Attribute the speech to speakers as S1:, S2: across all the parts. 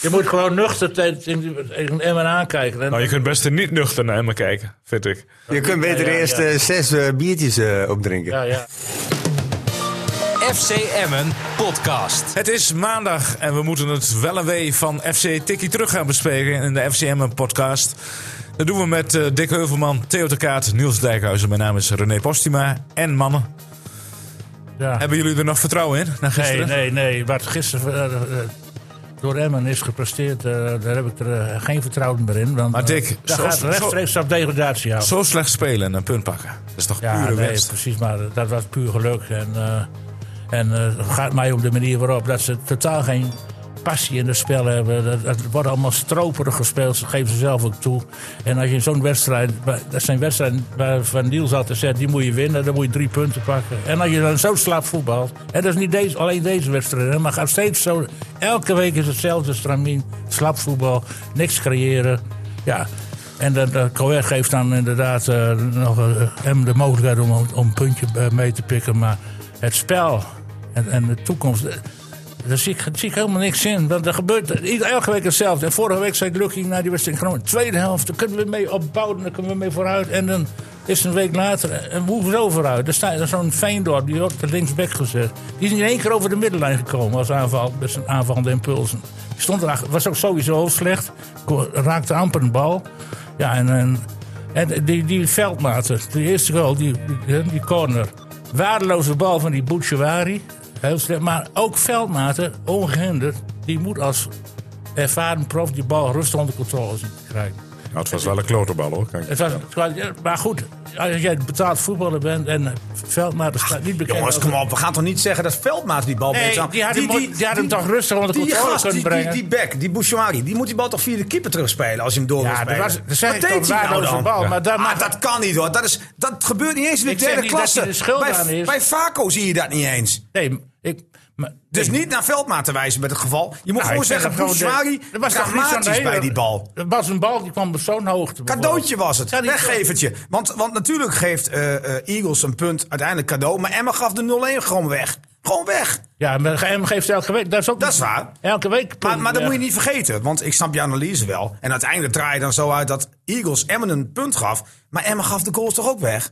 S1: Je moet gewoon nuchter tegen, tegen, tegen Emmen aankijken. En
S2: Nou, je kunt best niet nuchter naar hem kijken, vind ik.
S3: Je kunt beter
S1: ja, ja.
S3: eerst eh, zes eh, biertjes eh, opdrinken.
S1: ja, ja.
S4: FC Emmen podcast.
S2: Het is maandag en we moeten het wel en wee van FC Tikkie terug gaan bespreken in de FCM podcast. Dat doen we met eh, Dick Heuvelman, Theo de Kaat, Niels Dijkhuizen. Mijn naam is René Postima en mannen.
S1: ja.
S2: Hebben jullie er nog vertrouwen in na
S1: Nee,
S2: gisteren?
S1: nee, nee. Wat gisteren eh, eh, door Emmen is gepresteerd, eh, daar heb ik er eh, geen vertrouwen meer in. Want,
S2: Maar
S1: eh,
S2: Dick,
S1: daar
S2: zo-
S1: gaat
S2: zo-
S1: rechtstreeks op degradatie houden.
S2: Zo slecht spelen en een punt pakken. Dat is toch
S1: Ja,
S2: pure
S1: nee,
S2: winst.
S1: precies. Maar dat was puur geluk. En, eh, en eh, het gaat mij om de manier waarop dat ze totaal geen passie in het spel hebben. Dat, het wordt allemaal stroperig gespeeld. Dat geven ze zelf ook toe. En als je in zo'n wedstrijd... Dat zijn wedstrijden waarvan Niels altijd zegt... die moet je winnen, dan moet je drie punten pakken. En als je dan zo slap voetbalt... en dat is niet deze, alleen deze wedstrijd... hè, maar gaat steeds zo... elke week is hetzelfde stramien. Slap voetbal, niks creëren. Ja, en dat uh, geeft dan inderdaad eh, nog eh, hem de mogelijkheid om, om een puntje eh, mee te pikken. Maar het spel en, en de toekomst, eh, daar zie ik, zie ik helemaal niks in. Want er gebeurt ieder- elke week hetzelfde. En vorige week zei Lucky naar die wedstrijd in Groningen... tweede helft, daar kunnen we mee opbouwen, daar kunnen we mee vooruit. En dan is het een week later, eh, en hoezo vooruit? Er staat er zo'n Veendorp, die wordt de linksback gezet. Die is in één keer over de middenlijn gekomen als aanval, met zijn aanvallende impulsen. Die stond erachter, was ook sowieso heel slecht, ko- raakte amper een bal... Ja, en, en, en die, die veldmaten, de eerste goal, die, die, die corner. Waardeloze bal van die Bouchouari. Heel slecht. Maar ook veldmaten, ongehinderd, die moet als ervaren prof die bal rustig onder controle zien te krijgen.
S2: Nou, het was wel een kloterbal hoor. Kijk.
S1: Het was, het was- ja, maar goed, als jij betaald voetballer bent en eh, veldmaten staat niet bekend.
S5: Jongens,
S1: als-
S5: kom op. We gaan toch niet zeggen dat Veldmaat die bal
S1: Nee,
S5: beter aan-
S1: die had hem, die, had hem
S5: die-
S1: toch rustig onder
S5: die
S1: controle
S5: gast,
S1: kunnen
S5: die,
S1: brengen.
S5: die, die back, die Bouchouari, die moet die bal toch via de keeper terugspelen als je hem door wil
S1: ja,
S5: spelen.
S1: dat was, dat zei
S5: Wat
S1: ik toch,
S5: deed hij nou
S1: waardeloze
S5: dan?
S1: bal. Maar daar
S5: Ah,
S1: maakt-
S5: dat kan niet hoor. Dat, is, dat gebeurt niet eens in de
S1: Ik zeg
S5: derde
S1: niet dat
S5: klasse.
S1: hij de schuld
S5: bij,
S1: aan is.
S5: bij Vaco zie je dat niet eens.
S1: Nee, ik... Maar,
S5: Dus
S1: ik-
S5: niet naar Veldmaat te wijzen met het geval. Je moet
S1: Nou,
S5: gewoon
S1: ik vind
S5: zeggen,
S1: dat gewoon
S5: Bouchouari,
S1: de- er was toch niks aan de
S5: pragmatisch bij
S1: hele-
S5: die bal.
S1: Er was een bal die kwam op zo'n hoogte.
S5: Cadeautje was het.
S1: Ja, die-
S5: Weggevertje. Want, want natuurlijk geeft eh, eh, Eagles een punt uiteindelijk cadeau. Maar Emma gaf de 0-1 gewoon weg. Gewoon weg.
S1: Ja, maar GM geeft elke week. Dat is, ook
S5: Dat is waar.
S1: Elke week. punten
S5: Maar, maar dat
S1: weg.
S5: moet je niet vergeten, want ik snap je analyse wel. En uiteindelijk draai je dan zo uit dat Eagles Emmen een punt gaf. Maar Emmen gaf de goals toch ook weg?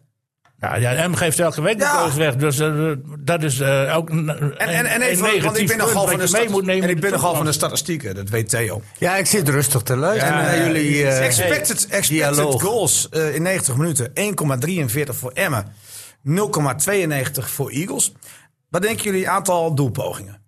S1: Ja, ja, M geeft elke week de
S5: Ja.
S1: goals weg. Dus eh, dat is eh, ook een, en,
S5: En, en, en even, want ik ben nogal van de,
S1: mee moet
S5: stat-
S1: nemen.
S5: en
S1: in
S5: ik ben nogal van de
S1: toekomst.
S5: statistieken, dat weet Theo.
S3: Ja, ik zit rustig te luisteren
S5: Ja,
S3: naar
S5: ja,
S3: jullie. eh,
S5: expected expected
S3: dialoog.
S5: goals eh, in 90 minuten. 1,43 voor Emmen. 0,92 voor Eagles. Wat denken jullie aantal doelpogingen?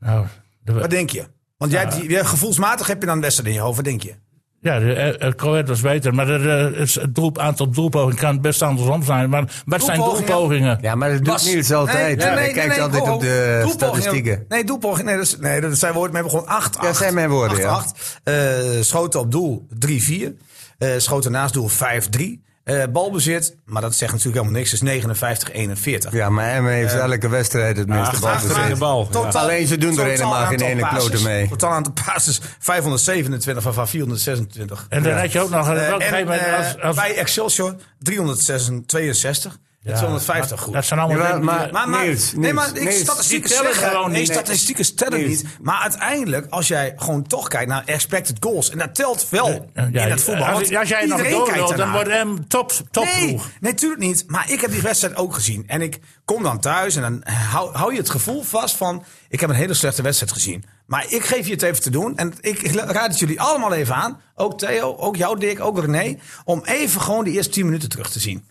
S1: Nou, de-
S5: Wat denk je? Want jij, die- jij- gevoelsmatig heb je dan best in je hoofd. Wat denk je?
S1: ja, de, eh, eh, Coët was beter. Maar er, eh, het, doel, aantal doelpogingen kan best andersom zijn. Maar wat zijn
S5: Doelpogingen?
S1: doelpogingen?
S3: Ja, maar dat doet
S5: Bas.
S3: Niels altijd.
S5: Nee, nee, nee,
S3: Hij kijkt
S5: nee, Oh,
S3: altijd
S5: ho, ho.
S3: op de
S5: Doelpogingen-
S3: statistieken.
S5: Nee, doelpogingen. Nee, dat, is, nee, dat zijn woorden. We hebben gewoon 8
S3: Dat zijn mijn woorden, ja.
S5: 8 Eh, Schoten op doel 3-4. Eh, schoten naast doel 5-3. Eh, balbezit, maar dat zegt natuurlijk helemaal niks, is 59-41.
S3: Ja, dus maar Emma heeft elke wedstrijd het meeste
S2: de
S3: balbezit.
S2: bal, ja.
S5: Totaal-
S3: Alleen ze doen er
S5: totaal
S3: helemaal geen
S5: aantal
S3: ene
S5: passes.
S3: klote mee.
S5: Totaal aantal passes 527 van, van 426.
S1: En dan had je ook nog een
S5: Eh,
S1: op een
S5: en,
S1: gegeven moment
S5: eh,
S1: als- als-
S5: bij Excelsior 362 en
S1: Ja,
S5: 250
S1: maar
S5: goed.
S1: Dat zijn allemaal
S3: Ja,
S1: dingen die- eh,
S3: maar-
S5: Maar, maar,
S3: Niels,
S5: nee,
S3: Niels,
S5: maar ik,
S3: Niels.
S5: statistieken
S1: Die tellen
S5: zeggen
S1: gewoon
S5: nee,
S1: niet.
S5: statistieken tellen
S3: Niels.
S5: niet. Maar uiteindelijk, als jij gewoon toch kijkt naar expected goals... en dat telt wel
S1: Ja,
S5: in het voetbal.
S1: Als,
S5: want
S1: als jij nog
S5: iedereen kijkt
S1: doorloopt, dan
S5: ernaar.
S1: wordt M top,
S5: Nee,
S1: topploeg.
S5: nee, natuurlijk niet. Maar ik heb die wedstrijd ook gezien. En ik kom dan thuis en dan hou, hou je het gevoel vast van... ik heb een hele slechte wedstrijd gezien. Maar ik geef je het even te doen. En ik, ik raad het jullie allemaal even aan. Ook Theo, ook jou Dick, ook René. Om even gewoon die eerste 10 minuten terug te zien.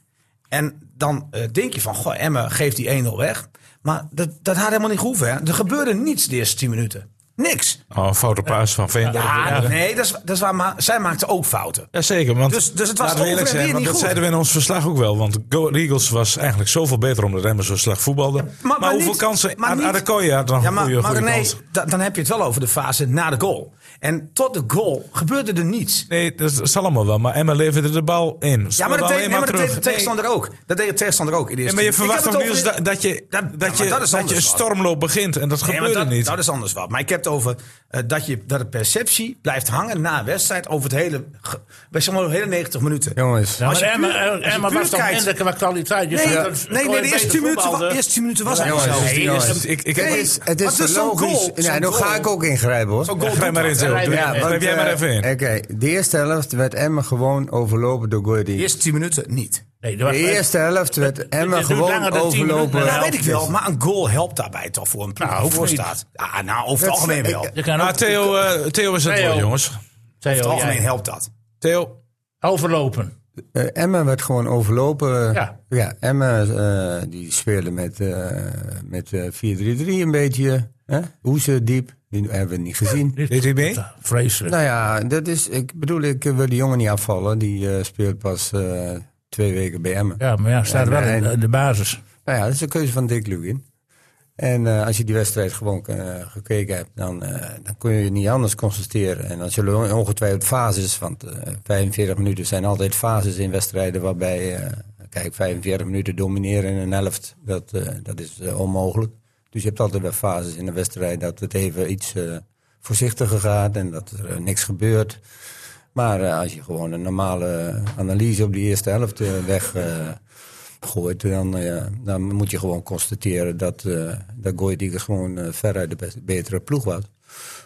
S5: En dan eh, denk je van, goh, Emme geeft die 1-0 weg. Maar dat, dat had helemaal niet gehoeven. Hè? Er gebeurde niets de eerste 10 minuten. Niks.
S2: Oh, een foute paas van Veendorp.
S5: Ja, nee, dat is, dat is waar. Maar zij maakte ook fouten.
S2: Jazeker, want
S5: Dus- dus het was
S2: laten we eerlijk
S5: over en weer
S2: zijn, want
S5: niet
S2: dat
S5: goed.
S2: zeiden we in ons verslag ook wel. Want Go Ahead Eagles was eigenlijk zoveel beter omdat Emmen zo slecht voetbalde. maar,
S5: maar niet-
S2: hoeveel kansen?
S5: maar
S2: Ad-
S5: niet-
S2: Adekoya had dan
S5: Ja,
S2: een
S5: maar,
S2: goede,
S5: maar
S2: goede
S5: René,
S2: kans.
S5: da- dan heb je het wel over de fase na de goal. En tot de goal gebeurde er niets.
S2: Nee, dat is allemaal wel. Maar Emma leverde de bal in.
S5: Ja, maar dat, deed, nee, maar dat deed de
S2: Nee.
S5: tegenstander ook. Dat deed de tegenstander ook. in de
S2: Ja,
S5: eerste
S2: maar je
S5: minuut. Ik
S2: verwacht
S5: heb
S2: toch
S5: het
S2: Niels
S5: over-
S2: dat, dat je, dat
S5: Ja, maar
S2: je,
S5: dat is
S2: dat je
S5: anders
S2: een
S5: wat.
S2: stormloop begint en dat
S5: Nee, maar
S2: gebeurde
S5: dat,
S2: niet.
S5: dat is anders wat. Maar ik heb het over eh, dat, je, dat de perceptie blijft hangen na een wedstrijd over het hele, ge- bij zeg maar, de hele 90 minuten.
S3: Jongens.
S1: Ja, maar
S5: Als je
S1: Emma,
S5: puur- als je
S1: Emma
S5: puur
S1: was toch
S5: kijkt-
S1: minder qua kwaliteit. Je
S5: Nee,
S1: zegt
S5: ja.
S1: dat ze
S5: nee, nee,
S1: gewoon
S5: de eerste 10
S1: beter
S5: minuten, wa-
S1: voetbalden.
S5: de eerste 10 minuten was het
S3: jongens,
S5: niet zo.
S3: het is-
S1: Nee,
S3: jongens,
S1: dat
S3: het
S1: is-
S2: Ik, ik heb
S5: Nee,
S2: maar-
S5: is-
S3: Het
S5: wat
S3: is
S5: is
S3: te
S5: zo'n
S3: logisch.
S5: goal?
S3: Ja,
S5: Zo'n
S3: nou ga
S5: goal.
S3: ik ook ingrijpen hoor.
S5: Zo'n goal
S2: Ga je
S5: doet
S2: maar
S5: dat,
S2: in,
S5: hè.
S2: Theo.
S1: Ja,
S2: Doe-
S1: want,
S2: Blijf jij maar
S3: eh,
S2: even in.
S3: Oké, de eerste helft werd Emmen gewoon overlopen door Goody.
S5: De eerste 10 minuten niet.
S1: Nee, dat was-
S3: De eerste helft werd Emmen
S1: duurt langer
S3: gewoon
S1: dan tien minuten.
S3: overlopen.
S1: Ja,
S5: Ja,
S1: helpt
S5: Nou, weet ik wel, maar een goal helpt daarbij toch voor een ploeg
S1: Nou,
S5: die
S1: hoeft
S5: voor
S1: niet.
S5: staat. Ja, nou, over het
S3: Dat-
S5: algemeen wel.
S3: ik-
S5: Over
S1: Je kan
S2: Ah,
S1: ook
S2: Theo, eh, Theo is het
S1: Theo.
S2: wel, jongens.
S1: Theo,
S5: het
S3: Oh,
S1: jij.
S5: algemeen helpt dat.
S2: Theo.
S1: overlopen.
S3: Eh, Emmen werd gewoon overlopen.
S1: Ja.
S3: Emmen eh, die speelde met, eh, met eh, 4-3-3 een beetje. hè? Hoeze diep, die hebben we niet gezien.
S2: Deed hij mee?
S1: Vreselijk.
S3: Nou ja, dat is, ik bedoel, ik eh, wil die jongen niet afvallen. Die eh, speelt pas eh, twee weken bij Emmen.
S1: Ja, maar ja, staat
S3: Ja,
S1: wel in
S3: nee.
S1: de- de basis.
S3: Nou ja, dat is de keuze van Dick Lugin. En eh, als je die wedstrijd gewoon eh, gekeken hebt, dan, eh, dan kun je niet anders constateren. En dan zullen on- ongetwijfeld fases, want eh, 45 minuten zijn altijd fases in wedstrijden waarbij, eh, kijk, 45 minuten domineren in een helft, dat, eh, dat is eh, onmogelijk. Dus je hebt altijd wel fases in een wedstrijd dat het even iets eh, voorzichtiger gaat en dat er eh, niks gebeurt. Maar eh, als je gewoon een normale analyse op die eerste helft eh, weg weggooit, dan, eh, dan moet je gewoon constateren dat, eh dat Goedik gewoon eh, veruit de best- betere ploeg was.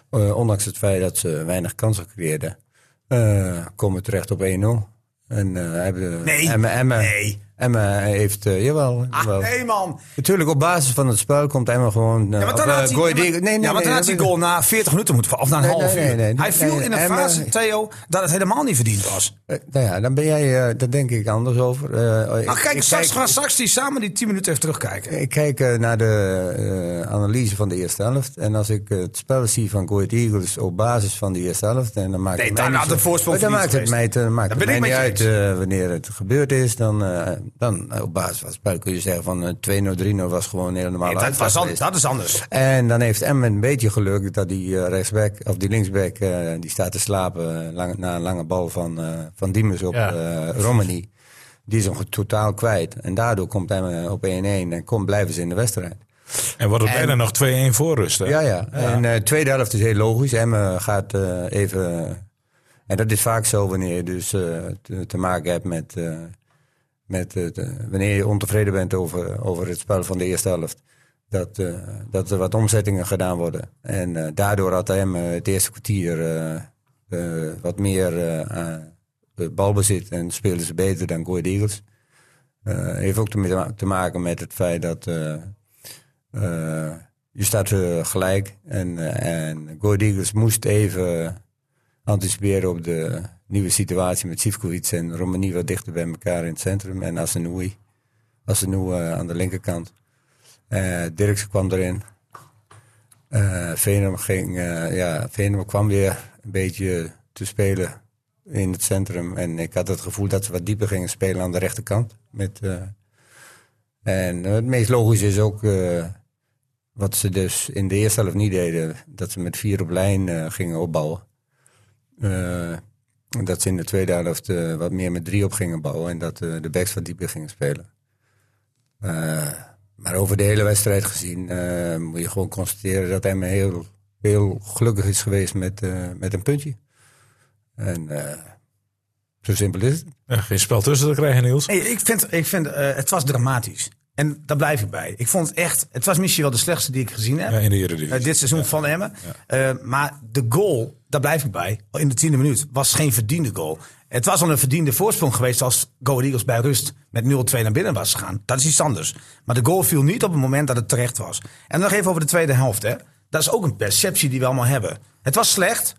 S3: Eh, ondanks het feit dat ze weinig kansen creëerden, eh, komen terecht op 1-0. En eh hebben
S5: Nee,
S3: Emma, Emma,
S5: nee.
S3: Emma heeft, eh, jawel,
S5: Ah,
S3: jawel.
S5: nee, man.
S3: Natuurlijk, op basis van het spel komt Emma gewoon... eh,
S5: Ja, maar
S3: op,
S5: dan
S3: eh,
S5: had hij,
S3: Goedik-
S5: ja, maar-
S3: nee, nee,
S5: ja, maar
S3: nee,
S5: dan had
S3: dat
S5: hij
S3: weet ik.
S5: goal na 40 minuten moeten vallen. Of na een
S3: Nee,
S5: half
S3: nee,
S5: uur.
S3: nee, nee.
S5: hij viel
S3: Nee,
S5: in een
S3: Emma-
S5: fase, Theo, dat het helemaal niet verdiend was.
S3: Eh, nou ja, dan ben jij, eh, daar denk ik anders over. Eh,
S5: Maar
S3: ik-
S5: Nou, kijk,
S3: ik
S5: straks gaan straks die samen die 10 minuten even terugkijken.
S3: Ik kijk eh, naar de eh, analyse van de eerste helft. En als ik eh, het spel zie van Goat Eagles op basis van de eerste helft. En dan maakt
S5: Nee,
S3: het
S5: dan
S3: mij
S5: had
S3: niet,
S5: de voorsprong
S3: Maar dan maakt
S5: verdiend
S3: het mij, dan maakt
S5: Daar
S3: het
S5: ben
S3: mij
S5: ik
S3: niet
S5: met
S3: uit
S5: je
S3: eh, wanneer het gebeurd is. Dan, eh, dan eh, op basis van het spel kun je zeggen van eh, 2-0, 3-0 was gewoon een hele normale
S5: Nee, dat,
S3: uitslag
S5: was an-
S3: geweest.
S5: dat is anders.
S3: En dan heeft Emmen een beetje geluk dat die eh, rechtsback, of die linksback, eh, die staat te slapen eh, lang- na een lange bal van, eh van Diemers op
S1: Ja.
S3: eh, Romani. Die is hem ge- totaal kwijt. En daardoor komt Emmen op 1-1 en komt, blijven ze in de wedstrijd.
S2: En wordt het bijna nog 2-1 voor rust. hè?
S3: Ja, ja. En de tweede helft is heel logisch. Emmen gaat eh, even... En dat is vaak zo wanneer je dus eh, te, te maken hebt met... eh, met het, eh, wanneer je ontevreden bent over, over het spel van de eerste helft. Dat, eh, dat er wat omzettingen gedaan worden. En eh, daardoor had hem het eerste kwartier eh, eh, wat meer eh, eh, balbezit. En speelden ze beter dan Goeie Eagles. Eh, heeft ook te, ma- te maken met het feit dat... eh, eh, je staat eh, gelijk. En, eh, en Go Ahead Eagles moest even anticiperen op de nieuwe situatie met Sivkovic en Romani wat dichter bij elkaar in het centrum. En Asenoui. Asenoui eh, aan de linkerkant. Eh Dirksen kwam erin. Eh Venom, ging, eh, ja, Venom kwam weer een beetje te spelen in het centrum. En ik had het gevoel dat ze wat dieper gingen spelen aan de rechterkant. Met, eh, en het meest logische is ook eh, wat ze dus in de eerste helft niet deden. Dat ze met vier op lijn eh, gingen opbouwen. Eh, dat ze in de tweede helft eh, wat meer met drie op gingen bouwen. En dat eh, de backs wat dieper gingen spelen. Eh, maar over de hele wedstrijd gezien eh, moet je gewoon constateren dat Emmen heel, heel gelukkig is geweest met, eh, met een puntje. En eh, zo simpel is het.
S2: Ja, Eh, Geen spel tussen te krijgen, Niels.
S5: Nee, ik vind, ik vind eh, het was dramatisch. En daar blijf ik bij. Ik vond het echt, het was misschien wel de slechtste die ik gezien heb.
S2: Ja, in de Eredivisie.
S5: eh, dit seizoen van Emmen. Eh, maar de goal, daar blijf ik bij, in de tiende minuut, was geen verdiende goal. Het was al een verdiende voorsprong geweest als Go Ahead Eagles bij rust met 0-2 naar binnen was gegaan. Dat is iets anders. Maar de goal viel niet op het moment dat het terecht was. En nog even over de tweede helft. Hè. Dat is ook een perceptie die we allemaal hebben. Het was slecht,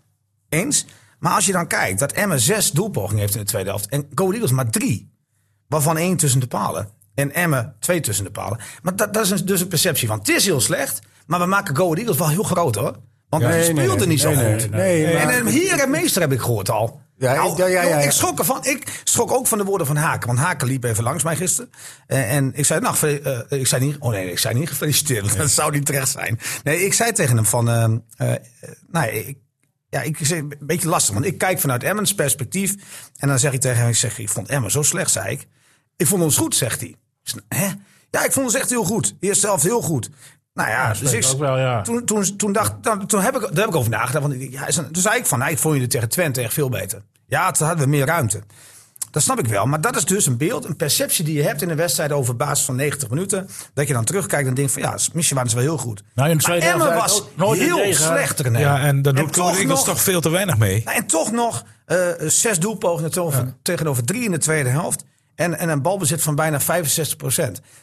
S5: eens. Maar als je dan kijkt dat Emmen zes doelpogingen heeft in de tweede helft. En Go Ahead Eagles maar drie. Waarvan één tussen de palen. En Emmen twee tussen de palen. Maar dat, dat is een- dus een perceptie van het is heel slecht. Maar we maken Go Ahead Eagles wel heel groot hoor. Want we
S3: nee,
S5: speelden
S3: nee,
S5: niet zo
S3: nee, nee,
S5: goed.
S3: nee, nee,
S5: en
S3: maar-
S5: een hier en meester heb ik gehoord al.
S3: Ja,
S5: Nou,
S3: ik- ja, ja, ja, ja.
S5: Ik, schrok ervan, ik schrok ook van de woorden van Haken. Want Haken liep even langs mij gisteren. Eh, en ik zei, nou, fel- eh, ik zei niet, oh nee, ik zei niet gefeliciteerd. want Dat zou niet terecht zijn. Nee, ik zei tegen hem van, ehm, eh, eh, nou, ik, ja, ik zeg, een beetje lastig. Want ik kijk vanuit Emmens perspectief. En dan zeg ik tegen hem, ik zeg, ik vond Emmen zo slecht, zei ik. Ik vond ons goed, zegt hij. Ik zeg, Hè? Ja, ik vond ons echt heel goed. Eerste helft heel goed. Nou ja,
S1: dat
S5: dus
S1: weet
S5: ik,
S1: ik ook wel, ja.
S5: toen, toen, toen, dacht, nou, toen heb ik, daar heb ik over nagedacht. Want ik- ja, is een- toen zei ik van, nee, ik vond jullie tegen Twente echt veel beter. Ja, toen hadden we meer ruimte. Dat snap ik wel. Maar dat is dus een beeld, een perceptie die je hebt in een wedstrijd over basis van 90 minuten. Dat je dan terugkijkt en denkt van, ja, misschien waren ze wel heel goed.
S1: Nou, in de
S5: maar
S1: tweede helft
S5: Emmen
S1: waren ze
S5: was
S1: ook nooit in
S5: heel
S1: tegen, hè?
S5: slechter. Nee.
S2: Ja, en daar doet
S5: toch
S2: Cody Eagles
S5: nog-
S2: toch veel te weinig mee.
S5: nou, en toch nog eh, zes doelpogingen tegenover, tegenover drie in de tweede helft. En, en een balbezit van bijna 65%.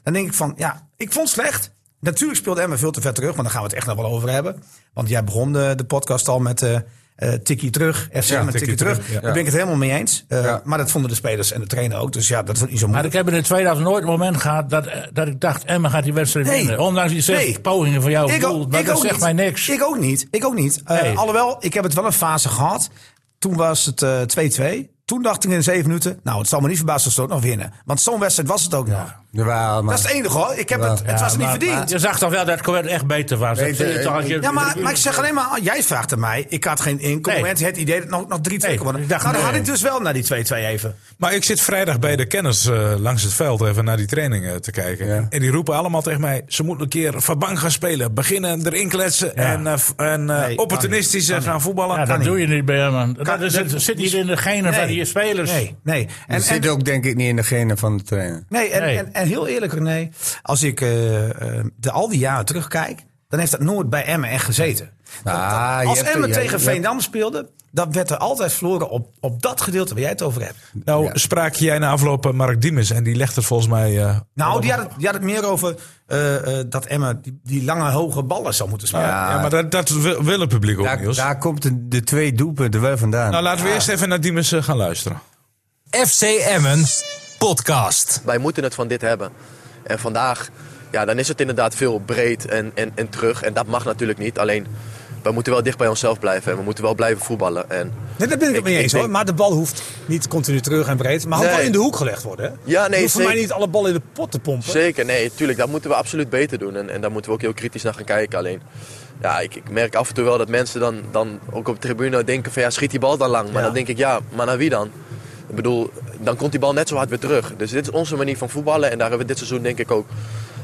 S5: Dan denk ik van, ja, ik vond het slecht. Natuurlijk speelde Emma veel te ver terug, maar daar gaan we het echt nog wel over hebben. Want jij begon de, de podcast al met eh eh, tikkie terug, FC
S2: Ja,
S5: met tikkie
S2: tikkie
S5: terug.
S2: terug, ja.
S5: Daar ben ik het helemaal mee eens. Eh,
S3: Ja.
S5: Maar dat vonden de spelers en de trainer ook. Dus ja, dat wordt niet zo
S1: Maar
S5: moeilijk.
S1: ik heb in de tweede helft nooit een moment gehad dat, eh, dat ik dacht... Emma gaat die wedstrijd
S5: Nee.
S1: winnen. Ondanks die zes
S5: Nee.
S1: pogingen van jou.
S5: Ik, ook-
S1: doel, Oh, maar
S5: ik
S1: dat
S5: ook
S1: zegt
S5: niet.
S1: mij niks.
S5: Ik ook niet. Ik ook niet. Eh,
S1: Nee.
S5: Alhoewel, ik heb het wel een fase gehad. Toen was het eh, 2-2. Toen dacht ik in zeven minuten, nou, het zal me niet verbazen als ze ook nog winnen. Want zo'n wedstrijd was het ook nog.
S3: Jawel, maar...
S5: Dat is het enige hoor. Ik heb het, het
S1: Ja,
S5: was niet
S1: maar-
S5: verdiend. eh,
S1: maar je zag toch wel dat Coët echt beter was. Dat
S3: Beter,
S1: zie je toch als je-
S5: ja, maar, maar ik zeg alleen maar, jij vraagt aan mij. Ik had geen enkel
S1: Nee.
S5: moment het idee dat het nog, nog 3-2
S1: Nee,
S5: kon worden.
S1: ik dacht,
S5: nou, dan
S1: nee.
S5: had ik dus wel naar die 2-2 even.
S2: Maar ik zit vrijdag bij de kenners eh, langs het veld even naar die training eh, te kijken.
S3: Ja.
S2: En die roepen allemaal tegen mij: ze moeten een keer van bank gaan spelen. Beginnen erin kletsen en, eh, f- en eh,
S5: Nee,
S2: opportunistisch eh, gaan voetballen.
S1: Ja,
S2: Kan
S1: dat
S2: niet.
S1: doe je niet bij hem. man. Dat,
S5: Kan-
S1: is-
S5: dat-
S1: dat zit niet in de genen
S5: Nee.
S1: van die spelers.
S5: Nee, nee. En,
S3: dat zit
S5: en-
S3: ook denk ik niet in de genen van de trainer.
S5: Nee, en,
S1: Nee.
S5: En, en heel eerlijk René, als ik eh, eh, de, al die jaren terugkijk, dan heeft dat nooit bij Emmen echt gezeten. Dat- dat-
S3: Ah, je
S5: als
S3: hebt-
S5: Emmen
S3: je-
S5: tegen
S3: je-
S5: Veendam speelde, dan werd er altijd verloren op, op dat gedeelte waar jij het over hebt.
S2: Nou,
S3: Ja.
S2: sprak jij na afloop eh, Mark Diemers en die legt het volgens mij. eh,
S5: Nou, die had het, die had het meer over eh, eh, dat Emmen die, die lange hoge ballen zou moeten spelen.
S2: ja, maar dat, dat wil, wil het publiek ook,
S3: Daar,
S2: Niels.
S3: daar komt de, de twee doelpunten wel vandaan.
S2: nou, laten we eerst even naar Diemers eh, gaan luisteren.
S4: FC Emmen podcast.
S6: wij moeten het van dit hebben. En vandaag, ja, dan is het inderdaad veel breed en, en, en terug. En dat mag natuurlijk niet. Alleen, we moeten wel dicht bij onszelf blijven. En we moeten wel blijven voetballen. En,
S5: Nee, daar ben ik het
S6: Ik-
S5: mee
S6: ik
S5: eens
S6: denk-
S5: hoor. Maar de bal hoeft niet continu terug en breed. Maar hij
S6: Nee.
S5: moet wel in de hoek gelegd worden. hè?
S6: Ja, nee,
S5: je hoeft voor mij
S6: zeker.
S5: niet alle ballen in de pot te pompen.
S6: zeker, nee, tuurlijk, dat moeten we absoluut beter doen. En, en daar moeten we ook heel kritisch naar gaan kijken. Alleen, ja, ik, ik merk af en toe wel dat mensen dan, dan ook op de tribune denken van... Ja, schiet die bal dan lang. Maar
S5: Ja.
S6: dan denk ik, ja, maar naar wie dan? Ik bedoel, dan komt die bal net zo hard weer terug. Dus dit is onze manier van voetballen. En daar hebben we dit seizoen denk ik ook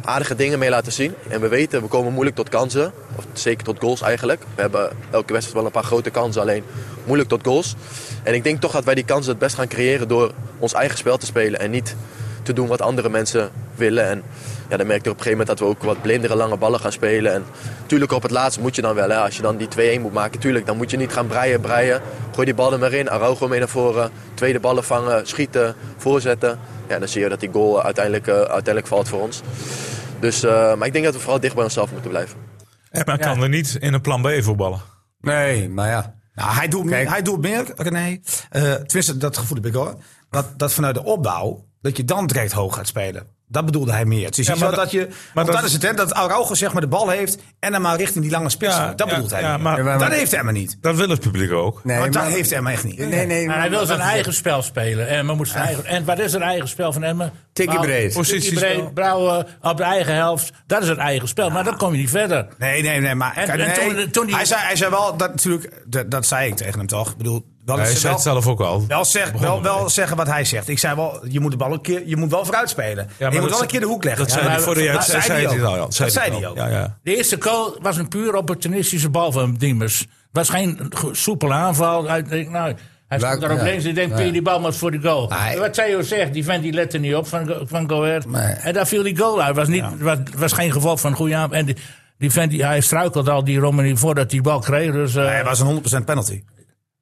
S6: aardige dingen mee laten zien. En we weten, we komen moeilijk tot kansen. Of zeker tot goals eigenlijk. We hebben elke wedstrijd wel een paar grote kansen, alleen moeilijk tot goals. En ik denk toch dat wij die kansen het best gaan creëren door ons eigen spel te spelen. En niet te doen wat andere mensen willen. En ja, dan merk je op een gegeven moment dat we ook wat blindere lange ballen gaan spelen. En tuurlijk op het laatst moet je dan wel. Hè, als je dan die 2-1 moet maken, tuurlijk, dan moet je niet gaan breien, breien. Gooi die bal er maar in. Araujo mee naar voren. Tweede ballen vangen, schieten, voorzetten. Ja, dan zie je dat die goal uiteindelijk, eh, uiteindelijk valt voor ons. Dus, eh, maar ik denk dat we vooral dicht bij onszelf moeten blijven.
S2: Emma kan er niet in een plan B voetballen.
S3: Nee, maar ja.
S5: Nou, hij doet, meer, hij doet meer, René. Eh tenminste, dat gevoel heb ik hoor. Dat, dat vanuit de opbouw, dat je dan direct hoog gaat spelen. Dat bedoelde hij meer. Het is
S2: Ja,
S5: niet
S2: maar
S5: zo
S2: dat-
S5: dat je...
S2: maar
S5: Maar
S2: dat-
S5: dat, is het, hè. Dat Araujo zeg maar de bal heeft en dan maar richting die lange spits.
S2: Ja,
S5: gaat. dat
S2: ja,
S5: bedoelt hij.
S2: ja,
S5: meer.
S2: maar-
S3: Ja, maar-
S5: dat heeft Emma niet.
S2: Dat wil het publiek ook.
S3: Nee,
S5: maar,
S3: maar-
S5: dat heeft Emma echt niet.
S3: Nee, nee.
S1: Maar hij wil zijn eigen spel spelen. Emmen moet zijn eigen, en wat is het eigen spel van Emmen?
S3: Tikkie
S1: Brouw-
S3: breed.
S1: Tikkie
S2: Positiespel.
S1: breed, Brouwen op de eigen helft. Dat is het eigen spel. Maar dan kom je niet verder.
S5: Nee, nee, nee. Maar
S1: En-
S5: kijk,
S1: en
S5: nee.
S1: toen- toen die-
S5: hij, zei, hij zei wel, dat natuurlijk, dat, dat zei ik tegen hem toch. Ik bedoel, wel
S2: Hij
S5: eens-
S2: zei het
S5: wel-
S2: zelf ook al.
S5: Wel, zeg, wel, wel zeggen wat hij zegt. Ik zei wel, je moet de bal een keer, je moet wel vooruit spelen.
S2: maar
S5: En je moet
S2: dat
S5: wel
S2: ze-
S5: een keer de hoek leggen.
S2: Dat zei
S1: maar-
S2: hij voor de
S1: dat
S2: juist.
S5: zei
S2: Zei
S5: hij
S2: hij
S5: ook.
S2: al, ja.
S5: Dat zei
S2: al.
S5: hij ook.
S2: Ja, ja.
S1: De eerste goal was een puur opportunistische bal van Diemers. was geen go- soepele aanval. Hij, denkt, nou, hij
S3: Waar-
S1: stond daar op
S3: ja.
S1: links en denkt, "Pier, die bal maar voor de goal.
S3: hij-
S1: Wat Theo zegt, die vent die lette niet op van, Go- van Go Ahead.
S3: Nee.
S1: En daar viel die goal uit. was, niet, was, was geen gevolg van een goede aanval. En die, die vent, die, hij struikelde al die Romani voordat die bal kreeg. Dus, eh,
S5: Hij was een 100% penalty.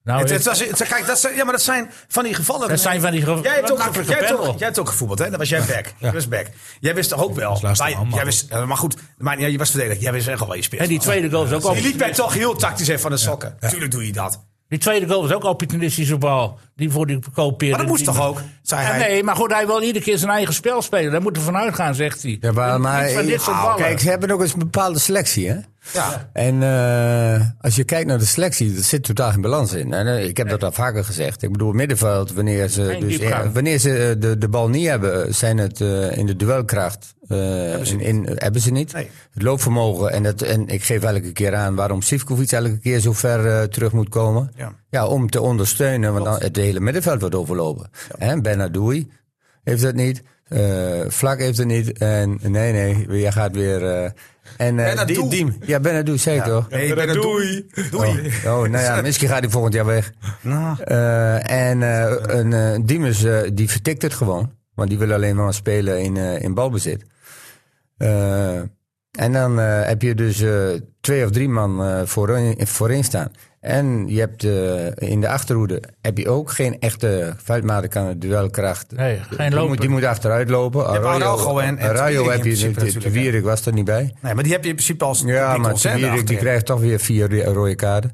S1: nou,
S5: Het,
S1: ik-
S5: het was, het- kijk, dat zijn, ja, maar dat zijn van die gevallen.
S1: Dat zijn van die gevallen.
S5: Jij hebt ook,
S1: Makkelijke
S5: jij hebt
S1: panel.
S5: ook, jij hebt ook gevoetbald, hè? Dat was jij back. Jij was back. Jij wist toch ook wel.
S2: laatste
S5: Maar,
S2: man, man.
S5: jij wist, ja, maar goed, maar, ja, je was verdediger. Jij wist echt al wel je spits.
S1: en die tweede goal was ook
S5: Je
S1: op.
S5: liep mij toch heel tactisch even van de sokken. Tuurlijk doe je dat.
S1: Die tweede goal was ook opportunistische bal. Die voor die kooppeer.
S5: Maar dat moest toch ook, zei hij.
S1: Nee, maar goed, hij wil iedere keer zijn eigen spel spelen. Daar moeten we vanuit gaan, zegt hij.
S3: Ja, maar, maar
S1: Iets van dit soort
S3: Nou,
S1: ballen.
S3: kijk, ze hebben ook eens een bepaalde selectie, hè?
S5: Ja.
S3: En eh, als je kijkt naar de selectie, er zit totaal geen balans in. En, eh, ik heb dat al vaker gezegd. Ik bedoel, middenveld, wanneer ze,
S1: Geen
S3: dus,
S1: diepgang.
S3: eh, wanneer ze eh, de, de bal niet hebben, zijn het eh, in de duelkracht. eh, in, in- hebben ze niet.
S5: Nee.
S3: Het loopvermogen. En, dat, en ik geef elke keer aan waarom Sivkovic elke keer zo ver eh, terug moet komen.
S5: Ja.
S3: om te ondersteunen, want dan het hele middenveld wordt overlopen. En Benadoui heeft dat niet. Eh, Vlak heeft er niet. En nee, nee, jij gaat weer. eh, en, eh,
S5: Benadou.
S3: Die- Diem. Ja, Benadou, zei ik toch?
S5: Nee, ik ben het doei. Doei. Nou.
S3: Oh, oh, nou ja, misschien gaat hij volgend jaar weg. Eh, en eh een, eh, Diemers, eh, die vertikt het gewoon. Want die wil alleen maar spelen in, eh, in balbezit. Eh, en dan eh, heb je dus eh, twee of drie man eh, voorin, voorin staan. En je hebt eh, in de achterhoede heb je ook geen echte vuilmaten kan het duelkracht.
S1: Nee, geen
S3: die,
S1: lopen.
S3: moet, die moet achteruit lopen.
S5: hebt Araujo en- en
S3: Araujo heb
S5: Twierik in principe
S3: je.
S5: natuurlijk, hè.
S3: Twierik was er niet bij.
S5: Nee, maar die heb je in principe als
S3: Ja,
S5: die
S3: maar
S5: consent
S3: Tewierik die
S5: achterin.
S3: krijgt toch weer vier ro- rode kaarten.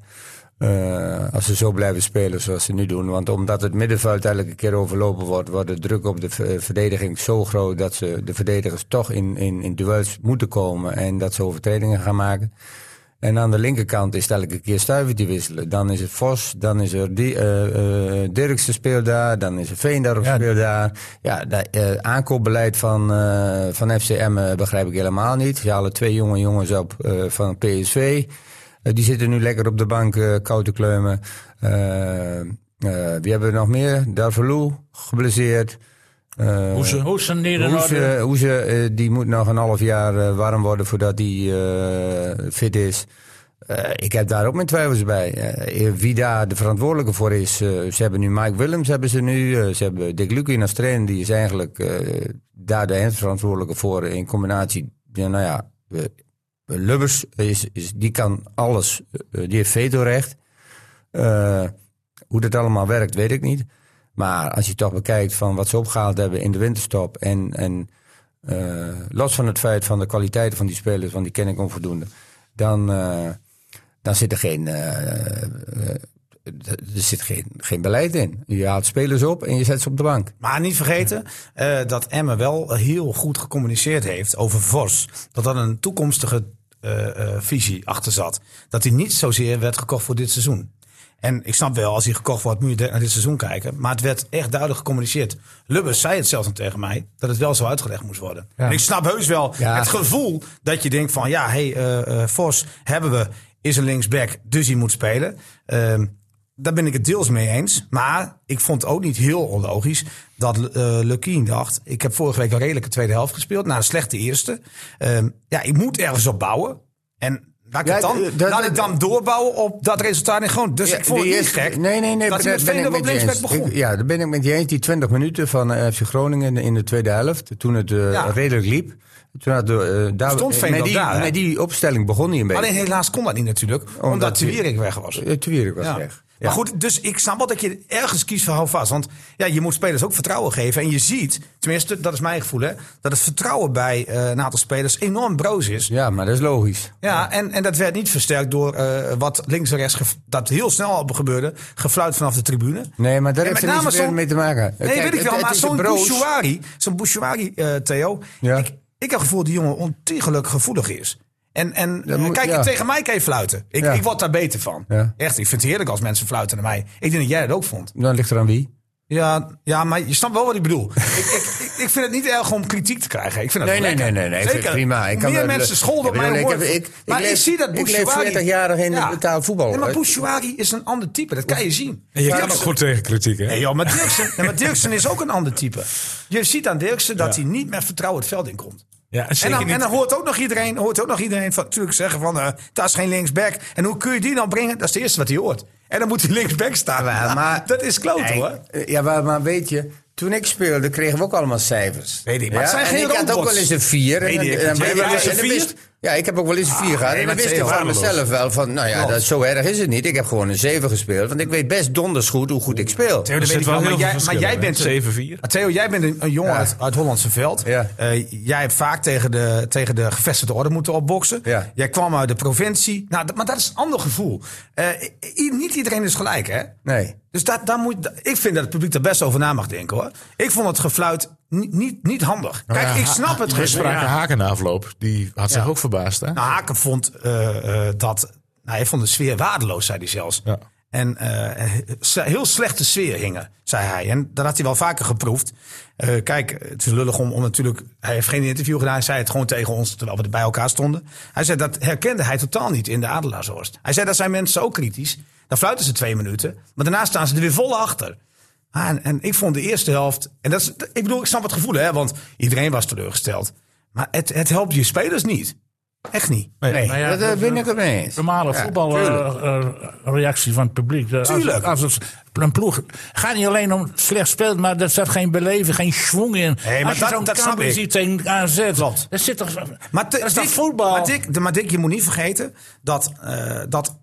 S3: Eh, als ze zo blijven spelen zoals ze nu doen. Want omdat het middenveld elke keer overlopen wordt, wordt de druk op de v- eh, verdediging zo groot dat ze de verdedigers toch in, in, in duels moeten komen en dat ze overtredingen gaan maken. En aan de linkerkant is het elke keer stuiven die wisselen. Dan is het Vos, dan is er die, eh, eh, Dirksen speelt daar, dan is er Veendorp
S1: Ja.
S3: speelt daar. Ja, dat eh, aankoopbeleid van, eh, van FCM eh, begrijp ik helemaal niet. Ze halen twee jonge jongens op eh, van PSV. Eh, die zitten nu lekker op de bank eh koud te kleumen. Eh, eh, wie hebben we nog meer? Darvalu, geblesseerd. Eh,
S1: Hoe ze, hoe ze niet in orde.
S3: Hoeze, Hoeze, eh, die moet nog een half jaar eh, warm worden voordat hij eh, fit is. Eh, ik heb daar ook mijn twijfels bij. Eh, wie daar de verantwoordelijke voor is. eh, ze hebben nu Mike Willems, hebben ze nu. eh, ze hebben Dick Lukin als trainer. Die is eigenlijk eh, daar de eindverantwoordelijke voor. In combinatie, ja, nou ja, eh, Lubbers, is, is, die kan alles. eh, die heeft vetorecht. Eh, hoe dat allemaal werkt, weet ik niet. Maar als je toch bekijkt van wat ze opgehaald hebben in de winterstop. En, en eh, los van het feit van de kwaliteiten van die spelers, want die ken ik onvoldoende. Dan, eh, dan zit er geen, eh, eh, er zit geen, geen beleid in. Je haalt spelers op en je zet ze op de bank.
S5: Maar niet vergeten eh, dat Emmen wel heel goed gecommuniceerd heeft over Vos. Dat dat een toekomstige eh, eh, visie achter zat. Dat hij niet zozeer werd gekocht voor dit seizoen. En ik snap wel, als hij gekocht wordt, moet je de- naar dit seizoen kijken. Maar het werd echt duidelijk gecommuniceerd. Lubbers zei het zelfs nog tegen mij, dat het wel zo uitgelegd moest worden.
S1: Ja.
S5: En ik snap heus wel
S3: Ja.
S5: het gevoel dat je denkt van... ja, hey, eh, eh, Vos hebben we, is een linksback, dus hij moet spelen. Ehm, daar ben ik het deels mee eens. Maar ik vond het ook niet heel onlogisch dat eh Lukien dacht... ik heb vorige week een redelijke tweede helft gespeeld... na een slechte eerste. Ehm, ja, ik moet ergens op bouwen. En laat ik,
S3: Ja,
S5: het dan,
S3: eh, dat-
S5: laat ik dan doorbouwen op dat resultaat in Groningen. Dus
S3: Ja,
S5: ik vond het
S3: die
S5: niet
S3: eerste-
S5: gek
S3: Nee, nee, nee.
S5: dat hij met
S3: ben ik
S5: Veendorp op
S3: je
S5: linksback
S3: eens.
S5: begon.
S3: Ik- ja, daar ben ik met je eens. Die 20 minuten van eh, FC Groningen in de tweede helft, toen het eh,
S5: Ja.
S3: redelijk liep. Toen had, eh, daar,
S5: Stond Veendorp
S3: met die,
S5: daar, hè?
S3: met die opstelling begon hij een beetje.
S5: Alleen helaas kon dat niet natuurlijk, omdat,
S3: Omdat
S5: de
S3: die-
S5: Wierik weg was.
S3: Eh, Twierik was
S5: Ja.
S3: weg. Ja.
S5: Maar goed, dus ik snap wel dat je ergens kiest voor houvast. Want ja, je moet spelers ook vertrouwen geven. En je ziet, tenminste, dat is mijn gevoel, hè, dat het vertrouwen bij eh, een aantal spelers enorm broos is. Ja,
S3: Ja, maar dat is logisch.
S5: en, en dat werd niet versterkt door eh, wat links en rechts, ge- dat heel snel al gebeurde, gefluit vanaf de tribune.
S3: Nee, maar daar
S5: En
S3: heeft
S5: met
S3: er niets
S5: name
S3: meer
S5: zo'n-
S3: mee te maken.
S5: Nee,
S3: Kijk,
S5: weet ik
S3: het-
S5: wel,
S3: het
S5: maar
S3: is een
S5: zo'n
S3: broos.
S5: Bouchouari, zo'n Bouchouari, eh, Theo,
S3: Ja.
S5: ik, ik heb het gevoel dat die jongen ontiegelijk gevoelig is. En, en eh,
S3: Dat moet-
S5: kijk,
S3: ja.
S5: tegen mij kan je fluiten. Ik,
S3: Ja.
S5: ik word daar beter van.
S3: Ja.
S5: Echt, ik vind het heerlijk als mensen fluiten naar mij. Ik denk dat jij dat ook vond.
S3: Dan ligt er aan wie?
S5: Ja, ja maar je snapt wel wat ik bedoel. ik, ik, ik, ik vind het niet erg om kritiek te krijgen. Ik vind dat
S3: Nee, nee, nee,
S5: lekker.
S3: nee, nee, ik vind
S5: Zeker.
S3: het prima. Ik kan
S5: Meer
S3: dat-
S5: mensen
S3: Ik
S5: scholden op
S3: bedoel,
S5: mijn
S3: ik
S5: woord.
S3: heb- ik- ik
S5: maar ik
S3: leef-
S5: zie dat
S3: ik leef
S5: Bouchouari...
S3: 40-jarig in betaalvoetbal.
S5: Nee, maar
S3: Het-
S5: Bouchouari is een ander type. Dat kan je zien.
S2: En je
S5: Die
S2: kan
S5: is-
S2: ook goed tegen kritiek, hè?
S5: Nee, joh, maar Dirksen, nee, maar Dirksen is ook een ander type. Je ziet aan Dirksen dat hij niet met vertrouwen het veld in komt.
S2: Ja,
S5: En
S2: zeker
S5: dan,
S2: niet.
S5: en dan hoort ook nog iedereen, hoort ook nog iedereen van, natuurlijk zeggen van, eh, dat is geen linksback. En hoe kun je die nou brengen? Dat is het eerste wat hij hoort. En dan moet hij linksback staan.
S3: Ja, maar-
S5: dat is kloot
S3: Nee,
S5: hoor.
S3: eh, Ja, maar, maar weet je, toen ik speelde kregen we ook allemaal cijfers.
S5: Weet ik, maar het zijn
S3: en
S5: geen
S3: ik had ook
S5: robots.
S3: wel eens een vier. En,
S5: Weet
S3: dan-
S5: ik,
S3: en dan-
S5: jij
S3: en
S5: wel
S3: dan-
S5: eens een
S3: en dan
S5: vier? Ah,
S3: wist- Ja, ik heb ook wel eens een vier gehad.
S5: nee,
S3: en dan
S5: dat is
S3: wist ik
S5: heel
S3: van
S5: waardeloos.
S3: mezelf wel van, nou ja,
S5: Klopt.
S3: dat, zo erg is het niet. Ik heb gewoon een zeven gespeeld. Want ik weet best donders goed hoe goed ik speel.
S5: dat
S2: Er
S5: weet
S2: zit
S5: ik
S2: wel
S5: wel,
S2: heel
S5: maar
S2: veel
S5: jij- maar jij
S2: verschil in, hè? 7-4.
S5: Maar Theo, jij bent een, een jongen
S3: Ja.
S5: uit, uit Hollandse veld.
S3: Ja.
S5: Eh, jij hebt vaak tegen de, tegen de gevestigde orde moeten opboksen.
S3: Ja.
S5: Jij kwam uit de provincie. Nou, dat- maar dat is een ander gevoel. Eh, i- niet iedereen is gelijk, hè?
S3: Nee.
S5: Dus daar, daar moet, ik vind dat het publiek daar best over na mag denken hoor. Ik vond het gefluit niet, niet, niet handig. Kijk, ik snap het
S2: We
S5: gesprek.
S2: spraken Haken na afloop. Die had zich ook verbaasd, hè?
S5: Nou, Haken vond eh, eh, dat. Nou, hij vond de sfeer waardeloos, zei hij zelfs.
S2: Ja.
S5: En eh, he- heel slechte sfeer hingen, zei hij. En dat had hij wel vaker geproefd. Eh, kijk, het is lullig om, om natuurlijk. Hij heeft geen interview gedaan. Hij zei het gewoon tegen ons terwijl we er bij elkaar stonden. Hij zei dat herkende hij totaal niet in de Adelaarshorst. Hij zei dat zijn mensen ook kritisch. Dan fluiten ze twee minuten. Maar daarna staan ze er weer vol achter. Ah, en, en ik vond de eerste helft. En dat is, ik bedoel, ik snap het gevoel, hè, want iedereen was teleurgesteld. Maar het, het helpt je spelers niet. Echt niet.
S3: Nee,
S1: maar Nou ja,
S3: dat eh,
S1: dat-
S3: ben ik het mee eens.
S1: normale
S3: Ja,
S1: voetbalreactie van het publiek. Eh,
S5: Tuurlijk.
S1: Als, als het een ploeg gaat niet alleen om slecht speelt, maar er zat geen beleven, geen schwung in.
S5: maar
S1: als je
S5: dat-
S1: zo'n
S5: dat snap
S1: Kambi
S5: ik.
S1: ziet tegen AZ,
S5: Klopt.
S1: dat zit toch...
S5: Maar te-
S1: dat is toch
S5: Dick-
S1: voetbal?
S5: Maar Dick, de- maar Dick, je moet niet vergeten dat. eh, dat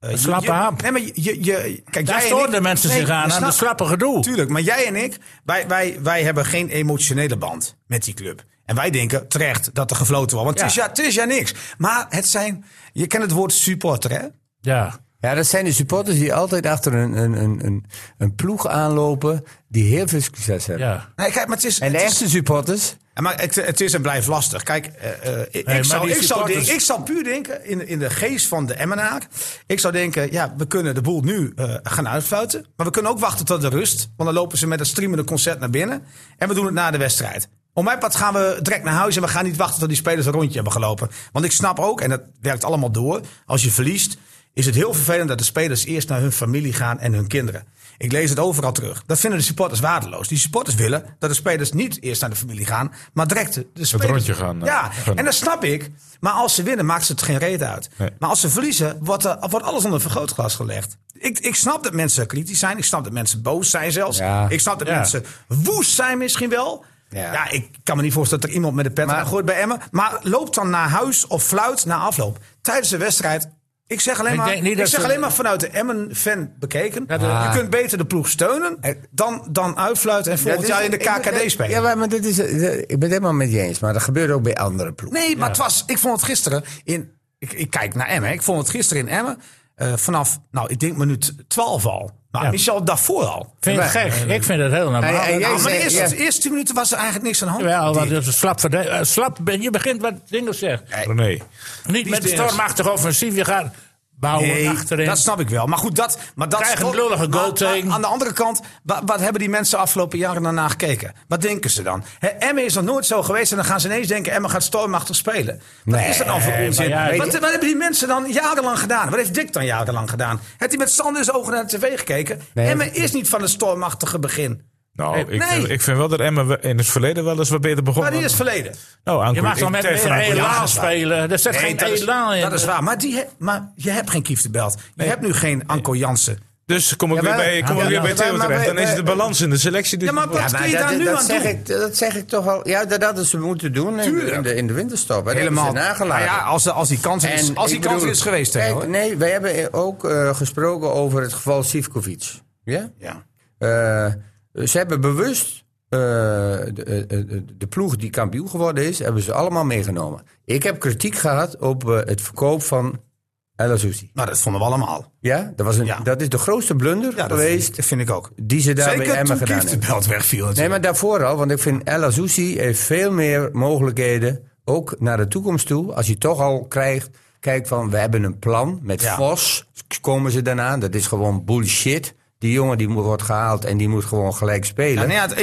S5: eh, je-
S1: slappe
S5: je-
S1: hap.
S5: Nee, maar je, je, je- kijk,
S1: Daar
S5: jij en
S1: stoorden
S5: ik-
S1: mensen
S5: Nee,
S1: zich aan, aan
S5: snap-
S1: het slappe gedoe.
S5: Tuurlijk, maar jij en ik, wij, wij, wij hebben geen emotionele band met die club. En wij denken terecht dat er gefloten wordt. Want het, is ja, het is ja niks. Maar het zijn, je kent het woord supporter, hè?
S1: Ja.
S3: Ja, dat zijn de supporters die altijd achter een, een, een, een, een ploeg aanlopen die heel veel succes hebben.
S1: ja.
S5: Nee, kijk, maar het is,
S3: En de
S5: het is,
S3: echte supporters,
S5: maar het, het is en blijft lastig. Kijk, eh, eh, ik,
S1: maar
S5: ik, zou,
S1: die
S5: ik, zou
S1: supporters-
S5: denken-
S2: Dus-
S5: ik zou puur denken, in, in de geest van de Emmenaar. Ik zou denken, ja, we kunnen de boel nu eh, gaan uitfluiten. Maar we kunnen ook wachten tot de rust. Want dan lopen ze met een streamende concert naar binnen. En we doen het na de wedstrijd. Om mijn pad gaan we direct naar huis en we gaan niet wachten tot die spelers een rondje hebben gelopen. Want ik snap ook, en dat werkt allemaal door, als je verliest, is het heel vervelend dat de spelers eerst naar hun familie gaan en hun kinderen. Ik lees het overal terug. Dat vinden de supporters waardeloos. Die supporters willen dat de spelers niet eerst naar de familie gaan, maar direct de spelers.
S2: rondje gaan, eh,
S5: Ja,
S2: gunnen.
S5: en dat snap ik. Maar als ze winnen, maakt ze het geen reet uit.
S2: Nee.
S5: Maar als ze verliezen, wordt, er, wordt alles onder een vergrootglas gelegd. Ik, ik snap dat mensen kritisch zijn. Ik snap dat mensen boos zijn zelfs.
S3: Ja.
S5: Ik snap dat
S1: Ja.
S5: mensen woest zijn misschien wel. Ja.
S3: Ja.
S5: ik kan me niet voorstellen dat er iemand met de pet aan gooit bij Emmen. Maar loop dan naar huis of fluit na afloop. Tijdens de wedstrijd. Ik zeg alleen
S1: Ik
S5: maar,
S1: denk niet
S5: ik
S1: dat
S5: zeg
S1: ze-
S5: alleen maar vanuit de Emmen-fan bekeken.
S1: Ja, de- Eh,
S5: Je kunt beter de ploeg steunen dan, dan uitfluiten en volgend
S3: Dat
S5: jaar
S3: is-
S5: in de
S3: ik ben-
S5: KKD spelen.
S3: Ja, maar- maar dit is, eh, ik ben het helemaal met je eens. Maar dat gebeurt ook bij andere ploegen.
S5: Nee, maar het was, ik vond het gisteren in. Ik, ik kijk naar Emmen. hè. Ik vond het gisteren in Emmen. eh, vanaf, nou, ik denk minuut 12 al. Maar
S1: Ja.
S5: Michel daarvoor al.
S1: Vind je het
S3: Wij-
S1: gek? ik vind het heel normaal.
S3: Hey, hey, jij
S5: Nou, maar de
S3: zei-
S5: eerste,
S3: ja.
S5: de eerste 10 minuten was er eigenlijk niks aan de hand.
S1: Wel, want
S5: Dick.
S1: het is slap, verde- eh, slap ben- je begint wat dingen zegt.
S2: René.
S1: Niet met
S5: dingen-
S1: stormachtig offensief, je gaat bouwen
S5: Nee,
S1: achterin.
S5: dat snap ik wel. Maar goed, dat... Maar dat
S1: Krijgen een lullige
S5: maar-
S1: goal
S5: maar
S1: tegen.
S5: Aan de andere kant, wa- wat hebben die mensen afgelopen jaren daarna gekeken? Wat denken ze dan? Hè, Emmen is nog nooit zo geweest en dan gaan ze ineens denken... Emmen gaat stormachtig spelen. Wat
S3: Nee,
S5: is dat dan voor onzin?
S1: maar ja,
S5: wat, wat hebben die mensen dan jarenlang gedaan? Wat heeft Dick dan jarenlang gedaan? Heeft hij met Sander in zijn ogen naar de tv gekeken?
S3: Nee,
S5: Emmen is niet van het stormachtige begin.
S2: Nou, ik,
S5: nee.
S2: vind, ik vind wel dat Emmen we- in het verleden wel eens wat beter begon.
S5: Maar die is verleden.
S2: Nou, aankomt-
S1: je mag
S2: ik
S1: dan met
S2: tijd van
S1: meer
S2: aankomt-
S5: Ja, dat
S1: elan
S5: is waar.
S1: spelen. Er zit geen
S5: dat, is,
S1: elan in.
S5: dat is waar. Maar, die, he- maar je hebt geen Kieft de Belt. Je hebt nu geen Anko Jansen.
S2: Dus kom ik weer
S3: maar-
S2: bij, kom
S3: Ja,
S2: ik weer
S3: ja,
S2: bij
S3: ja,
S2: Theo
S3: maar wij-
S2: terecht. Dan is
S3: wij-
S2: de balans in de selectie. Dus
S5: Ja, maar
S2: moet-
S5: wat kun je
S3: Ah, dat,
S5: daar nu
S3: dat
S5: aan
S3: zeg
S5: doen?
S3: Ik, dat zeg ik toch al. Ja, dat hadden ze moeten doen in, de-
S5: Tuurlijk.
S3: in, de, in de winterstop. hè. Dat
S5: Helemaal.
S3: hebben ze nagelaten.
S5: Nou ja, als, de- als die kans is,
S3: En
S5: als die
S3: ik
S5: kans
S3: bedoel,
S5: is geweest. hè,
S3: kijk,
S5: hoor.
S3: Nee, wij hebben ook eh, gesproken over het geval Sivkovic. Ja?
S5: Ja.
S3: Eh, ze hebben bewust eh, de, eh, eh, de ploeg die kampioen geworden is, hebben ze allemaal meegenomen. Ik heb kritiek gehad op eh, het verkoop van El Azouzi.
S5: Nou, dat vonden we allemaal.
S3: Ja? Dat, was een,
S5: Ja.
S3: dat is de grootste blunder
S5: Ja, dat,
S3: geweest
S5: vind, dat vind ik ook.
S3: die ze daar bij
S5: Zeker
S3: Emma
S5: toen
S3: gedaan
S5: Kieft de
S3: hebben.
S5: belt wegviel.
S3: Nee,
S5: natuurlijk.
S3: maar daarvoor al, want ik vind El Azouzi heeft veel meer mogelijkheden, ook naar de toekomst toe. Als je toch al krijgt, kijk van, we hebben een plan met
S5: Ja.
S3: Vos, komen ze daarna. Dat is gewoon bullshit. Die jongen die moet- wordt gehaald en die moet gewoon gelijk spelen.
S5: Ja, nee, ja, het- ik-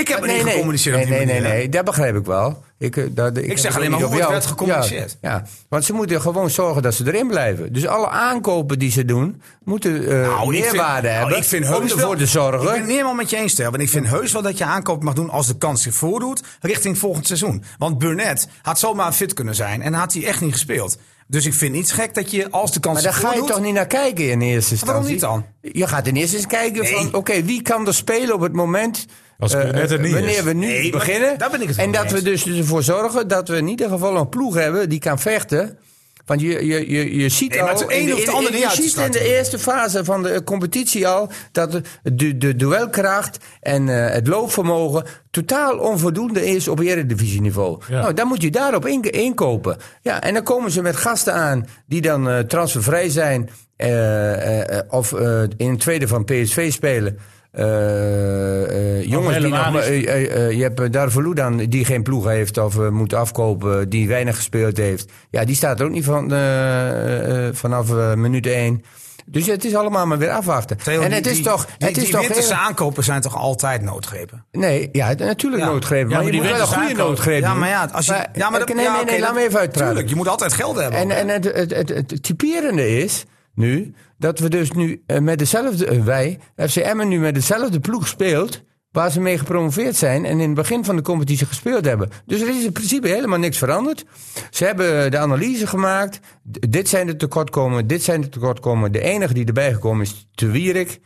S5: ik heb er niet
S3: nee,
S5: gecommuniceerd op
S3: nee,
S5: die
S3: nee, nee,
S5: manier, hè?
S3: nee, dat begrijp ik wel. Ik, eh, dat, ik, heb
S5: zeg
S3: het
S5: alleen
S3: ook niet
S5: maar hoe
S3: op
S5: het
S3: jou.
S5: werd gecommuniceerd.
S3: Ja, ja, want ze moeten gewoon zorgen dat ze erin blijven. Dus alle aankopen die ze doen, moeten eh
S5: Nou, ik vind-
S3: meerwaarde
S5: nou,
S3: hebben
S5: ik vind
S3: om
S5: heus wel-
S3: ervoor te zorgen.
S5: Ik ben het niet helemaal met je eens, Ter. En ik vind heus wel dat je aankoop mag doen als de kans zich voordoet richting volgend seizoen. Want Burnett had zomaar fit kunnen zijn en had hij echt niet gespeeld. Dus ik vind niet gek dat je als de kans
S3: Maar daar
S5: zich
S3: ga je
S5: voordoet...
S3: toch niet naar kijken in eerste instantie?
S5: waarom
S3: niet dan? Je gaat in eerste instantie kijken van... oké, wie kan er spelen op het moment...
S2: Als
S3: eh,
S2: Burnett er niet
S3: wanneer
S2: is.
S3: we nu
S5: Nee, maar
S3: beginnen.
S5: daar ben ik het
S3: en
S5: wel
S3: dat
S5: mee
S3: we dus ervoor zorgen dat we in ieder geval een ploeg hebben die kan vechten. Want je, je, je, je ziet
S5: Nee,
S3: al.
S5: maar het ene
S3: in de-
S5: hoeft het
S3: in-
S5: andere
S3: in-
S5: niet
S3: je
S5: uit te
S3: ziet in de
S5: sluiten.
S3: eerste fase van de eh, competitie al dat de, de, de duelkracht en eh, het loopvermogen totaal onvoldoende is op eredivisieniveau.
S1: Ja.
S3: Nou, dan moet je daarop in- inkopen. Ja, en dan komen ze met gasten aan die dan eh, transfervrij zijn eh, eh, eh, of eh, in het tweede van PSV spelen. Eh, eh, jongens die
S1: helemaal
S3: nog, maar-
S1: niet.
S3: eh, eh, eh, je hebt eh, Darvalu dan, die geen ploeg heeft of eh, moet afkopen, die weinig gespeeld heeft. Ja, die staat er ook niet van, eh, eh, vanaf eh, minuut 1. Dus het is allemaal maar weer afwachten.
S5: Theo,
S3: en
S5: die-
S3: het is
S5: die-
S3: toch.
S5: Die,
S3: het is
S5: die
S3: toch
S5: winterse
S3: heel-
S5: aankopen zijn toch altijd noodgrepen?
S3: nee, ja, natuurlijk
S5: Ja.
S3: noodgrepen.
S1: Ja,
S3: Maar,
S1: maar die
S3: je moet wel een
S1: winterse
S3: goede
S1: aankoop.
S3: noodgreep
S5: Ja, maar ja, als je... ja, maar dat-
S3: nee, nee,
S5: ja,
S3: nee,
S5: oké,
S3: laat
S5: dat-
S3: me even uitpraten.
S5: Tuurlijk, je moet altijd geld hebben.
S3: En, en het, het, het, het typerende is nu dat we dus nu eh, met dezelfde, eh, wij, FC Emmen nu met dezelfde ploeg speelt. Waar ze mee gepromoveerd zijn en in het begin van de competitie gespeeld hebben. Dus er is in principe helemaal niks veranderd. Ze hebben de analyse gemaakt. D- dit zijn de tekortkomingen, dit zijn de tekortkomingen. De enige die erbij gekomen is Te Wierik.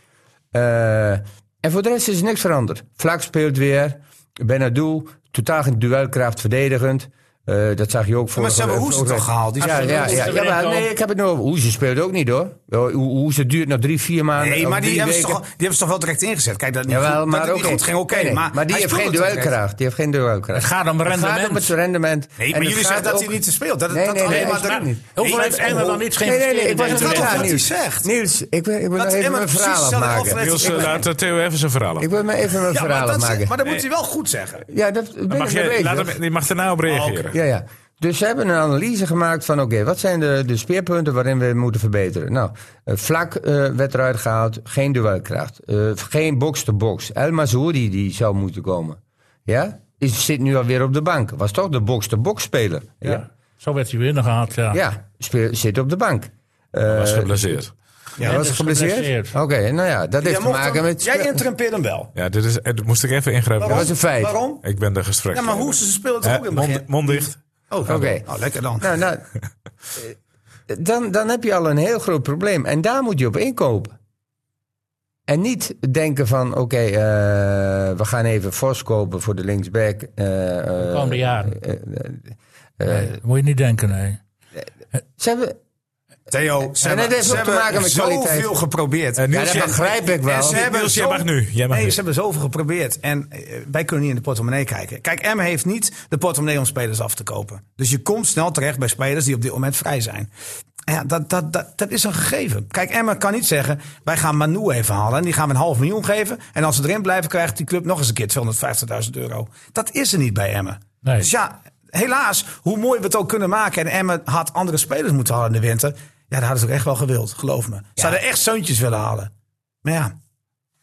S3: Eh, en voor de rest is niks veranderd. Vlak speelt weer. Benadou, totaal geen duelkracht verdedigend. Eh, dat zag je ook voor.
S5: maar ze hebben Hoes toch gehaald? Die
S3: Dus ja,
S5: zijn-
S3: ja, ja, ja, maar nee, ik heb het nu over. Hoeze speelt ook niet hoor. Ho- Hoeze duurt nog drie, vier maanden.
S5: Nee,
S3: of
S5: maar die
S3: drie
S5: hebben, ze
S3: weken.
S5: toch, die hebben ze toch wel direct ingezet. Kijk, dat, niet
S3: Jawel,
S5: goed,
S3: maar
S5: dat het
S3: ook
S5: niet goed ging, oké. maar,
S3: die
S5: hij
S3: heeft geen
S5: speelde toch direct.
S3: duelkracht. Die heeft geen duelkracht.
S1: Het gaat om
S3: Het gaat om
S1: rendement.
S3: het rendement.
S5: Nee,
S3: En
S5: maar
S3: het
S5: jullie zeggen
S3: gaat
S5: dat
S3: ook-
S5: hij niet speelt. Dat,
S3: Nee,
S5: dat
S3: nee,
S5: alleen
S3: nee,
S5: maar dat-
S1: Maar Hoeveel heeft Emmen dan niet
S3: Nee, nee, nee. Ik
S1: geïnvesteerd
S3: was
S1: in
S3: het
S5: Dat
S1: deze
S5: is
S3: aan
S5: wat
S1: wedstrijd?
S5: hij
S3: Niels.
S5: zegt.
S3: Niels, ik wil, ik wil
S5: Dat
S3: nog
S5: is
S3: even
S5: helemaal
S3: mijn
S5: precies
S3: verhaal
S5: hetzelfde
S3: afmaken.
S5: aflevering.
S2: Niels,
S5: Ik
S2: eh,
S5: ben-
S2: laat eh, Theo even zijn verhaal af.
S3: Ik wil me even mijn
S5: Ja,
S3: verhaal
S5: maar dat,
S3: afmaken.
S5: maar dat moet hij wel goed zeggen.
S3: Ja, dat ben
S2: Mag
S3: ik mee
S2: je,
S3: bezig.
S2: laat hem, je mag daarna op reageren.
S3: Ja, ja. Dus ze hebben een analyse gemaakt van: oké, wat zijn de, de speerpunten waarin we moeten verbeteren? Nou, eh, vlak eh, werd eruit gehaald, geen duelkracht, eh, geen box-to-box. El Mazouri die zou moeten komen. Ja? Is, zit nu alweer op de bank. Was toch de box-to-box speler?
S1: Ja. Zo werd hij weer ingehaald, ja.
S3: Ja, speel- zit op de bank.
S2: was geblesseerd.
S3: Ja, was
S1: is
S3: geblesseerd?
S1: geblesseerd.
S3: Oké, nou ja, dat
S5: Jij
S3: heeft te
S5: mocht
S3: maken
S5: hem-
S3: met.
S5: Jij interrumpeert hem wel.
S2: Ja, dit is, eh, moest ik even ingrijpen.
S3: Dat was een feit.
S5: Waarom?
S2: Ik ben de gesprek.
S5: Ja, maar hoe ze speelt het
S2: Eh,
S5: ook in het
S2: mond,
S5: begin.
S2: mond dicht.
S5: Oh, oké.
S3: Oké.
S5: Nou, lekker dan.
S3: Nou, nou, eh, dan, dan heb je al een heel groot probleem. En daar moet je op inkopen. En niet denken van, oké, eh, we gaan even Vos kopen voor de linksback. eh, eh,
S1: Komende jaren.
S3: eh, eh,
S1: Nee, Moet je niet denken, nee.
S3: ze hebben,
S5: Theo, ze
S3: en
S5: hebben,
S3: dat heeft
S5: ze
S3: ook te
S5: hebben
S3: maken met kwaliteit.
S5: zoveel geprobeerd.
S2: En
S3: ja, dat begrijp ik wel.
S5: En ze hebben
S2: Niels, jij
S5: zo-
S2: mag nu. Jij mag
S5: nee,
S2: nu.
S5: ze hebben zoveel geprobeerd. En eh, wij kunnen niet in de portemonnee kijken. Kijk, M heeft niet de portemonnee om spelers af te kopen. Dus je komt snel terecht bij spelers die op dit moment vrij zijn. Ja, dat, dat, dat, dat is een gegeven. Kijk, Emma kan niet zeggen, wij gaan Manu even halen. En die gaan we een half miljoen geven. En als ze erin blijven, krijgt die club nog eens een keer 250.000 euro. Dat is er niet bij Emma.
S1: Nee.
S5: Dus ja, helaas, hoe mooi we het ook kunnen maken. En Emma had andere spelers moeten halen in de winter. Ja, dat hadden ze ook echt wel gewild, geloof me. Ze hadden echt zoontjes willen halen. Maar ja,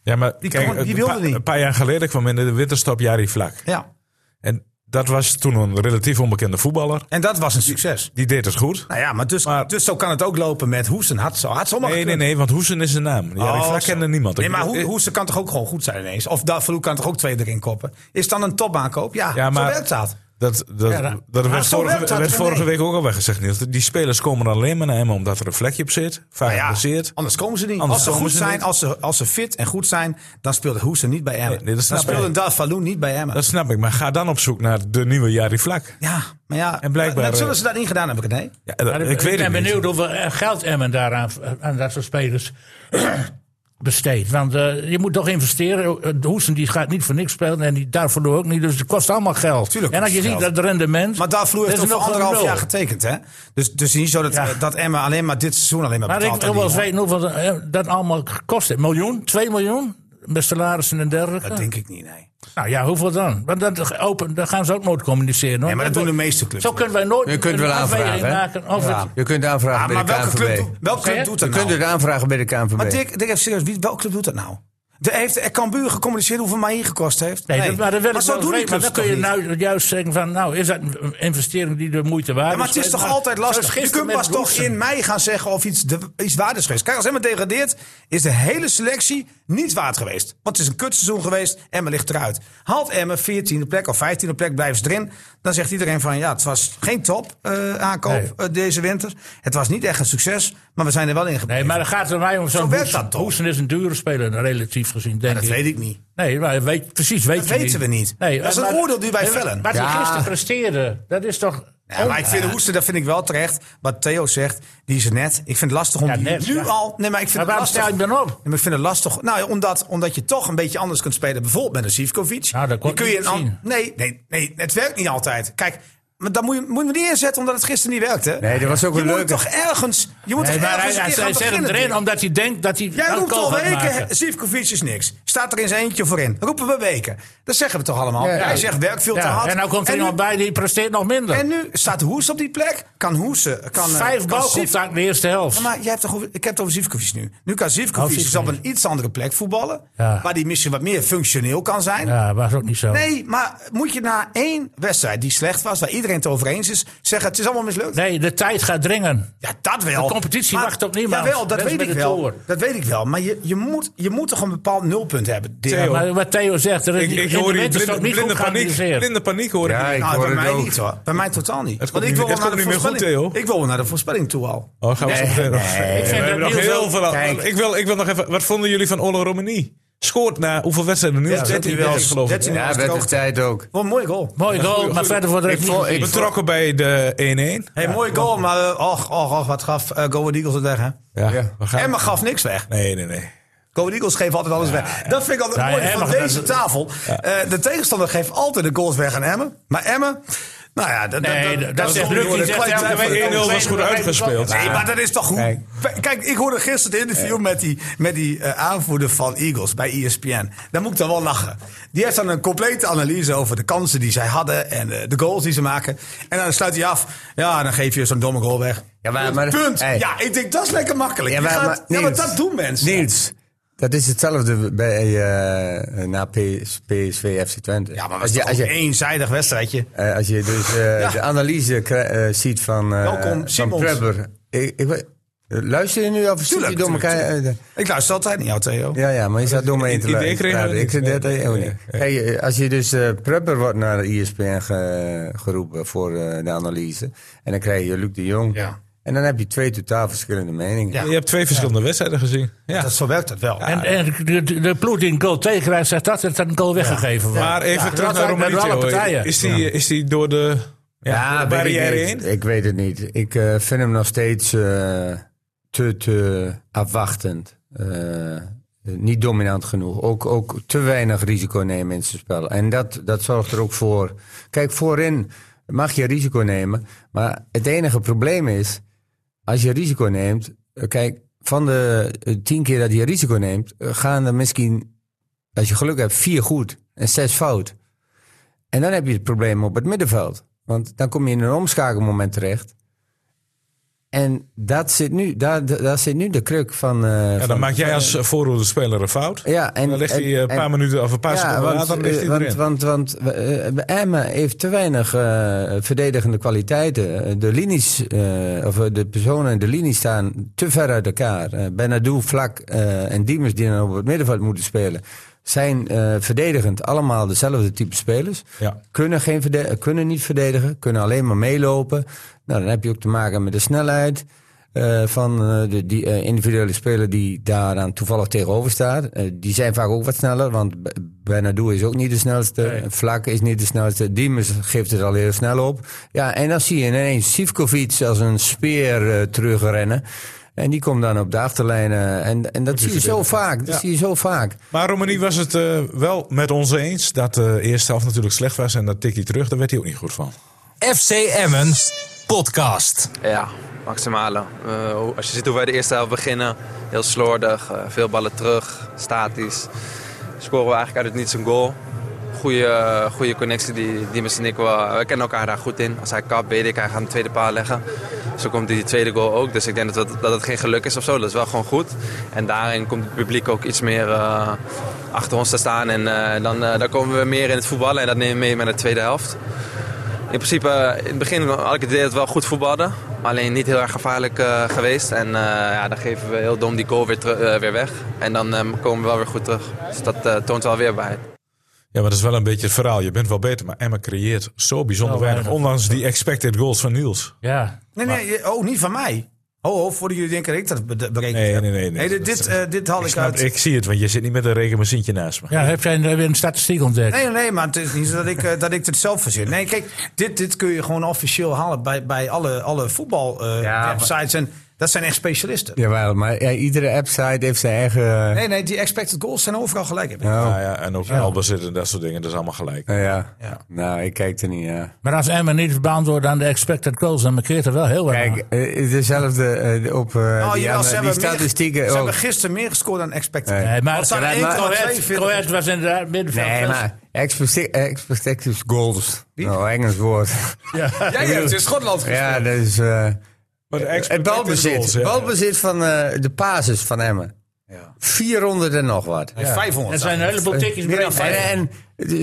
S2: Ja, maar
S5: Die
S2: kijk,
S5: kon- die
S2: een
S5: wilde
S2: pa-
S5: niet.
S2: Een paar jaar geleden kwam in de winterstop Jari Vlak.
S5: ja.
S2: En dat was toen een relatief onbekende voetballer.
S5: En dat was een succes.
S2: Die deed het goed.
S5: Nou ja, maar dus,
S2: Maar-
S5: dus zo kan het ook lopen met Hoesen. Had zo, had zomaar
S2: Nee, nee,
S5: gekund.
S2: nee, want Hoesen is zijn naam. Jari
S5: Oh,
S2: Vlak
S5: zo.
S2: kende niemand.
S5: Nee,
S2: Ik
S5: maar
S2: bedoel,
S5: Hoe-
S2: eh,
S5: Hoesen kan toch ook gewoon goed zijn ineens? Of Davaloe kan toch ook twee erin koppen? Is dan een topaankoop? Ja,
S2: Ja, maar-
S5: zo werkt dat.
S2: Dat, dat,
S1: Ja,
S2: dat,
S1: dat-
S2: werd,
S5: zo
S2: vorige,
S5: werkt dat,
S2: werd
S5: René.
S2: vorige week ook al weggezegd, Niels. Die spelers komen er alleen maar naar hem omdat er een vlekje op zit. Vaak
S5: Nou ja,
S2: geblesseerd.
S5: anders komen ze niet.
S2: Anders
S5: als ze
S2: komen
S5: goed
S2: ze
S5: zijn,
S2: niet.
S5: als ze, als ze fit en goed zijn, dan speelde Hoesen niet bij Emmen.
S2: Nee, nee, dat
S5: dan
S2: snap ik.
S5: speelde Davaloe niet bij Emmen.
S2: Dat snap ik, maar ga dan op zoek naar de nieuwe Jari Vlak.
S5: ja, maar ja.
S2: En blijkbaar,
S5: maar- maar
S2: eh,
S5: zullen ze dat niet gedaan hebben, René?
S2: Ja, dat-
S1: Maar
S2: ik weet
S1: ben
S2: het niet.
S1: benieuwd hoeveel eh, geld Emmen daaraan eh, aan dat soort spelers besteedt. Want eh, je moet toch investeren. Eh, De Hoesten die gaat niet voor niks spelen en die daarvoor ook niet. Dus het kost allemaal geld.
S5: Tuurlijk
S1: en als je
S5: kost het
S1: ziet
S5: geld.
S1: dat het rendement.
S5: Maar Davaloe heeft
S1: dat
S5: toch
S1: is
S5: voor
S1: nog gewoon
S5: anderhalf
S1: nul.
S5: jaar getekend, hè? Dus, dus niet zo dat,
S1: Ja.
S5: dat Emmen alleen maar dit seizoen alleen maar
S1: Maar
S5: betaalt.
S1: ik wil
S5: aan
S1: wel eens
S5: die-
S1: weten hoeveel eh, dat allemaal gekost heeft. Miljoen? Twee miljoen? Met salarissen en dergelijke.
S5: Dat denk ik niet, nee.
S1: Nou ja, hoeveel dan? Want dat, open, dat gaan ze ook nooit communiceren. hoor.
S5: Nee, maar dat doen de meeste clubs.
S1: Zo kunnen wij nooit
S3: je kunt
S1: een
S3: wel aanvragen.
S1: afweging
S3: hè?
S1: maken of
S3: Ja.
S1: het...
S3: Je kunt aanvragen
S5: Ja, Ah,
S3: bij
S5: maar
S3: de
S5: welke club,
S3: KNVB.
S5: doet- welke
S1: Zeg
S5: club
S1: je?
S5: doet
S3: Je
S5: dat
S3: kunt
S5: nou?
S3: het aanvragen bij de KNVB.
S5: Maar Dick, Dick, even serieus, wie, welke club doet dat nou? De, heeft de Cambuur gecommuniceerd hoeveel mij gekost heeft?
S1: Nee, dat- maar, dat wil
S5: Maar
S1: ik
S5: zo
S1: wel
S5: doen die
S1: weten. Maar
S5: clubs
S1: dan kun
S5: toch
S1: je
S5: niet?
S1: nou juist zeggen van, nou, is dat een investering die de moeite waard
S5: Ja,
S1: is?
S5: maar het is toch altijd lastig. Je kunt pas toch in mei gaan zeggen of iets, de, iets waard is geweest. Kijk, als Emma degradeert, is de hele selectie niet waard geweest. Want het is een kutseizoen geweest, Emma ligt eruit. Haalt Emma 14e plek of 15e plek, blijven ze erin. Dan zegt iedereen van, ja, het was geen top eh, aankoop
S1: Nee.
S5: eh, deze winter. Het was niet echt een succes, maar we zijn er wel in gebleven.
S1: Nee, maar dan gaat het mij om
S5: Zo
S1: zo'n
S5: werkt
S1: Hoesen.
S5: dat toch?
S1: Hoesen is een dure speler, relatief gezien, denk
S5: dat
S1: ik.
S5: weet ik niet.
S1: Nee, maar weet, precies weet
S5: Dat
S1: je
S5: weten
S1: niet.
S5: we niet. Dat is een oordeel die wij vellen.
S1: eh, Wat
S3: Ja.
S1: hij gisteren presteerde, dat is toch...
S5: Ja, maar ik vind Hoesten, dat vind ik wel terecht. Wat Theo zegt, die is er net. Ik vind het lastig om
S1: Ja,
S5: die
S1: net,
S5: nu
S1: ja.
S5: al. Nee, maar ik vind
S1: Maar waarom
S5: het lastig.
S1: stel je hem dan op?
S5: Nee, maar ik vind het lastig. Nou, ja, omdat, omdat je toch een beetje anders kunt spelen. Bijvoorbeeld met een Sivkovic.
S1: Nou, dat kon
S5: Die kun je
S1: ik niet
S5: een an-
S1: zien.
S5: nee, nee, nee, het werkt niet altijd. Kijk, maar dan moet je, moet je hem niet inzetten omdat het gisteren niet werkte.
S3: Nee, dat was ook
S5: je
S3: een
S5: moet
S3: leuke.
S5: toch ergens. Je moet
S1: Nee,
S5: toch
S1: maar
S5: ergens
S1: hij,
S5: een
S1: hij,
S5: keer gaan
S1: hij zet hem
S5: beginnen,
S1: erin
S5: Dick.
S1: omdat hij denkt dat hij
S5: Jij
S1: een
S5: roept
S1: goal
S5: al
S1: gaat maken.
S5: weken, Sivkovic is niks. Staat er eens eentje voorin? Roepen we weken. Dat zeggen we toch allemaal?
S1: Ja, ja.
S5: Hij zegt werk veel te
S1: Ja,
S5: hard.
S1: en nou komt er iemand
S5: nu,
S1: bij die presteert nog minder.
S5: en nu staat Hoes op die plek. Kan Hoesen. Kan, eh,
S1: Vijf
S5: kan Sif-
S1: balcontacten in de eerste helft.
S5: maar jij hebt toch over- ik heb het over Zivkovic nu. Nu kan Zivkovic
S1: Oh,
S5: dus op een iets andere plek voetballen.
S1: Ja.
S5: Waar die misschien wat meer functioneel kan zijn.
S1: Ja, was ook niet zo.
S5: Nee, maar moet je na één wedstrijd die slecht was, waar iedereen het over eens is, zeggen het is allemaal mislukt?
S1: Nee, de tijd gaat dringen.
S5: Ja, dat wel.
S1: De competitie wacht op niemand.
S5: Jawel, dat
S1: Mensen
S5: weet
S1: met
S5: ik
S1: de
S5: wel.
S1: toren.
S5: Dat weet ik wel. Maar je, je, moet, je moet toch een bepaald nulpunt hebben. Dirk?
S2: Theo.
S1: Maar wat Theo zegt, er is
S2: Ik,
S1: niet-
S2: ik
S1: in
S2: hoor
S1: de
S2: hier
S1: winter is
S2: blinde,
S1: ook niet
S2: blinde
S1: goed
S2: paniek.
S1: georganiseerd.
S2: Blinde paniek hoor ik.
S3: Ja, ik
S5: Nou,
S3: hoor
S5: bij
S3: het
S5: mij
S3: ook.
S5: niet hoor. Bij mij totaal niet.
S2: komt
S5: Want ik
S2: niet-
S5: wil
S2: het
S5: wel naar
S2: komt niet
S5: de
S2: meer goed,
S5: voorspelling.
S2: Theo.
S5: Ik wil wel naar de voorspelling toe al.
S2: Oh, gaan we zo meteen nog-
S1: Ik
S2: We
S1: vind dat
S2: hebben nog
S1: Niels
S2: heel
S1: ook-
S2: veel aan-
S5: Kijk.
S2: Ik wil, ik wil nog even. Wat vonden jullie van Olle Romani? Scoort na hoeveel wedstrijden? Nu
S5: dat
S2: 13
S5: hij wel-
S2: wedstrijden geloof ik.
S5: 13
S3: Ja,
S5: als het
S3: werd
S5: ook-
S3: de tijd ook.
S5: Wat een mooie goal.
S1: Mooi goal, maar verder wordt er
S3: Ik
S1: ook
S3: vond-
S1: niet
S3: ik-
S2: Betrokken bij de 1-1.
S5: Hey, mooie goal, maar eh, och, och, och, wat gaf eh, Go Ahead Eagles het weg, hè?
S2: Ja, we gaan.
S5: Emma gaf niks weg.
S2: Nee, nee, nee.
S5: Go Ahead Eagles geven altijd alles weg. Dat vind ik altijd
S1: Ja,
S5: mooi
S1: Emmen
S5: van
S1: gaat-
S5: deze tafel. Eh, de tegenstander geeft altijd de goals weg aan Emmen. Maar Emmen, nou ja, dat, dat-
S1: Nee,
S5: dat,
S1: dat zegt
S5: komt
S1: Luc,
S5: door
S1: die
S5: de
S1: zegt
S5: kwaliteit
S1: elke
S5: van de
S1: week
S5: goals.
S2: 1-0 was goed uitgespeeld.
S5: Nee, maar dat is toch goed.
S2: Kijk.
S5: Kijk, ik hoorde gisteren het interview met die, met die eh, aanvoerder van Eagles bij E ESPN. Daar moet ik dan wel lachen. Die heeft dan een complete analyse over de kansen die zij hadden en eh, de goals die ze maken. En dan sluit hij af. Ja, dan geef je zo'n domme goal weg.
S3: Ja, maar- maar-
S5: Punt.
S3: hey.
S5: Ja, ik denk dat is lekker makkelijk.
S3: Ja,
S5: Je
S3: maar-
S5: gaat-
S3: maar-
S5: ja, maar
S3: Niels.
S5: dat doen mensen.
S3: Niels, dat is hetzelfde bij, eh, na PS, PSV FC Twente.
S5: Ja, maar was
S3: als je,
S5: toch
S3: als
S5: ook
S3: je,
S5: een eenzijdig wedstrijdje.
S3: eh, als je dus eh,
S5: Ja.
S3: de analyse krij- eh, ziet van, eh
S5: Welkom,
S3: van
S5: Simons.
S3: Trevor. Ik, ik, weet- luister je nu of zit je
S5: Tuurlijk,
S3: door
S5: tuurlijk,
S3: elkaar? eh,
S5: Ik luister altijd naar jou, Theo.
S3: Ja, ja, maar je zat door me heen te
S2: Idee
S3: luisteren.
S2: kregen we
S3: Ja,
S2: niet.
S3: Ik, dat,
S2: Nee,
S3: ook
S2: nee,
S3: niet. Hey, eh, als je dus eh prepper wordt naar de E ESPN ge- geroepen voor eh, de analyse. En dan krijg je Luc de Jong.
S5: Ja.
S3: En dan heb je twee totaal verschillende meningen.
S5: Ja.
S2: Je hebt twee verschillende wedstrijden gezien. Ja.
S5: Dat, zo werkt dat wel.
S1: En, en de, de- de ploeg die een goal tegenkrijgt, zegt dat het een goal weggegeven wordt.
S2: Maar even
S1: dat
S2: terug naar
S1: uit met
S2: Romani.
S1: alle
S2: Theo.
S1: partijen.
S2: Is die, is die door de ja, door de
S3: weet
S2: barrière
S3: ik,
S2: heen?
S3: niet. ik weet het niet. Ik eh, vind hem nog steeds eh, te, te afwachtend. Eh, niet dominant genoeg. Ook, ook te weinig risico nemen in zijn spel. En dat, dat zorgt er ook voor. Kijk, voorin mag je risico nemen. Maar het enige probleem is, als je risico neemt. eh, Kijk, van de eh, tien keer dat je risico neemt, eh, gaan er misschien, als je geluk hebt, vier goed en zes fout. En dan heb je het probleem op het middenveld. Want dan kom je in een omschakelmoment terecht. En dat zit nu, daar, daar zit nu de kruk van. eh,
S2: Ja, dan
S3: van-
S2: maak jij als eh, voorhoede speler een fout.
S3: Ja, en,
S2: En dan ligt hij eh, een
S3: en-
S2: paar minuten of een paar
S3: ja,
S2: seconden
S3: want,
S2: later ligt
S3: eh,
S2: hij
S3: want,
S2: erin.
S3: want, want eh, Emmen heeft te weinig eh, verdedigende kwaliteiten. De linies, eh, of eh, de personen in de linie staan te ver uit elkaar. Eh Benadou, Vlak eh, en Diemers, die dan op het middenveld moeten spelen, zijn eh, verdedigend allemaal dezelfde type spelers.
S2: Ja.
S3: Kunnen, geen verde- eh, kunnen niet verdedigen, kunnen alleen maar meelopen. Nou, dan heb je ook te maken met de snelheid. eh, van eh, de, die eh, individuele speler die daaraan toevallig tegenover staat. Eh, die zijn vaak ook wat sneller, want B- Bernardo is ook niet de snelste. Vlak is niet de snelste. Diemers geeft het al heel snel op. Ja, en dan zie je ineens Sivkovic als een speer eh, terugrennen. En die komt dan op de achterlijn. eh, en, en dat zie je zo vaak. Dat
S2: Ja.
S3: zie je zo vaak.
S2: Maar Romani was het eh, wel met ons eens dat de eerste helft natuurlijk slecht was. En dat tikkie terug, daar werd hij ook niet goed van.
S4: FC Emmen podcast.
S7: Ja, maximale. Eh, hoe- als je ziet hoe wij de eerste helft beginnen, heel slordig, eh, veel ballen terug, statisch. Scoren we eigenlijk uit het niets een goal. Goede, goede connectie die, die met en ik wel. We kennen elkaar daar goed in. Als hij kap, weet ik, hij gaat een tweede paal leggen. Zo komt die tweede goal ook. Dus ik denk dat, dat, dat het geen geluk is of zo. Dat is wel gewoon goed. En daarin komt het publiek ook iets meer eh, achter ons te staan. En eh, dan, eh, dan komen we meer in het voetballen. En dat nemen we mee met de tweede helft. In principe, eh, in het begin had ik het idee dat we wel goed voetbalden. Alleen niet heel erg gevaarlijk eh, geweest. En eh, ja, dan geven we heel dom die goal weer, teru- eh, weer weg. En dan eh, komen we wel weer goed terug. Dus dat eh, toont wel weerbaarheid.
S2: Ja, maar dat is wel een beetje het verhaal. Je bent wel beter, maar Emma creëert zo bijzonder
S1: Nou,
S2: weinig.
S1: weinig.
S2: Ondanks die expected goals van Niels.
S1: Ja,
S5: Nee, nee, je- oh, niet van mij. Oh, oh voordat jullie denken dat ik dat be- berekend
S2: Nee,
S5: heb.
S2: nee, nee, nee.
S5: dit, dit, eh, dit haal
S2: Ik,
S5: ik,
S2: snap-
S5: uit.
S2: ik zie het, want je zit niet met een rekenmachientje naast me.
S1: ja heb jij eh, weer een statistiek ontdekt?
S5: Nee, nee, maar het is niet zo dat ik, eh, dat ik het zelf verzin. Nee, kijk, dit, dit kun je gewoon officieel halen bij, bij alle, alle voetbalwebsites. eh, en Dat zijn echt specialisten.
S3: Jawel, maar ja, iedere website heeft zijn eigen... eh,
S5: Nee, nee, die expected goals zijn overal gelijk. Oh, Heb ik.
S3: Nou,
S2: Nou ja, en ook Alba zitten en dat soort dingen, dat is allemaal gelijk.
S3: nou ja.
S5: Ja. Oh,
S3: nou, ik kijk er niet naar.
S1: Maar als Emmen niet beantwoordt aan de expected goals, dan markeert er wel heel wat.
S3: Kijk,
S1: aan.
S3: eh, dezelfde eh, op eh,
S5: nou. Oh,
S3: die,
S5: jawel,
S3: andere-
S5: ze
S3: die
S5: hebben meer-
S3: statistieken
S5: Ze
S3: ook.
S5: hebben gisteren meer gescoord dan expected.
S3: Nee.
S1: Nee, maar
S5: Als daar één tot twee
S1: Coët
S5: vindt-
S1: Coët was inderdaad middenveld.
S3: Nee, maar
S5: dus.
S3: expecti- expected goals. Nou, Engels woord.
S5: Jij hebt in Schotland gespeeld.
S3: ja, dat is... eh,
S2: Maar de
S3: het
S2: expected
S3: balbezit.
S2: goals,
S3: het
S2: ja.
S3: balbezit van eh, de basis van Emmen. 400 en nog wat.
S5: Nee, 500.
S1: Er zijn een heleboel tikjes
S5: Eh,
S1: Eh,
S5: Meer dan
S1: breed.
S5: vijf.
S3: En, en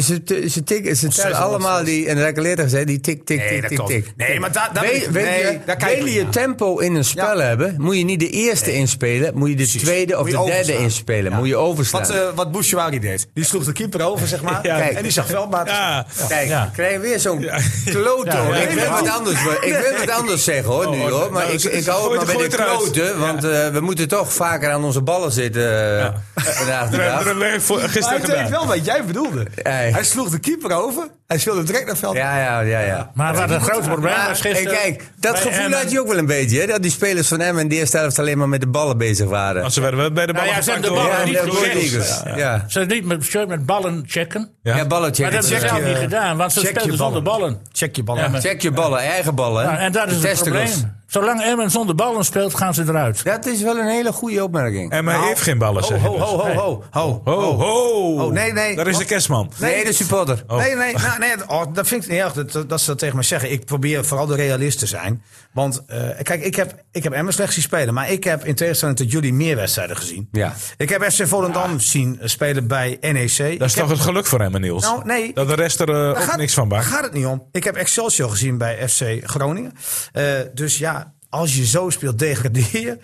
S3: ze, t- ze, tikken, ze tellen
S5: 600
S3: allemaal die, en dat heb ik al eerder gezegd, die tik, tik,
S5: Nee,
S3: tik,
S5: dat
S3: tik,
S5: klopt.
S3: tik.
S5: Nee, maar daar- daar ben
S3: Wil-
S5: ik-
S3: wil
S5: nee,
S3: je-
S5: daar kijk ik
S3: wil
S5: niet
S3: je
S5: naar.
S3: tempo in een spel
S5: Ja.
S3: hebben, moet je niet de eerste inspelen, moet je de tweede of
S5: Moet je
S3: de derde
S5: overslaan.
S3: inspelen. Moet je overslaan.
S5: Wat, eh wat Bouchouari deed. Die sloeg de keeper over, zeg maar.
S3: Kijk.
S5: En die zag wel, maar...
S2: Ja,
S3: Kijk,
S1: Ja.
S3: krijg je weer zo'n klote. hoor. Ik wil wat anders, hoor. ik wil wat anders zeggen hoor, nu hoor. Maar
S2: nou,
S3: ik,
S2: ze-
S3: ik
S2: ze
S3: hou het
S2: gooit-
S3: maar bij de
S2: gooit eruit.
S3: klote, want eh, we moeten toch vaker aan onze ballen zitten eh, vandaag de
S2: we
S3: dag.
S2: hebben er een voor-
S5: Maar
S2: gisteren
S5: ik weet
S2: gedaan.
S5: wel wat jij bedoelde.
S3: Hey.
S5: Hij sloeg de keeper over. Hij speelde direct naar het veld.
S3: Ja, ja, ja, ja.
S1: Maar wat een groot probleem
S3: Maar,
S1: was
S3: hey,
S1: gisteren.
S3: kijk, dat
S1: bij
S3: gevoel
S1: Emmen.
S3: had je ook wel een beetje, hè? Dat die spelers van Emmen in de eerste helft alleen maar met de ballen bezig waren.
S2: Want ze werden wel bij de bal
S1: Nou ja, ze hebben de
S3: ja,
S1: ballen
S3: en
S1: niet
S3: de Roy
S1: gecheckt.
S3: Eagles. Ja, ja.
S1: Ze hebben niet met, shirt met ballen checken.
S2: Ja.
S3: Ja, ballen
S1: Maar
S3: checken.
S1: dat hebben ze zelf niet gedaan, want ze
S5: eh, check je
S1: speelden zonder ballen.
S5: Check je ballen.
S1: Ja, maar-
S3: Check je ballen, eigen ballen. hè.
S1: Nou, en dat is het
S3: Testicles.
S1: probleem. Zolang Emmen zonder ballen speelt, gaan ze eruit.
S3: Dat is wel een hele goede opmerking.
S2: En hij heeft geen ballen,
S5: Ho,
S3: oh,
S2: zeg je
S5: ho,
S2: dus.
S5: ho, ho, ho, ho.
S2: Ho, ho.
S5: Oh, nee, nee.
S2: Daar is de
S5: Wat?
S2: kerstman.
S3: Nee, de supporter.
S5: Nee, nee, nou, nee oh, dat vind ik niet erg dat, dat- dat ze dat tegen me zeggen. Ik probeer vooral de realist te zijn. Want eh, kijk, ik heb, ik heb Emmen slecht zien spelen. Maar ik heb in tegenstelling tot jullie meer wedstrijden gezien.
S3: Ja.
S5: Ik heb FC Volendam zien eh, spelen bij NEC. Ik
S2: Dat is
S5: heb-
S2: toch het geluk voor hem, Niels?
S5: Nou, nee.
S2: Dat de rest er eh,
S5: Daar
S2: ook
S5: gaat-
S2: niks van
S5: Daar
S2: bakt.
S5: gaat het niet om. Ik heb Excelsior gezien bij FC Groningen. Eh, dus ja, als je zo speelt, degradeer je.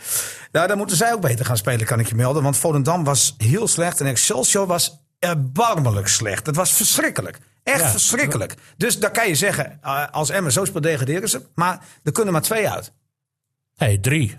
S5: Nou, dan moeten zij ook beter gaan spelen, kan ik je melden. Want Volendam was heel slecht en Excelsior was erbarmelijk slecht. Dat was verschrikkelijk. Echt
S1: Ja.
S5: verschrikkelijk. Dus dan kan je zeggen, eh, als Emmen zo speelt, degraderen ze. Maar er kunnen maar twee uit.
S1: Nee, drie.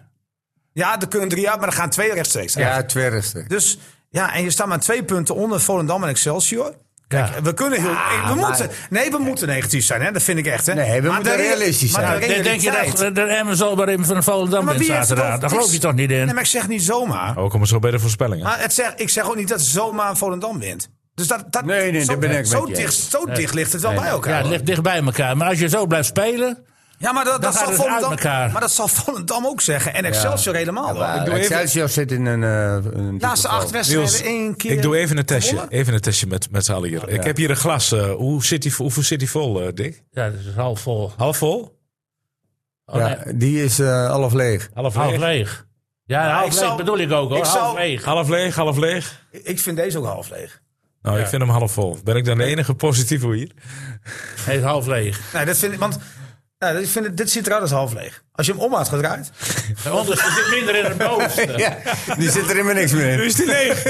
S5: Ja, er kunnen drie uit, maar er gaan twee rechtstreeks uit.
S3: Ja, twerste.
S5: Dus ja, en je staat maar twee punten onder Volendam en Excelsior.
S1: Kijk,
S5: We kunnen heel. we
S3: maar-
S5: moeten, nee, we moeten negatief zijn, hè? dat vind ik echt. Hè?
S3: Nee, we moeten
S5: de rea-
S3: realistisch
S5: maar
S3: zijn.
S5: de
S1: Denk je
S5: realiteit-
S1: dat eh, dat Emmen zal bij van Volendam
S5: Maar
S1: in
S5: wie heeft het
S1: zaterdag?
S5: over-
S1: Daar geloof je toch niet
S5: Nee,
S1: in?
S5: maar ik zeg niet zomaar.
S2: Oh, komen zo bij de voorspellingen.
S5: Maar het zeg, ik zeg ook niet dat zomaar Volendam wint. Dus dat, dat,
S3: Nee, nee,
S5: zo,
S3: daar ben ik met
S5: zo
S3: je.
S5: dicht, zo dicht ligt het wel bij
S1: Ja,
S5: elkaar.
S1: het ligt dicht bij elkaar. Maar als je zo blijft spelen...
S5: Ja, maar dat, dat,
S1: gaat
S5: zal
S1: het dus uit
S5: Volendam,
S1: elkaar.
S5: maar dat zal Volendam ook zeggen. En Excelsior helemaal. hoor. Ik doe even-
S3: Eh, Excelsior zit in een... eh, een
S5: laatste
S3: diepe
S5: acht
S3: val.
S5: wedstrijden één keer.
S2: ik doe even een testje.
S5: eh, gewonnen.
S2: Even een testje met, met z'n allen hier. Ik heb hier een glas. eh, hoe zit die, hoeveel zit die vol, eh, Dick?
S1: Ja, dat is half vol.
S2: Half vol?
S1: Oh, nee,
S3: Ja, die is eh half leeg.
S2: Half
S1: half
S2: leeg?
S1: leeg. Ja, half
S5: ik
S1: leeg
S5: zou-
S1: bedoel ik ook hoor.
S5: ik
S1: half
S5: zou-
S1: leeg.
S2: Half leeg, half leeg.
S5: Ik vind deze ook half leeg.
S2: Nou, ik vind hem half vol. Ben ik dan de enige positieve hier?
S1: Nee, half leeg.
S5: Nee, dat vind ik, want nou, ik vind het- dit ziet eruit als half leeg. Als je hem om had gedraaid.
S1: De onderste zit minder in het bovenste.
S3: Ja, die zit er helemaal niks meer in.
S2: is die leeg.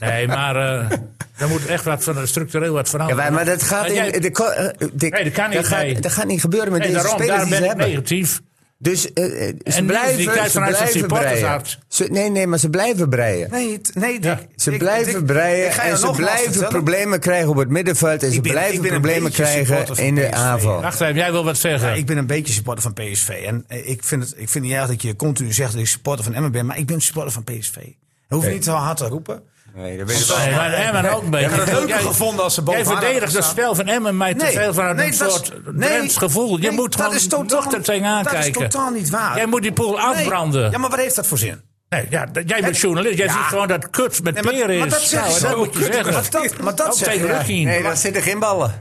S1: Nee, maar eh er moet echt wat van, structureel wat
S3: Ja,
S1: veranderen.
S3: maar- maar dat gaat
S1: Maar jij-
S3: in... de ko- eh, Dick,
S1: Nee, dat kan niet,
S3: gaat-
S1: nee.
S3: dat gaat niet gebeuren met
S1: Nee,
S3: deze
S1: daarom,
S3: spelers
S1: daar
S3: die
S1: ben
S3: ze
S1: ik
S3: hebben.
S1: negatief.
S3: Dus eh, eh, ze
S1: En die- die
S3: blijven,
S1: kijkt vanuit
S3: ze
S1: zijn
S3: blijven
S1: supporters
S3: breien.
S1: uit.
S3: Ze- nee, nee, maar ze blijven breien.
S5: Nee, t- nee Dick.
S1: Ja.
S3: Ze
S5: Ik-
S3: blijven
S5: Dick,
S3: breien
S5: ik ga je
S3: en ze
S5: nogmaals
S3: blijven
S5: vertellen.
S3: problemen krijgen op het middenveld. En ze
S5: ben- ik
S3: blijven
S5: ben een
S3: problemen
S5: beetje
S3: krijgen
S5: supporter van
S3: in de
S5: PSV.
S3: aanval.
S1: Wacht even, jij wil wat zeggen.
S5: Ja, Oh. ik ben een beetje supporter van PSV. En eh, ik vind het, ik vind niet erg dat je continu zegt dat ik supporter van Emmen ben. Maar ik ben supporter van PSV. Dat hoef je niet te hard te roepen.
S3: Nee, dat weet ik
S1: Nee, maar Emmen ook mee.
S5: had het leuker
S1: Jij-
S5: gevonden als ze bovenaan
S1: Jij verdedigt
S5: hadden
S1: het
S5: gestaan.
S1: spel van Emmen mij te
S5: Nee,
S1: veel vanuit
S5: nee,
S1: een
S5: dat is-
S1: soort
S5: nee,
S1: Drents gevoel. Je
S5: nee,
S1: moet
S5: dat
S1: gewoon
S5: is totaal-
S1: nuchter tegenaan
S5: dat is
S1: kijken.
S5: totaal niet waar.
S1: Jij moet die pool
S5: Nee.
S1: afbranden.
S5: Ja, maar wat heeft dat voor zin?
S1: nee, ja, dat- jij bent journalist. Jij ziet gewoon dat kut met
S5: Nee,
S1: peren is.
S5: maar dat zeg
S1: Nou,
S5: ik
S1: dat
S5: zo.
S1: moet je zeggen.
S5: Maar dat, maar dat
S1: Ook
S5: zeg
S1: tegen
S5: ik.
S1: Lukkien.
S3: Nee, daar zitten geen ballen.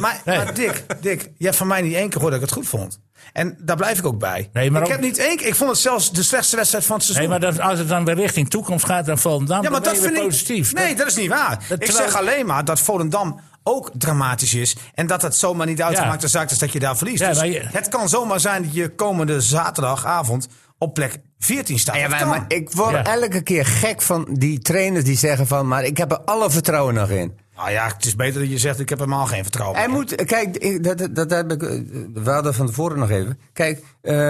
S5: Maar, maar Dick, Dick, je hebt van mij niet één keer gehoord dat ik het goed vond. En daar blijf ik ook bij.
S1: Nee, maar
S5: ik
S1: ook-
S5: heb niet één keer. Ik vond het zelfs de slechtste wedstrijd van het seizoen.
S1: Nee, maar dat, als het dan weer richting toekomst gaat, dan Volendam,
S5: Ja, maar
S1: dan
S5: dat
S1: ben je
S5: vind
S1: weer
S5: ik
S1: positief.
S5: Nee, dat, is niet waar.
S1: dat
S5: ik
S1: terwijl-
S5: zeg alleen maar dat Volendam ook dramatisch is. En dat het zomaar niet uitgemaakt de zaak is dat je daar verliest.
S1: Ja,
S5: Dus
S1: maar je-
S5: Het kan zomaar zijn dat je komende zaterdagavond op plek 14 staat.
S3: Ja,
S5: Dat
S3: maar,
S5: kan.
S3: maar ik word
S1: Ja.
S3: elke keer gek van die trainers die zeggen van... maar ik heb er alle vertrouwen nog in.
S5: Nou ja, het is beter dat je zegt ik heb helemaal geen vertrouwen.
S3: Hij moet, kijk, ik- dat, dat, dat heb ik, eh, we hadden van tevoren nog even. Kijk,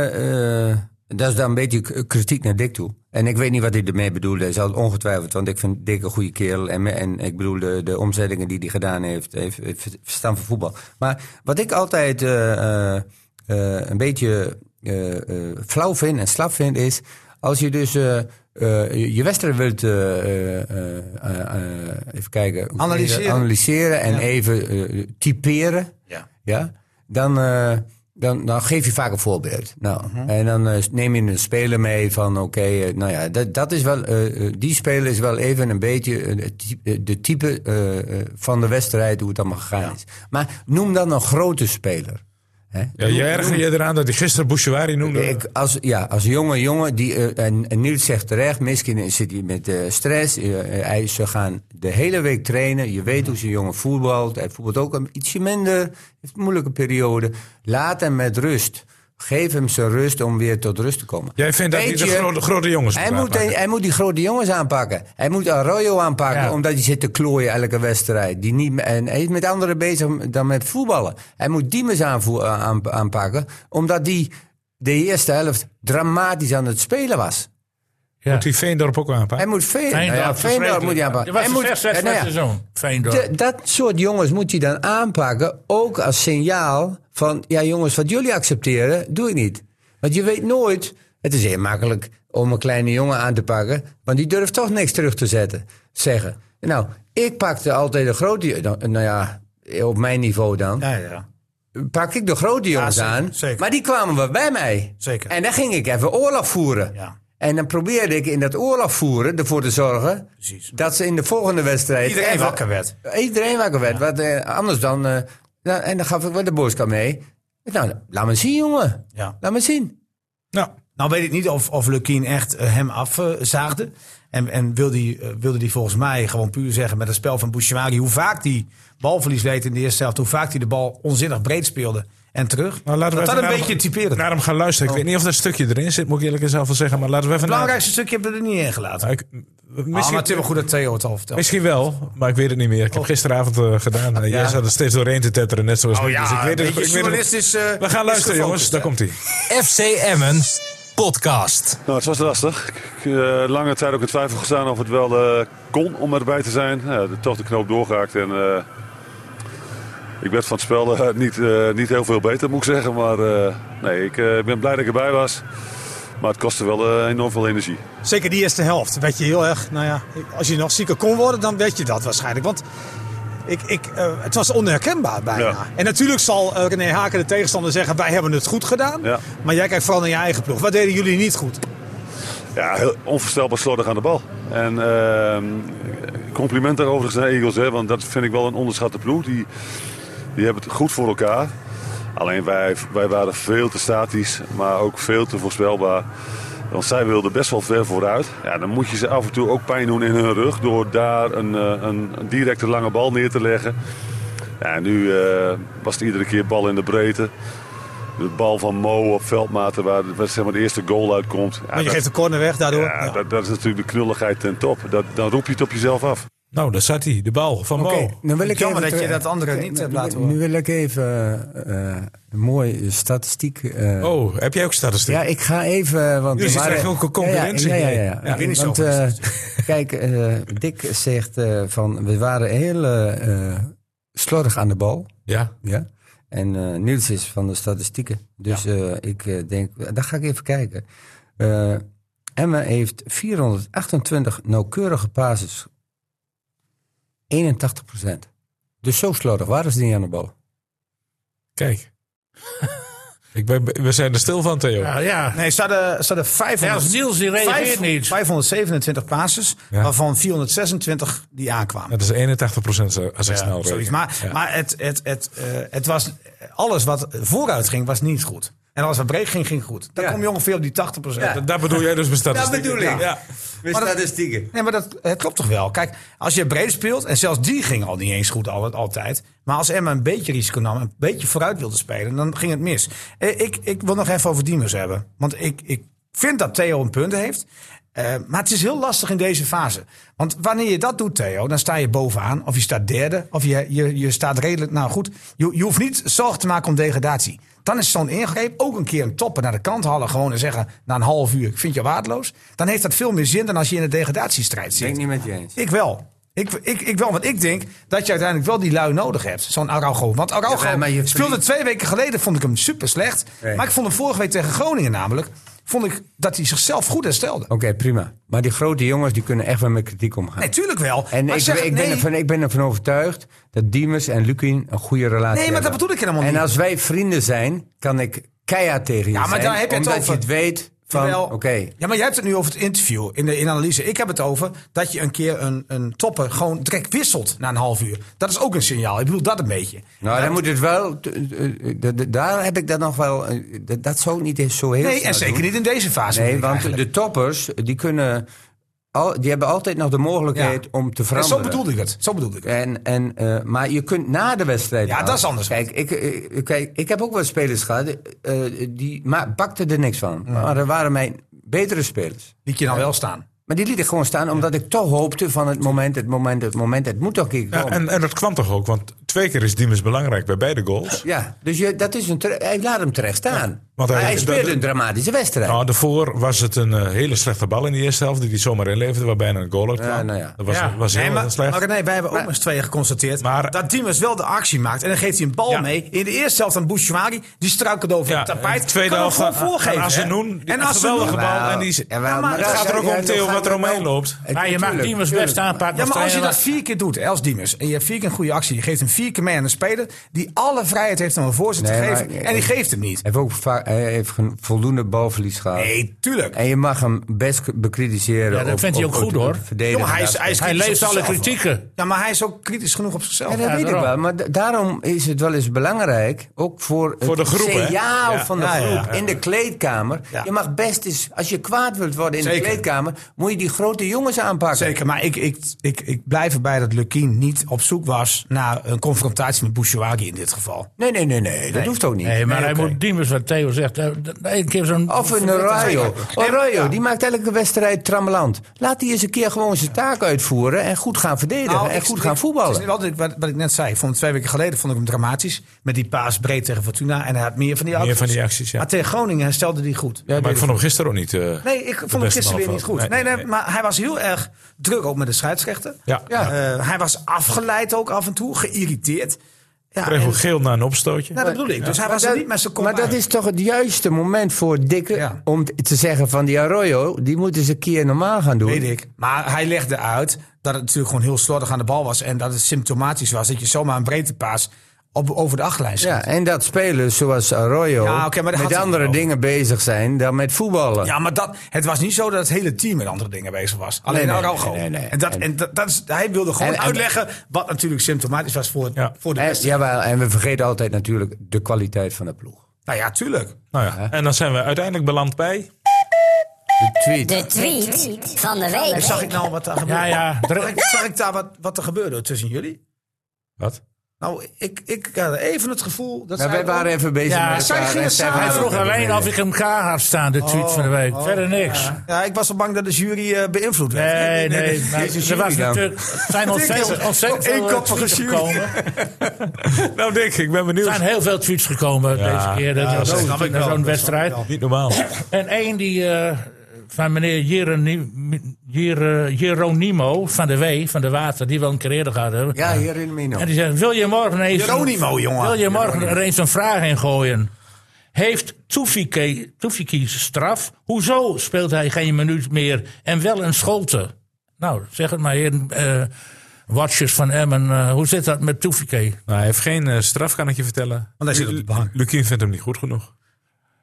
S3: eh, eh, dat is dan een beetje k- kritiek naar Dick toe. En ik weet niet wat hij ermee bedoelde. Hij zal het ongetwijfeld, want ik vind Dick een goede kerel. En, me- en ik bedoel, de, de omzettingen die hij gedaan heeft, heeft, heeft verstand van voetbal. Maar wat ik altijd eh, eh, eh, een beetje eh, eh, flauw vind en slap vind is... als je dus eh, eh, je- je wedstrijd wilt... eh, eh, eh, eh, even kijken. hoe-
S5: Analyseren.
S3: analyseren en even eh, typeren.
S5: Ja.
S3: Ja? Dan, eh, dan, dan geef je vaak een voorbeeld. Nou, En dan eh, neem je een speler mee van oké, eh, nou ja, dat, dat is wel, eh, eh, die speler is wel even een beetje eh, het ty- eh, de type eh, eh, van de wedstrijd, hoe het allemaal gegaan is. Maar noem dan een grote speler. Hè?
S2: Ja, jij erger je eraan dat hij gisteren Bouchouari noemde.
S3: Ik, als, ja, als jonge jongen, die, eh, en, en Niels zegt terecht, misschien zit hij met eh, stress. eh, eh, hij, ze gaan de hele week trainen. Je weet hoe zo'n jongen voetbalt. Hij voetbalt ook een, ietsje minder. Heeft een moeilijke periode. Laat hem met rust. Geef hem zijn rust om weer tot rust te komen.
S2: Jij vindt dat
S3: Weet
S2: hij de
S3: je,
S2: grote, grote jongens
S3: hij
S2: moet
S3: moet,
S2: aanpakken.
S3: hij moet die grote jongens aanpakken. Hij moet Arroyo aanpakken,
S1: Ja.
S3: omdat hij zit te klooien elke wedstrijd. Die niet, en hij is met anderen bezig dan met voetballen. Hij moet Diemers aanvoer- aan, aanpakken, omdat die de eerste helft dramatisch aan het spelen was.
S2: Moet hij Veendorp ook aanpakken?
S3: Hij moet veel. nou ja, Veendorp moet hij aanpakken.
S1: Dat was
S3: Hij
S1: de
S3: moet-
S1: zesde
S3: nou ja,
S1: seizoen. Veendorp.
S3: de- dat soort jongens moet je dan aanpakken, ook als signaal van, ja jongens, wat jullie accepteren, doe ik niet. Want je weet nooit, het is heel makkelijk om een kleine jongen aan te pakken, want die durft toch niks terug te zetten, zeggen. Nou, ik pakte altijd de grote, nou nou ja, op mijn niveau dan,
S5: Ja, ja.
S3: pak ik de grote jongens
S5: zeker,
S3: aan,
S5: zeker.
S3: maar die kwamen wel bij mij.
S5: Zeker.
S3: En dan ging ik even oorlog voeren.
S5: Ja.
S3: En dan probeerde ik in dat oorlog voeren ervoor te zorgen
S5: Precies.
S3: dat ze in de volgende wedstrijd
S5: Iedereen
S3: even-
S5: wakker werd.
S3: Iedereen wakker werd. Wat, eh, anders dan. eh, nou, en dan gaf ik wel de boodschap mee. Nou, laat me zien, jongen.
S5: Ja.
S3: Laat me zien.
S2: Nou,
S5: Nou weet ik niet of, of Lukien echt eh, hem afzaagde. En, en wilde hij eh, wilde die volgens mij gewoon puur zeggen met het spel van Bouchimari... hoe vaak die balverlies leed in de eerste helft... hoe vaak hij de bal onzinnig breed speelde en terug.
S2: nou, laten we
S5: dat
S2: even naar
S5: dat een
S2: Nou, hem-
S5: beetje typerend.
S2: Naar hem gaan luisteren. Ik weet niet of dat stukje erin zit, moet ik eerlijk eens wel zeggen. Maar laten we even
S5: Het
S2: naar-
S5: belangrijkste stukje hebben we er niet in gelaten.
S2: Nou, ik-
S5: Ah, Oh. maar
S2: Misschien,
S5: het is wel goed dat Theo het al vertelde.
S2: misschien wel, maar ik weet het niet meer. Ik heb gisteravond eh, gedaan. Eh, Jij zat er steeds doorheen te tetteren, net
S5: Oh
S2: zoals ik. Dus
S5: Ah,
S2: ik weet het, ik weet het-
S5: is... eh,
S2: We gaan
S5: is
S2: luisteren,
S5: gefocust,
S2: jongens. Daar
S5: hè?
S2: komt hij.
S4: FC Emmen podcast.
S8: Nou, het was lastig. Ik, eh, lange tijd ook in twijfel gestaan of het wel eh, kon om erbij te zijn. Ja, de- toch de knoop doorgehaakt en eh, ik werd van het spel eh, niet, eh, niet heel veel beter, moet ik zeggen. Maar eh, nee, ik eh, ben blij dat ik erbij was. Maar het kostte wel eh, enorm veel energie.
S9: Zeker die eerste helft werd je heel erg, nou ja, als je nog zieker kon worden, dan weet je dat waarschijnlijk. Want ik, ik, eh, het was onherkenbaar bijna.
S8: Ja.
S9: En natuurlijk zal eh, René Haken de tegenstander zeggen, wij hebben het goed gedaan.
S8: Ja.
S9: Maar jij kijkt vooral naar je eigen ploeg. Wat deden jullie niet goed?
S8: Ja, heel onvoorstelbaar slordig aan de bal. En ehm compliment daar overigens naar Eagles, hè, want dat vind ik wel een onderschatte ploeg. Die, die hebben het goed voor elkaar. Alleen wij, wij waren veel te statisch, maar ook veel te voorspelbaar. Want zij wilden best wel ver vooruit. Ja, dan moet je ze af en toe ook pijn doen in hun rug door daar een, eh, een, een directe lange bal neer te leggen. Ja, en nu eh, was het iedere keer bal in de breedte. De bal van Mo op veldmaten waar, waar zeg maar, de eerste goal uitkomt. Ja,
S9: Want je
S8: dat-
S9: geeft de corner weg daardoor.
S8: ja,
S9: Ja.
S8: dat, dat is natuurlijk de knulligheid ten top. Dat, dan roep je het op jezelf af.
S2: Nou, daar zat hij. De bal van
S3: Oké,
S2: Mo.
S3: dan wil ik
S5: Jammer
S3: even
S5: dat je
S3: terug-
S5: dat andere niet hebt
S3: nu-
S5: laten
S3: Nu
S5: horen.
S3: wil ik even eh, eh, een mooie statistiek. eh,
S2: Oh, heb jij ook statistiek?
S3: Ja, ik ga even. eh, Want
S2: Jullie
S3: er
S2: zijn
S3: waren-
S2: echt ook een concurrentie.
S3: Ja, ja, ja. ja, ja.
S2: Ja, ik
S5: weet niet
S3: want,
S5: zo goed.
S3: eh, kijk, eh, Dick zegt eh, van we waren heel eh, eh, slordig aan de bal.
S2: Ja.
S3: Ja. En eh Niels is van de statistieken. Dus eh, ik eh, denk, daar ga ik even kijken. Eh Emma heeft 428 nauwkeurige passes. 81 Dus zo slordig waren ze niet aan de bal.
S2: Kijk. ik ben, we zijn er stil van, Theo.
S1: Ja, Nou ja.
S5: Nee, ze hadden, ze hadden
S1: ja
S5: 500,
S1: als Niels die reageert
S5: vijf-
S1: niet.
S5: 527 passes,
S2: Ja.
S5: waarvan 426 die aankwamen.
S2: Dat is 81% als ik snel
S5: Ja, zoiets.
S2: reken.
S5: Maar,
S2: Ja.
S5: maar het, het, het, eh, het was, alles wat vooruit ging, was niet goed. En alles wat breed ging, ging goed. Dan
S3: Ja.
S5: kom je ongeveer op die 80 procent.
S2: Dat bedoel jij dus met statistieken.
S3: Dat bedoel ik.
S2: Ja.
S3: statistieken.
S5: Nee, maar dat het klopt toch wel? Kijk, als je breed speelt, en zelfs die ging al niet eens goed al- altijd. Maar als Emma een beetje risico nam, een beetje vooruit wilde spelen, dan ging het mis. Eh, Ik, ik wil nog even over Diemers hebben. Want ik, ik vind dat Theo een punt heeft. Eh, maar het is heel lastig in deze fase. Want wanneer je dat doet, Theo, dan sta je bovenaan. Of je staat derde. Of je, je, je staat redelijk. Nou goed, je, je hoeft niet zorgen te maken om degradatie. Dan is zo'n ingreep ook een keer een topper naar de kant halen. Gewoon en zeggen na een half uur: Ik vind je waardeloos. Dan heeft dat veel meer zin dan als je in de degradatiestrijd zit.
S3: Ben ik niet met je eens.
S5: Ik wel. Ik, ik, ik wel, want ik denk dat je uiteindelijk wel die lui nodig hebt. Zo'n Araujo. Want Araujo
S3: Ja, maar je
S5: speelde
S3: verdient-
S5: twee weken geleden, vond ik hem super slecht.
S3: Nee.
S5: Maar ik vond hem vorige week tegen Groningen namelijk, vond ik dat hij zichzelf goed herstelde.
S3: Oké, prima. Maar die grote jongens die kunnen echt wel met kritiek omgaan.
S5: Nee, tuurlijk wel.
S3: En
S5: maar
S3: ik,
S5: zeg,
S3: ik, ben
S5: nee,
S3: ervan, ik ben ervan overtuigd dat Diemers en Lucien een goede relatie hebben.
S5: Nee, maar dat bedoel ik helemaal
S3: En
S5: niet.
S3: als wij vrienden zijn, kan ik keihard tegen je
S5: Ja, maar
S3: zijn,
S5: daar heb je het
S3: omdat
S5: over.
S3: je het weet van,
S5: Terwijl-
S3: oké,
S5: Ja, maar jij hebt het nu over het interview in de in analyse. Ik heb het over dat je een keer een, een topper gewoon direct wisselt na een half uur. Dat is ook een signaal. Ik bedoel dat een beetje.
S3: nou dan moet het wel, t- eh, d- d- daar heb ik dat nog wel, eh, d- dat zou ik niet eens zo heel
S5: Nee,
S3: snel
S5: en zeker
S3: doen.
S5: niet in deze fase.
S3: Nee,
S5: bedoel ik
S3: want
S5: eigenlijk.
S3: de toppers, die kunnen, al, die hebben altijd nog de mogelijkheid
S5: Ja.
S3: om te
S5: En
S3: veranderen.
S5: zo bedoelde ik het. Zo bedoelde ik het.
S3: En, en, eh, maar je kunt na de wedstrijd.
S5: Ja,
S3: wel.
S5: dat is anders.
S3: Kijk, ik, eh, kijk, ik heb ook wel spelers gehad. eh, die ma- bakten er niks van. Maar dat waren mijn betere spelers.
S5: Liet je dan wel staan.
S3: Maar die liet ik gewoon staan omdat ik toch hoopte van het moment, het moment, het moment. Het moet toch een keer
S2: Ja,
S3: komen. Ja,
S2: en, en dat kwam toch ook, want twee keer is Diemers belangrijk bij beide goals.
S3: dus je, dat is een tere- hij laat hem terecht staan.
S2: want hij-
S3: maar hij
S2: dat-
S3: speelde
S2: dat-
S3: een dramatische wedstrijd.
S2: Nou, daarvoor was het een eh, hele slechte bal in de eerste helft die hij zomaar inleverde, waar bijna een goal uit kwam.
S3: Ja, nou ja.
S2: Dat was,
S5: Ja.
S2: was heel
S5: nee, maar,
S2: slecht.
S5: maar nee, wij hebben ook eens tweeën geconstateerd
S2: Maar-
S5: dat Diemers wel de actie maakt. En dan geeft hij een bal
S2: Ja.
S5: mee. In de eerste helft aan Bouchouari. Die struikelt over
S2: Ja,
S5: het tapijt.
S2: en tweede
S5: kan hem
S2: helft
S5: gewoon
S2: aan-
S5: voorgeven.
S2: aan
S5: hè?
S2: Asenoen, die
S5: En
S2: een geweldige
S5: Asenoen.
S2: bal. en die-
S3: jawel,
S5: Ja, maar het
S3: dat-
S2: gaat er ook
S3: ja,
S2: om
S3: dat
S2: Theo
S3: gaat
S2: wat
S3: er
S2: er omheen
S3: om.
S2: loopt.
S3: Eh,
S1: Maar je mag
S3: tuurlijk,
S1: Diemers
S3: tuurlijk.
S1: best aanpakken.
S5: Ja, maar als je
S1: trainer.
S5: dat vier keer doet, hè, als Diemers, en je hebt vier keer een goede actie, je geeft hem vier keer mee aan een speler die alle vrijheid heeft om een voorzet
S3: Nee,
S5: te
S3: maar-
S5: geven, en die geeft hem niet.
S3: Hij heeft ook vaak, hij heeft geen voldoende balverlies gehad.
S5: Nee, tuurlijk.
S3: En je mag hem best k- bekritiseren.
S1: Ja, dat
S3: op-
S1: vindt hij
S3: op-
S1: ook
S3: op-
S1: goed,
S3: op-
S1: hoor.
S3: verdedigen.
S5: Jongen, hij, is, hij, is
S1: Hij
S5: kritisch
S1: leest
S5: op
S1: alle
S5: zichzelf.
S1: kritieken.
S5: Ja, maar hij is ook kritisch genoeg op zichzelf.
S3: Ja, dat
S1: Ja,
S3: weet ik
S1: daarom.
S3: wel. Maar da- daarom is het wel eens belangrijk, ook voor,
S2: Voor de
S3: het
S2: groep, hè?
S3: signaal
S2: Ja.
S3: van de
S5: Ja, ja,
S3: groep
S5: ja,
S3: in de kleedkamer.
S5: Ja.
S3: Je mag best eens, als je kwaad wilt worden in
S5: Zeker.
S3: de kleedkamer, moet je die grote jongens aanpakken.
S5: Zeker, maar ik, ik, ik, ik blijf erbij dat Lukien niet op zoek was naar een confrontatie met Bouchouagi in dit geval.
S3: Nee, nee, nee, nee, dat hoeft ook niet.
S1: Nee, maar
S5: Nee,
S1: hij
S5: oké.
S1: moet Diemers, wat Theo zegt, eh, d- een keer zo'n...
S3: Of een Arroyo. Arroyo, die maakt elke wedstrijd trammeland. Laat die eens een keer gewoon zijn taak uitvoeren en goed gaan verdedigen en
S5: Nou, ik-
S3: goed
S5: ik-
S3: gaan
S5: het
S3: voetballen.
S5: is wel wat, ik- wat, wat ik net zei, ik vond het twee weken geleden vond ik hem dramatisch. Met die paas breed tegen Fortuna. En hij had meer van die acties.
S2: van die acties, ja.
S5: Maar tegen Groningen stelde hij goed.
S2: maar ik vond hem gisteren ook niet. eh,
S5: Nee, ik vond hem
S2: beste
S5: gisteren weer niet
S2: half
S5: goed.
S2: ook.
S5: Nee, nee,
S2: Nee, nee.
S5: maar hij was heel erg druk ook met de scheidsrechter.
S2: Ja. Ja.
S5: Eh, hij was afgeleid ook af en toe, geïrriteerd. Ja,
S2: kreeg
S5: en-
S2: ook geel na een opstootje.
S5: nou, dat bedoel ik. Dus hij was er niet met zijn kop
S3: maar dat
S5: uit.
S3: is toch het juiste moment voor Dikke
S5: Ja.
S3: om t- te zeggen van die Arroyo, die moet eens een keer normaal gaan doen.
S5: Weet ik. Maar hij legde uit dat het natuurlijk gewoon heel slordig aan de bal was. En dat het symptomatisch was dat je zomaar een breedtepaas op, over de achterlijn schiet.
S3: Ja, en dat spelers zoals Arroyo
S5: Ja, oké, maar daar had
S3: met
S5: hij
S3: andere
S5: het over.
S3: dingen bezig zijn dan met voetballen.
S5: Ja, maar dat, het was niet zo dat het hele team met andere dingen bezig was. Alleen
S3: nee,
S5: Araujo.
S3: nee, nee, nee.
S5: En, dat, en dat, dat is, hij wilde gewoon
S3: En- en-
S5: uitleggen wat natuurlijk symptomatisch was voor,
S2: Ja.
S5: voor de
S3: en,
S5: rest.
S3: jawel, en we vergeten altijd natuurlijk de kwaliteit van de ploeg.
S5: Nou ja, tuurlijk.
S2: Nou ja. En dan zijn we uiteindelijk beland bij.
S3: De tweet.
S10: De tweet van de week.
S5: Zag ik nou wat daar gebeurde?
S1: Ja, ja.
S5: Zag ik, zag ik daar wat, wat er gebeurde tussen jullie?
S2: Wat?
S5: Nou, ik, ik had even het gevoel dat
S3: Maar
S5: zij...
S3: wij waren even bezig
S1: Ja,
S3: met
S1: zij
S3: elkaar.
S5: gingen
S3: en zij
S5: samen.
S1: Hij
S3: waren
S1: vroeg
S3: ook
S1: alleen
S3: even
S1: of ik hem klaar had staan, de tweet van de week. Verder niks.
S5: Ja, ik was zo bang dat de jury eh, beïnvloed werd.
S1: Nee, nee.
S3: nee.
S1: maar
S3: Deze
S1: Er
S3: jury
S1: was
S3: dan.
S1: natuurlijk, er zijn ontzettend, ontzettend veel eh,
S5: Eenkoppige
S1: tweets
S5: jury.
S1: gekomen.
S2: Nou, Dick, ik ben
S1: Er
S2: benieuwd.
S1: zijn heel veel tweets gekomen deze keer. Dat was
S2: snap
S1: zo'n zo'n wedstrijd.
S2: Niet normaal.
S1: En één die eh, van meneer Jeroni- Jer- Jeronimo van de W, van de Water, die wel een keer eerder gehad hebben.
S3: Ja, hier in Mino.
S1: En die zegt, wil je morgen eens...
S5: Jeronimo, jongen.
S1: Wil je morgen er eens een vraag in gooien? Heeft Toefiki Toefiki straf? Hoezo speelt hij geen minuut meer en wel een scholte? Nou, zeg het maar, heer eh Watchers van Emmen. eh, hoe zit dat met Toefiki?
S2: Nou, hij heeft geen eh, straf, kan ik je vertellen.
S5: Want hij zit op de bank.
S2: Lukien vindt hem niet goed genoeg.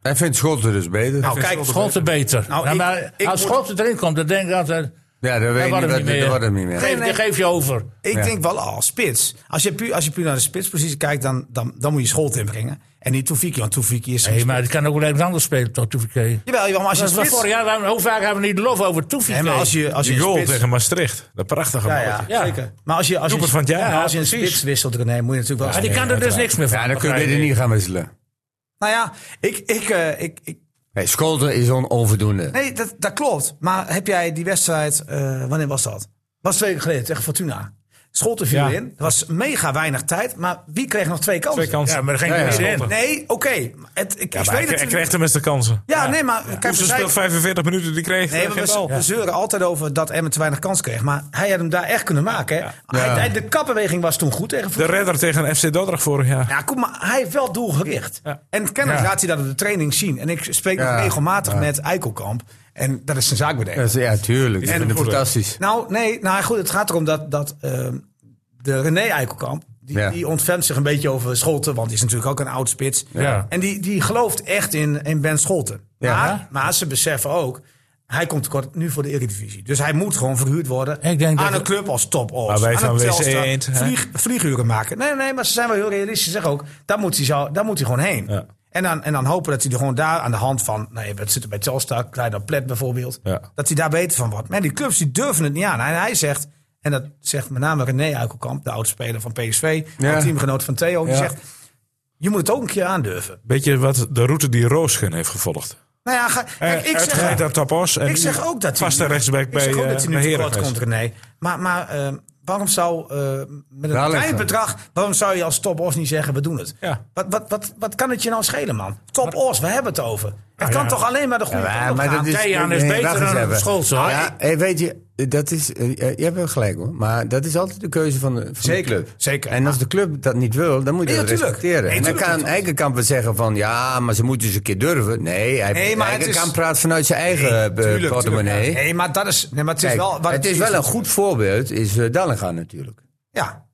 S3: Hij vindt Scholten dus beter.
S5: Nou, kijk,
S1: Scholte beter.
S5: Nou,
S1: Ja,
S5: ik-
S1: maar
S5: ik
S1: als
S5: moet-
S1: Scholte erin komt, dan denk ik altijd...
S3: ja, dat weet
S1: wordt
S3: ik niet.
S1: hem
S3: Dat
S1: niet meer.
S3: dat wordt hem niet meer.
S1: Geef,
S5: nee.
S1: geef je over.
S5: ik denk wel al, spits. Als je, puur, als je puur naar de spitspositie kijkt, dan, dan, dan moet je Scholt inbrengen. En niet Toefiki, want Toefiki is... geen
S1: Nee, maar
S5: spits.
S1: het kan ook wel ergens anders spelen, toch, Toefiki?
S5: Jawel, jawel, maar als je
S1: Dat was
S5: spits...
S1: vorig jaar, waarom- hoe vaak hebben we niet lof over Toefiki?
S5: Nee, maar als je, als je
S2: Die
S5: een
S2: goal
S5: spits...
S2: tegen Maastricht. Dat prachtige
S5: Ja,
S2: balletje.
S5: ja,
S1: Ja.
S5: zeker. Maar als je, als je,
S2: Doelpunt van het jaar,
S5: ja, als je een
S2: precies.
S5: spits wisselt, René, moet je natuurlijk wel...
S1: Maar die kan er dus niks meer van.
S3: Ja, dan kun je beter
S1: begrijp ik.
S3: niet gaan wisselen.
S5: Nou ja, ik... ik, eh, ik, ik
S3: Nee, Scholten is on onvoldoende.
S5: nee, dat, dat klopt. Maar heb jij die wedstrijd... eh, wanneer was dat? Was twee weken geleden, tegen Fortuna. Schotten viel
S2: Ja.
S5: in. Er was mega weinig tijd. Maar wie kreeg nog twee kansen?
S2: Twee kansen.
S1: Ja, maar er ging er niet in.
S5: Nee, oké. Het- Ik, ik
S2: Maar
S5: weet
S2: hij,
S5: het
S2: hij kreeg de meeste kansen.
S5: Ja, nee, maar... Kijk,
S2: Ze
S5: we zeiden-
S2: speelt 45 minuten, die kreeg
S5: Nee,
S2: eh,
S5: maar
S2: geen
S5: we,
S2: bal.
S5: we zeuren altijd over dat Emmen te weinig kans kreeg. Maar hij had hem daar echt kunnen maken. Hè? Hij, hij- de kapbeweging was toen goed tegen
S2: De
S5: Feyenoord.
S2: redder tegen FC Dordrecht vorig jaar.
S5: Ja, kom, maar hij heeft wel doelgericht.
S2: Ja.
S5: En kennelijk laat hij dat op de training zien. En ik spreek nog
S3: Ja.
S5: regelmatig met Eikelkamp. En dat is zijn zaakbedenker.
S3: Ja, tuurlijk. Ik
S2: En
S3: vind het
S2: goed, hè?
S3: fantastisch.
S5: Nou, nee, nou goed, het gaat erom dat, dat ehm, de René Eikelkamp, die,
S3: Ja.
S5: die ontfermt zich een beetje over Scholten, want die is natuurlijk ook een oud spits.
S2: Ja.
S5: En die, die gelooft echt in, in Ben Scholten.
S3: Ja.
S5: Maar, maar ze beseffen ook, hij komt tekort nu voor de Eredivisie. Dus hij moet gewoon verhuurd worden
S1: Ik denk
S5: aan
S1: dat-
S5: een club als top Os,
S2: Maar wij
S5: aan
S2: van
S5: een
S2: WC
S5: Telstra.
S2: Eend, hè?
S5: vlieg, vlieguren maken. Nee, nee, maar ze zijn wel heel realistisch. Zeg ook, daar moet hij, zo, daar moet hij gewoon heen.
S2: Ja.
S5: En dan, en dan hopen dat hij er gewoon daar aan de hand van... Nou, je bent- zit er bij Telstar, Kleiner Plet bijvoorbeeld.
S2: Ja.
S5: Dat hij daar beter van wordt. Maar die clubs die durven het niet aan. En hij zegt, en dat zegt met name René Uikelkamp... de oudspeler van PSV,
S3: Ja.
S5: oud teamgenoot van Theo... die
S3: Ja.
S5: zegt, je moet het ook een keer aandurven.
S2: Beetje wat de route die Roosgen heeft gevolgd.
S5: Nou ja, ga, kijk, ik zeg...
S2: dat Tapos en
S5: ik zeg ook dat hij-
S2: vaste rechtsback
S5: Ik zeg
S2: bij,
S5: ook
S2: eh,
S5: dat hij
S2: bij
S5: nu tekort
S2: Heracles.
S5: komt, René. Maar, maar eh, waarom zou eh, met een
S3: Daar
S5: klein
S3: liggen.
S5: bedrag... waarom zou je als Top Os niet zeggen, we doen het?
S2: Ja.
S5: Wat, wat, wat, wat kan het je nou schelen, man? Top Os, we hebben het over. Het kan
S2: Nou ja.
S5: toch alleen maar de goede
S3: Ja,
S5: kant op
S3: maar
S5: gaan?
S3: dat is-
S1: Keijan is
S3: Nee,
S1: beter
S3: wacht eens
S1: dan
S3: even.
S1: Scholz, hoor.
S3: Ja, hé, weet je, dat is, eh, eh, je hebt wel gelijk hoor. Maar dat is altijd de keuze van de, van de
S5: Zeker,
S3: club.
S5: zeker.
S3: En als de club dat niet wil, dan moet je
S5: Nee,
S3: dat
S5: ja, tuurlijk.
S3: respecteren.
S5: Nee,
S3: en dan
S5: tuurlijk,
S3: kan
S5: tuurlijk.
S3: Eikenkamp wel zeggen van... ja, maar ze moeten eens een keer durven. Nee, hij,
S5: Nee, maar het
S3: Eikenkamp
S5: is-
S3: praat vanuit zijn eigen eh, be-
S5: Tuurlijk,
S3: portemonnee.
S5: tuurlijk, ja. Nee, maar dat is, nee, maar het is
S3: Kijk,
S5: wel. wat
S3: het is wel een goed voorbeeld, is eh, Dallinga natuurlijk.
S5: Ja.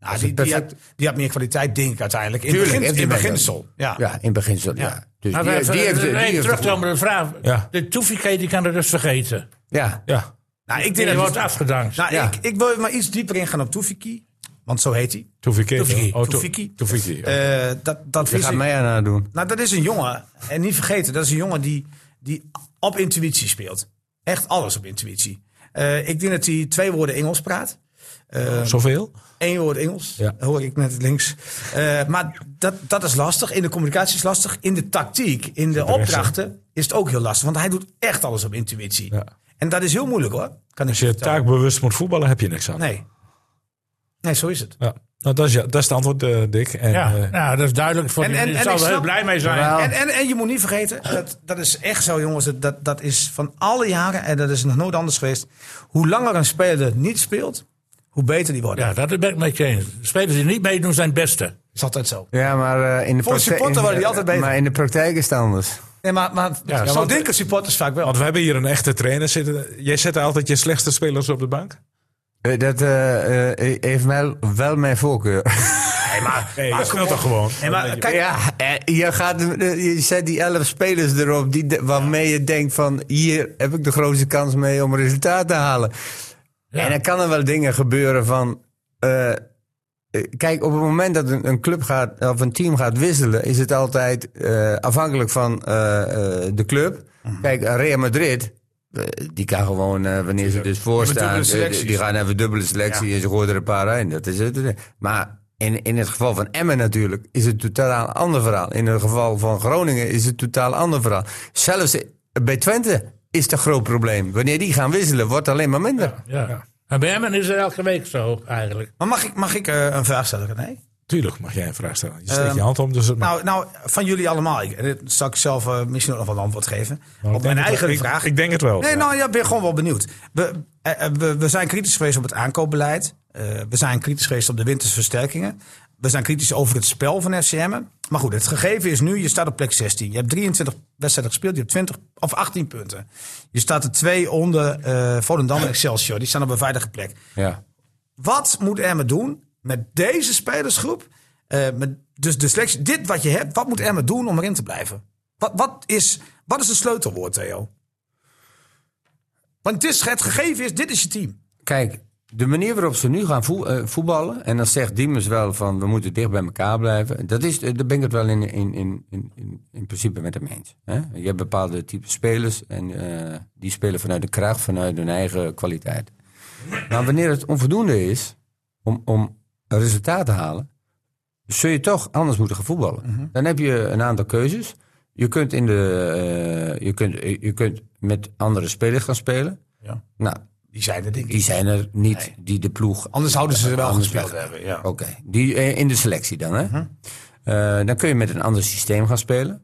S5: Nou,
S3: is
S5: die,
S3: een
S5: die,
S3: perfect-
S5: had, die had meer kwaliteit, denk ik uiteindelijk. In,
S3: Tuurlijk,
S5: begin,
S3: heeft hij
S5: in
S3: wel
S5: beginsel. Ja.
S3: Ja, in beginsel, ja. Dus
S1: Maar
S3: die,
S1: we-
S3: die heeft...
S1: we-
S3: die
S1: nee,
S3: heeft-
S1: terug dan met de vraag.
S2: Ja.
S1: De Toefike die kan het dus vergeten.
S3: ja.
S2: Ja.
S5: Nou, ik
S1: Die,
S5: denk dat
S1: wordt afgedankt.
S5: nou,
S3: Ja.
S5: ik, ik wil maar iets dieper ingaan op Toefiki. Want zo heet hij.
S2: Tofiki.
S5: Tofiki.
S2: Oh, to-
S5: Tofiki.
S2: Tofiki, ja.
S5: Eh, dat dat
S3: Je
S5: vis
S3: gaat
S5: ik-
S3: mij aan haar doen.
S5: Nou, dat is een jongen. En niet vergeten, dat is een jongen die, die op intuïtie speelt. Echt alles op intuïtie. Eh, ik denk dat hij twee woorden Engels praat. Eh,
S2: Zoveel?
S5: Eén woord Engels,
S2: Ja.
S5: hoor ik net links. Eh, maar dat, dat is lastig. In de communicatie is lastig. In de tactiek, in de opdrachten is het ook heel lastig. Want hij doet echt alles op intuïtie.
S2: Ja.
S5: En dat is heel moeilijk hoor. Kan ik
S2: Als je
S5: vertellen.
S2: taakbewust moet voetballen, heb je niks aan.
S5: Nee. Nee, zo is het.
S2: Ja. Nou, dat is, ja, dat is het antwoord, eh, Dick. En,
S1: Ja,
S2: eh,
S1: nou, dat is duidelijk. Voor
S5: En-
S1: en,
S5: en-
S1: die
S5: en
S1: zal
S5: ik
S1: er heel
S5: snap-
S1: blij mee zijn.
S5: En, en, en je moet niet vergeten, dat, dat is echt zo jongens, dat- dat, dat is van alle jaren, en dat is nog nooit anders geweest. Hoe langer een speler niet speelt, hoe beter die wordt.
S1: ja, dat ben ik met je eens. De Spelers die niet meedoen zijn het beste.
S5: Is altijd zo.
S3: Ja, maar eh, in de praktijk-
S5: Volgens supporter worden die
S3: in-
S5: altijd beter.
S3: Maar in de praktijk is het anders.
S5: Nee, maar, maar
S1: Ja,
S5: zo
S1: want-
S5: denken supporters vaak wel.
S2: want we hebben hier een echte trainer zitten. Jij zet altijd je slechtste spelers op de bank?
S3: Eh, Dat eh, eh, heeft mij wel mijn voorkeur.
S2: Nee, dat speelt toch gewoon?
S5: Nee, maar kijk,
S3: Ja, eh, je, gaat, hem- eh, je zet die elf spelers erop die, de- waarmee je denkt van... hier heb ik de grootste kans mee om een resultaat te halen. En dan kan er wel dingen gebeuren van... eh, eh, kijk, op het moment dat een, een club gaat, of een team gaat wisselen... is het altijd eh, afhankelijk van eh, eh, de club. Kijk, Real Madrid... eh, Die kan gewoon, eh, wanneer ze dus voorstaan,
S5: dubbele
S3: eh, die die gaan even dubbele selectie en ze gooien er een paar in. Dat is het. Maar in, in het geval van Emmen natuurlijk is het totaal een ander verhaal. In het geval van Groningen is het totaal een ander verhaal. Zelfs eh, bij Twente is het een groot probleem. Wanneer die gaan wisselen, wordt het alleen maar minder.
S1: Ja. En bij hem is het elke week zo, eigenlijk.
S5: maar mag ik, mag ik eh, een vraag stellen, René?
S2: Tuurlijk mag jij een vraag stellen. Je steekt
S5: Ehm,
S2: je hand om, dus het mag.
S5: Nou, nou, van jullie allemaal. Ik, dit zal ik zelf eh, misschien ook nog wel een antwoord geven.
S2: Maar Nou, ik
S5: op mijn
S2: denk het
S5: eigen
S2: wel. Ik-
S5: vraag.
S2: Ik, denk het wel.
S5: nee,
S2: Ja.
S5: nou, ja, ik ben gewoon wel benieuwd. We, eh, eh, we, we zijn kritisch geweest op het aankoopbeleid. Eh, we zijn kritisch geweest op de wintersversterkingen. We zijn kritisch over het spel van FCM. Maar goed, het gegeven is nu, je staat op plek 16. Je hebt 23 wedstrijden gespeeld, je hebt 20 of 18 punten. Je staat er twee onder eh Volendam en Excelsior. Die staan op een veilige plek.
S3: Ja.
S5: Wat moet Emmen doen met deze spelersgroep? Eh, met, dus de selectie, dit wat je hebt, wat moet Emmen doen om erin te blijven? Wat, wat, is, wat is het sleutelwoord, Theo? Want het, is, het gegeven is, dit is je team.
S3: Kijk, de manier waarop ze nu gaan voe- eh, voetballen... en dan zegt Diemers wel van we moeten dicht bij elkaar blijven... Dat is, eh, daar ben ik het wel in, in, in, in, in, in principe met hem eens. Hè? Je hebt bepaalde type spelers... en eh, die spelen vanuit de kracht, vanuit hun eigen kwaliteit. Maar wanneer het onvoldoende is om, om een resultaat te halen... zul je toch anders moeten gaan voetballen. Dan heb je een aantal keuzes. Je kunt, eh, in de, eh, je kunt, je kunt met andere spelers gaan spelen... Nou,
S5: Die zijn er, denk ik.
S3: Die zijn er niet, die de ploeg...
S5: Anders zouden ze er wel
S3: Anders
S5: gespeeld
S3: wel.
S5: hebben, ja.
S3: Oké, die eh, in de selectie dan, hè?
S5: Mhm.
S3: Eh, dan kun je met een ander systeem gaan spelen.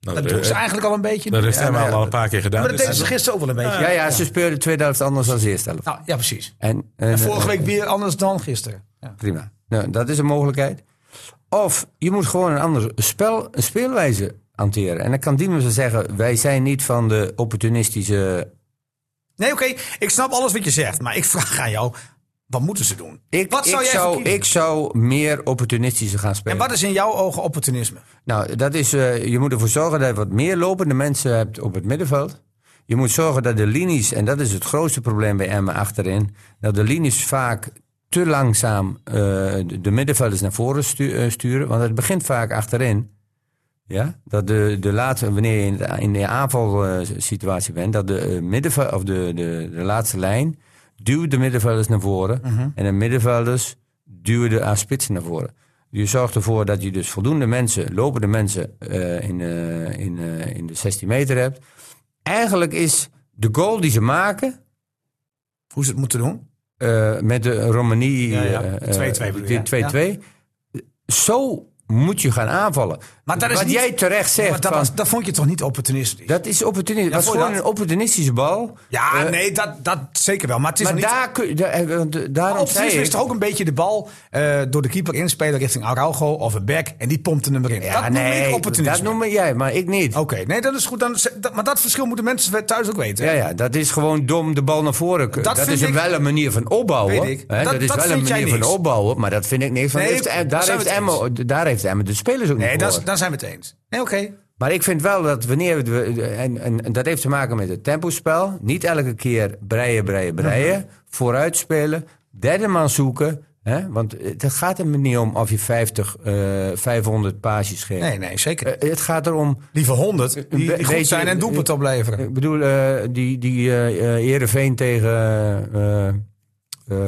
S5: Dat doen ze eigenlijk al een beetje.
S2: Nou, eh, Dat heeft hij
S5: Ja, maar
S2: wel
S5: ja,
S2: al een paar keer gedaan.
S5: Maar dat
S2: dus-
S5: deden ze gisteren ook wel een beetje.
S3: ja, ja, ze speelden tweede helft anders dan de eerste helft.
S5: Nou, ja, precies.
S3: En, eh,
S5: En vorige
S3: eh,
S5: week weer anders dan gisteren. Ja.
S3: Prima. Nou, dat is een mogelijkheid. Of je moet gewoon een andere spel, een speelwijze hanteren. En dan kan die mensen zeggen, wij zijn niet van de opportunistische...
S5: Nee, oké, ik snap alles wat je zegt. Maar ik vraag aan jou, wat moeten ze doen?
S3: Ik
S5: Wat zou
S3: ik,
S5: jij
S3: zou,
S5: verkiezen?
S3: ik zou meer opportunistische gaan spelen.
S5: En wat is in jouw ogen opportunisme?
S3: Nou, dat is, eh, je moet ervoor zorgen dat je wat meer lopende mensen hebt op het middenveld. Je moet zorgen dat de linies, en dat is het grootste probleem bij Emmen achterin, dat de linies vaak te langzaam eh, de- de middenvelders naar voren stu- eh, sturen. Want het begint vaak achterin. Ja? Dat de, de laatste, wanneer je in de, in de aanvalsituatie bent, dat de, eh, middenve- of de, de, de laatste lijn duwt de middenvelders naar voren.
S5: Mhm.
S3: En de middenvelders duwen de A-spitsen naar voren. Je zorgt ervoor dat je dus voldoende mensen, lopende mensen eh, in, eh, in, eh, in de 16 meter hebt. Eigenlijk is de goal die ze maken
S5: Hoe ze het moeten doen?
S3: eh, met de Romani
S5: Ja, ja.
S3: eh, eh,
S5: 2-2 bedoel je,
S3: die 2-2, zo moet je gaan aanvallen.
S5: Maar dat is
S3: Wat
S5: niet-
S3: jij terecht zegt,
S5: Maar
S3: van,
S5: dat, was, dat vond je toch niet opportunistisch?
S3: is opportunistisch. dat is
S5: voor
S3: gewoon
S5: dat-
S3: een opportunistische bal.
S5: ja,
S3: eh,
S5: nee, dat, dat zeker wel. Maar het is
S3: Maar
S5: nog niet...
S3: daar kun je, daar, eh, want, eh, daarom zei
S5: Opportunisme
S3: ik-
S5: is toch ook een beetje de bal eh, door de keeper inspelen richting Araujo of een back. En die pompte hem erin.
S3: Ja,
S5: dat noem
S3: nee,
S5: ik opportunisme. Oh,
S3: dat noem jij, maar ik niet.
S5: Oké, nee, dat is goed. Dan, dat- maar dat verschil moeten mensen thuis ook weten.
S3: Ja, ja, dat is gewoon dom de bal naar voren. kunnen.
S5: Dat
S3: Dat,
S5: vind
S3: is een
S5: ik-
S3: wel een manier van opbouwen.
S5: Weet ik.
S3: hè.
S5: Dat-
S3: dat, is
S5: dat
S3: wel een
S5: vind jij
S3: manier van
S5: niks.
S3: opbouwen, maar dat vind ik niks. Van.
S5: Nee,
S3: Heeft-
S5: daar
S3: daar,
S5: zijn
S3: heeft
S5: we het
S3: Emmen, daar heeft Emmen de spelers ook
S5: nee,
S3: niet
S5: dat,
S3: voor.
S5: is- daar zijn we het eens. Nee, oké.
S3: Maar ik vind wel dat wanneer we... de- En, en, en dat heeft te maken met het tempospel. Niet elke keer breien, breien, breien. Vooruit spelen. Derde man zoeken. Hè? Want het gaat er niet om of je 50, eh 500 paasjes geeft.
S5: Nee, nee, zeker.
S3: Eh, het gaat erom...
S5: Liever 100 die, die
S3: be-
S5: goed
S3: beetje-
S5: zijn en doelpunt opleveren.
S3: Ik bedoel, eh, die, die eh eh, Heerenveen tegen eh, eh, eh,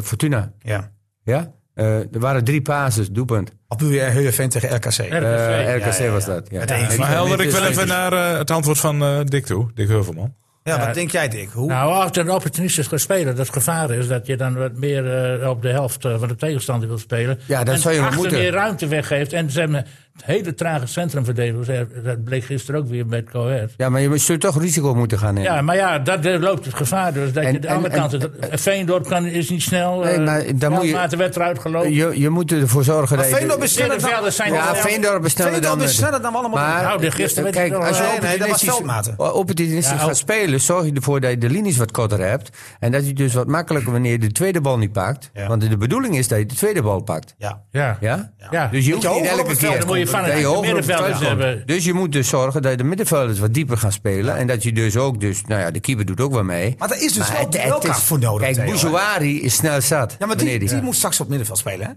S3: Fortuna.
S5: Ja.
S3: Ja? Eh, er waren drie pases, doelpunt.
S5: Of doe je Heerenveen tegen RKC?
S3: Eh,
S1: RKC.
S3: RKC was dat. Ja.
S2: Maar helder ik wel even naar eh, het antwoord van eh, Dick toe. Dick Heuvelman.
S5: Ja, wat denk jij, Dick? Hoe?
S1: Nou, als je een opportunistisch gaat spelen, dat het gevaar is dat je dan wat meer eh, op de helft eh, van de tegenstander wil spelen.
S3: Ja, dat
S1: en
S3: zou je wel
S1: achter
S3: moeten.
S1: meer ruimte weggeeft. En ze hebben een hele trage centrumverdedigers. Eh, Dat bleek gisteren ook weer met Coët.
S3: Ja, maar je zult toch risico moeten gaan nemen.
S1: Ja, maar ja, dat eh, loopt het gevaar dus. Dat
S3: En-
S1: je de
S3: en-
S1: andere
S3: en-
S1: kant... dat- Veendorp kan, is niet snel.
S3: Nee,
S1: eh,
S3: maar dan moet je-
S1: Veldmaat de wedstrijd gelopen.
S3: Je, je moet ervoor zorgen dat je...
S5: Veendorp is sneller dan...
S1: Middenvelders zijn
S3: Ja,
S1: er wel.
S3: Veendorp is sneller dan...
S5: Veendorp is sneller dan we allemaal
S3: maar, eh,
S5: denken.
S1: Nou, de gisteren werd
S3: kijk,
S1: het wel-
S3: als je
S5: Nee, eh, nee, dat was
S3: opportunistisch,
S5: veldmaten. oh.
S3: opportunistisch
S1: Ja, ook.
S3: gaat spelen, zorg je ervoor dat je de linies wat korter hebt. En dat je dus wat makkelijker wanneer je de tweede bal niet pakt.
S5: Ja.
S3: Want de bedoeling is dat je de tweede bal pakt.
S5: Ja.
S1: Ja.
S3: Ja?
S1: Ja.
S3: Dus je hoeft
S5: je
S3: niet
S5: hoger op
S3: elke
S5: het
S3: keer.
S5: veld
S1: Dan moet je van het
S3: Dat je hoger op het
S1: middenvelders
S3: veld komt.
S1: hebben.
S3: Dus je moet dus zorgen dat de middenvelders wat dieper gaan spelen. En dat je dus ook, dus, nou ja, de keeper doet ook wel mee.
S5: Maar daar is dus wel
S3: het-
S5: duelkracht
S3: het is-
S5: voor nodig,
S3: Kijk,
S5: Theo, hè?
S3: Bouzouari is snel zat.
S5: Ja, maar
S3: wanneer
S5: die, die moet straks op het middenveld spelen, hè?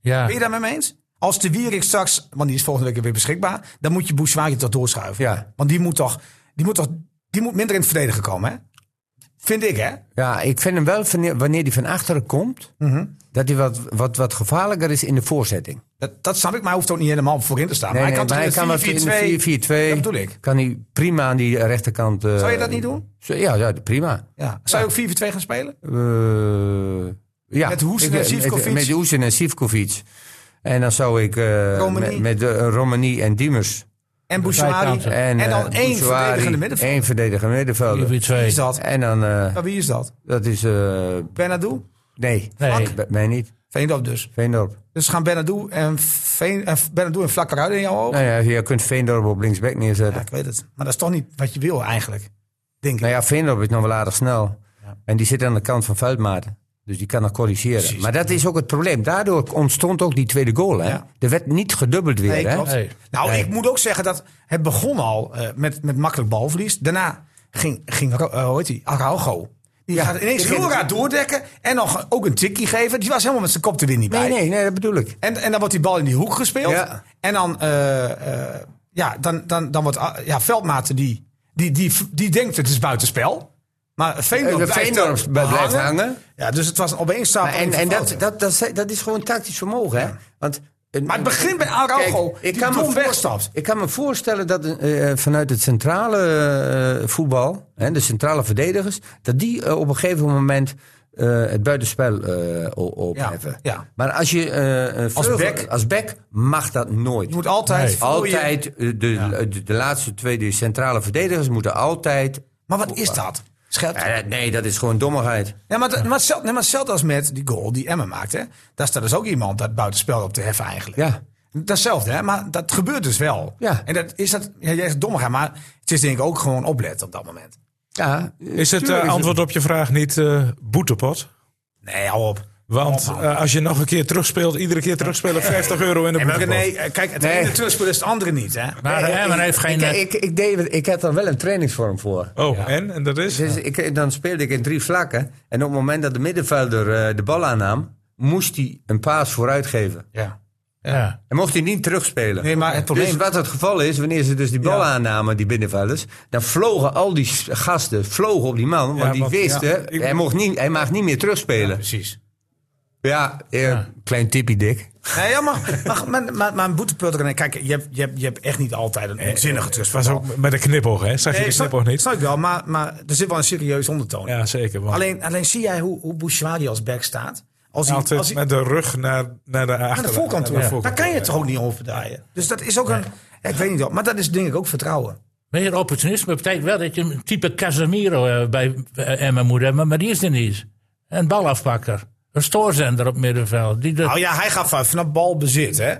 S1: Ja.
S5: Ben je daar met me eens? Als de Wierik straks, want die is volgende week weer beschikbaar, dan moet je Bouchouari toch doorschuiven.
S3: Ja.
S5: Want die moet toch, die moet toch, die moet minder in het verdedigen komen, hè? Vind ik, hè?
S3: Ja, ik vind hem wel van- wanneer die van achteren komt,
S5: Mhm.
S3: dat hij wat, wat, wat gevaarlijker is in de voorzetting.
S5: Dat, dat snap ik, maar hij hoeft ook niet helemaal voorin te staan.
S3: Nee,
S5: maar
S3: nee,
S5: hij kan
S3: maar hij
S5: toch
S3: kan
S5: in
S3: wat in de
S5: de
S3: 4-4-2.
S5: 4-4-2? Dat bedoel ik.
S3: Kan hij prima aan die rechterkant. eh,
S5: Zou je dat niet doen?
S3: zo- Ja, ja prima.
S5: Ja. Zou je ook 4-4-2 gaan spelen?
S3: Eh, ja.
S5: Met Hoesen
S3: Ik- eh,
S5: en
S3: met-
S5: Sivkovic?
S3: Met Hoesen en Sivkovic. En dan zou ik eh,
S5: Romani.
S3: met, met eh, Romani en Diemers.
S1: Zij
S5: En Bouchouari?
S1: kan-
S3: En,
S5: En,
S3: eh,
S5: dan één
S3: Bouchouari,
S5: verdedigende middenveld.
S3: één verdedigende middenvelder.
S1: Wie twee.
S5: Wie is dat?
S3: En dan, eh,
S5: Ja, wie is dat?
S3: dat is, eh,
S5: Bernadou?
S3: nee,
S1: Nee.
S3: bij mij niet.
S5: Veendorp dus.
S3: Veendorp.
S5: Dus gaan Bernadou en, Veen, en Bernadou en Vlak eruit in jouw ogen?
S3: Nou ja, je kunt Veendorp op linksback
S5: Ja,
S3: neerzetten.
S5: ik weet het. Maar dat is toch niet wat je wil eigenlijk. Denk ik.
S3: Nou ja, Veendorp is nog wel aardig snel. En die zit aan de kant van Veldmaten. Dus die kan nog corrigeren. Maar dat is ook het probleem. Daardoor ontstond ook die tweede goal. Hè?
S5: Ja.
S3: Er werd niet gedubbeld weer.
S5: Nee,
S3: hè?
S5: klopt.
S1: Nee.
S5: Nou, ik moet ook zeggen dat het begon al eh, met, met makkelijk balverlies. Daarna ging, ging Ro- eh, hoe heet die? Araujo. Die gaat ineens
S3: die ging-
S5: heel raar doordekken en nog ook een tikkie geven. Die was helemaal met zijn kop er weer niet bij.
S3: Nee, nee, nee, dat bedoel ik.
S5: En, en dan wordt die bal in die hoek gespeeld.
S3: Ja.
S5: En dan, eh, eh, ja, dan, dan, dan wordt ah, ja, Veldmaten die, die, die, die denkt het is buitenspel. Maar Veendorp,
S3: Eh,
S5: blijft,
S3: Veendorp
S5: er
S3: blijft hangen.
S5: Ja, dus het was een
S3: Maar en
S5: opeenstapeling
S3: en
S5: van
S3: dat,
S5: fouten.
S3: dat, dat, is- dat is gewoon tactisch vermogen. Hè? Want
S5: Maar het begint bij Araujo,
S3: Kijk,
S5: die dom
S3: voor-
S5: wegstapt.
S3: Ik kan me voorstellen dat eh, eh, vanuit het centrale eh, voetbal, hè, de centrale verdedigers, dat die eh, op een gegeven moment eh, het buitenspel eh, o- opheffen.
S5: ja.
S3: Maar als je eh, eh, vleugel-
S5: back.
S3: als back mag dat nooit.
S5: Je moet altijd... voor je-
S3: Altijd, eh, de, de, de laatste twee die centrale verdedigers moeten altijd.
S5: Maar wat is dat? Scherp.
S3: Eh, nee, dat is gewoon dommigheid.
S5: Ja, maar, dat- maar, hetzelfde, nee, maar hetzelfde als met die goal die Emma maakte. Daar staat dus ook iemand dat buitenspel op te heffen eigenlijk.
S3: Ja.
S5: Datzelfde, hè? maar dat gebeurt dus wel.
S3: Ja.
S5: En dat is dat, ja, jij zegt dommigheid, maar het is denk ik ook gewoon opletten op dat moment.
S3: ja
S2: Is het eh, antwoord op je vraag niet eh, boetepot?
S5: Nee, hou op.
S2: Want eh, als je nog een keer terugspeelt, iedere keer terugspelen, 50 euro in de
S5: Nee, maar
S2: boetepot.
S5: René, eh, kijk, het
S3: Nee.
S5: ene terugspel is het andere niet, hè?
S1: Maar eh, Emmen heeft geen...
S3: Ik,
S1: eh,
S3: ik, ik, deed, het- ik had er wel een trainingsvorm voor.
S2: Oh, en? En dat is?
S3: Dus ik, dan speelde ik in drie vlakken. En op het moment dat de middenvelder eh, de bal aannam, moest hij een paas vooruit geven.
S5: Ja.
S1: ja.
S3: En mocht hij niet terugspelen.
S5: Nee, maar het
S3: dus
S5: probleem...
S3: wat het geval is, wanneer ze dus die bal
S5: Ja.
S3: aannamen, die binnenvelders, dan vlogen al die s- gasten vlogen op die man. Want
S2: Ja,
S3: die
S2: want-
S3: wisten,
S2: ja, ik-
S3: hij, mocht niet, hij mag niet meer terugspelen.
S5: Precies.
S3: Ja, eh, klein tippie dik.
S5: Nee, ja, maar, maar, maar, maar, maar een boetepult, René, kijk, je hebt, je, hebt, je hebt echt niet altijd een onzinnige terugspel.
S2: Was ook met een knipoog, hè? Zag je de
S5: snap,
S2: knipoog niet?
S5: snap ik wel, maar, maar er zit wel een serieus ondertoon. in.
S2: Ja, zeker. Want
S5: Alleen, alleen zie jij hoe, hoe Bouchouari als back staat? Als hij,
S2: altijd
S5: als hij
S2: met de rug naar, naar de achterkant.
S5: aan de voorkant toe.
S2: Naar de
S5: Daar
S2: voorkant.
S5: kan je het toch ook niet overdraaien. Dus dat is ook een... ja, ik weet niet wat, maar dat is denk ik ook vertrouwen.
S1: Meer opportunisme betekent wel dat je een type Casemiro eh, bij eh, Emmen moet hebben, maar die is er niet. Een balafpakker. Een stoorzender op middenveld. Die de,
S5: Nou ja, hij gaat van- vanaf balbezit, hè?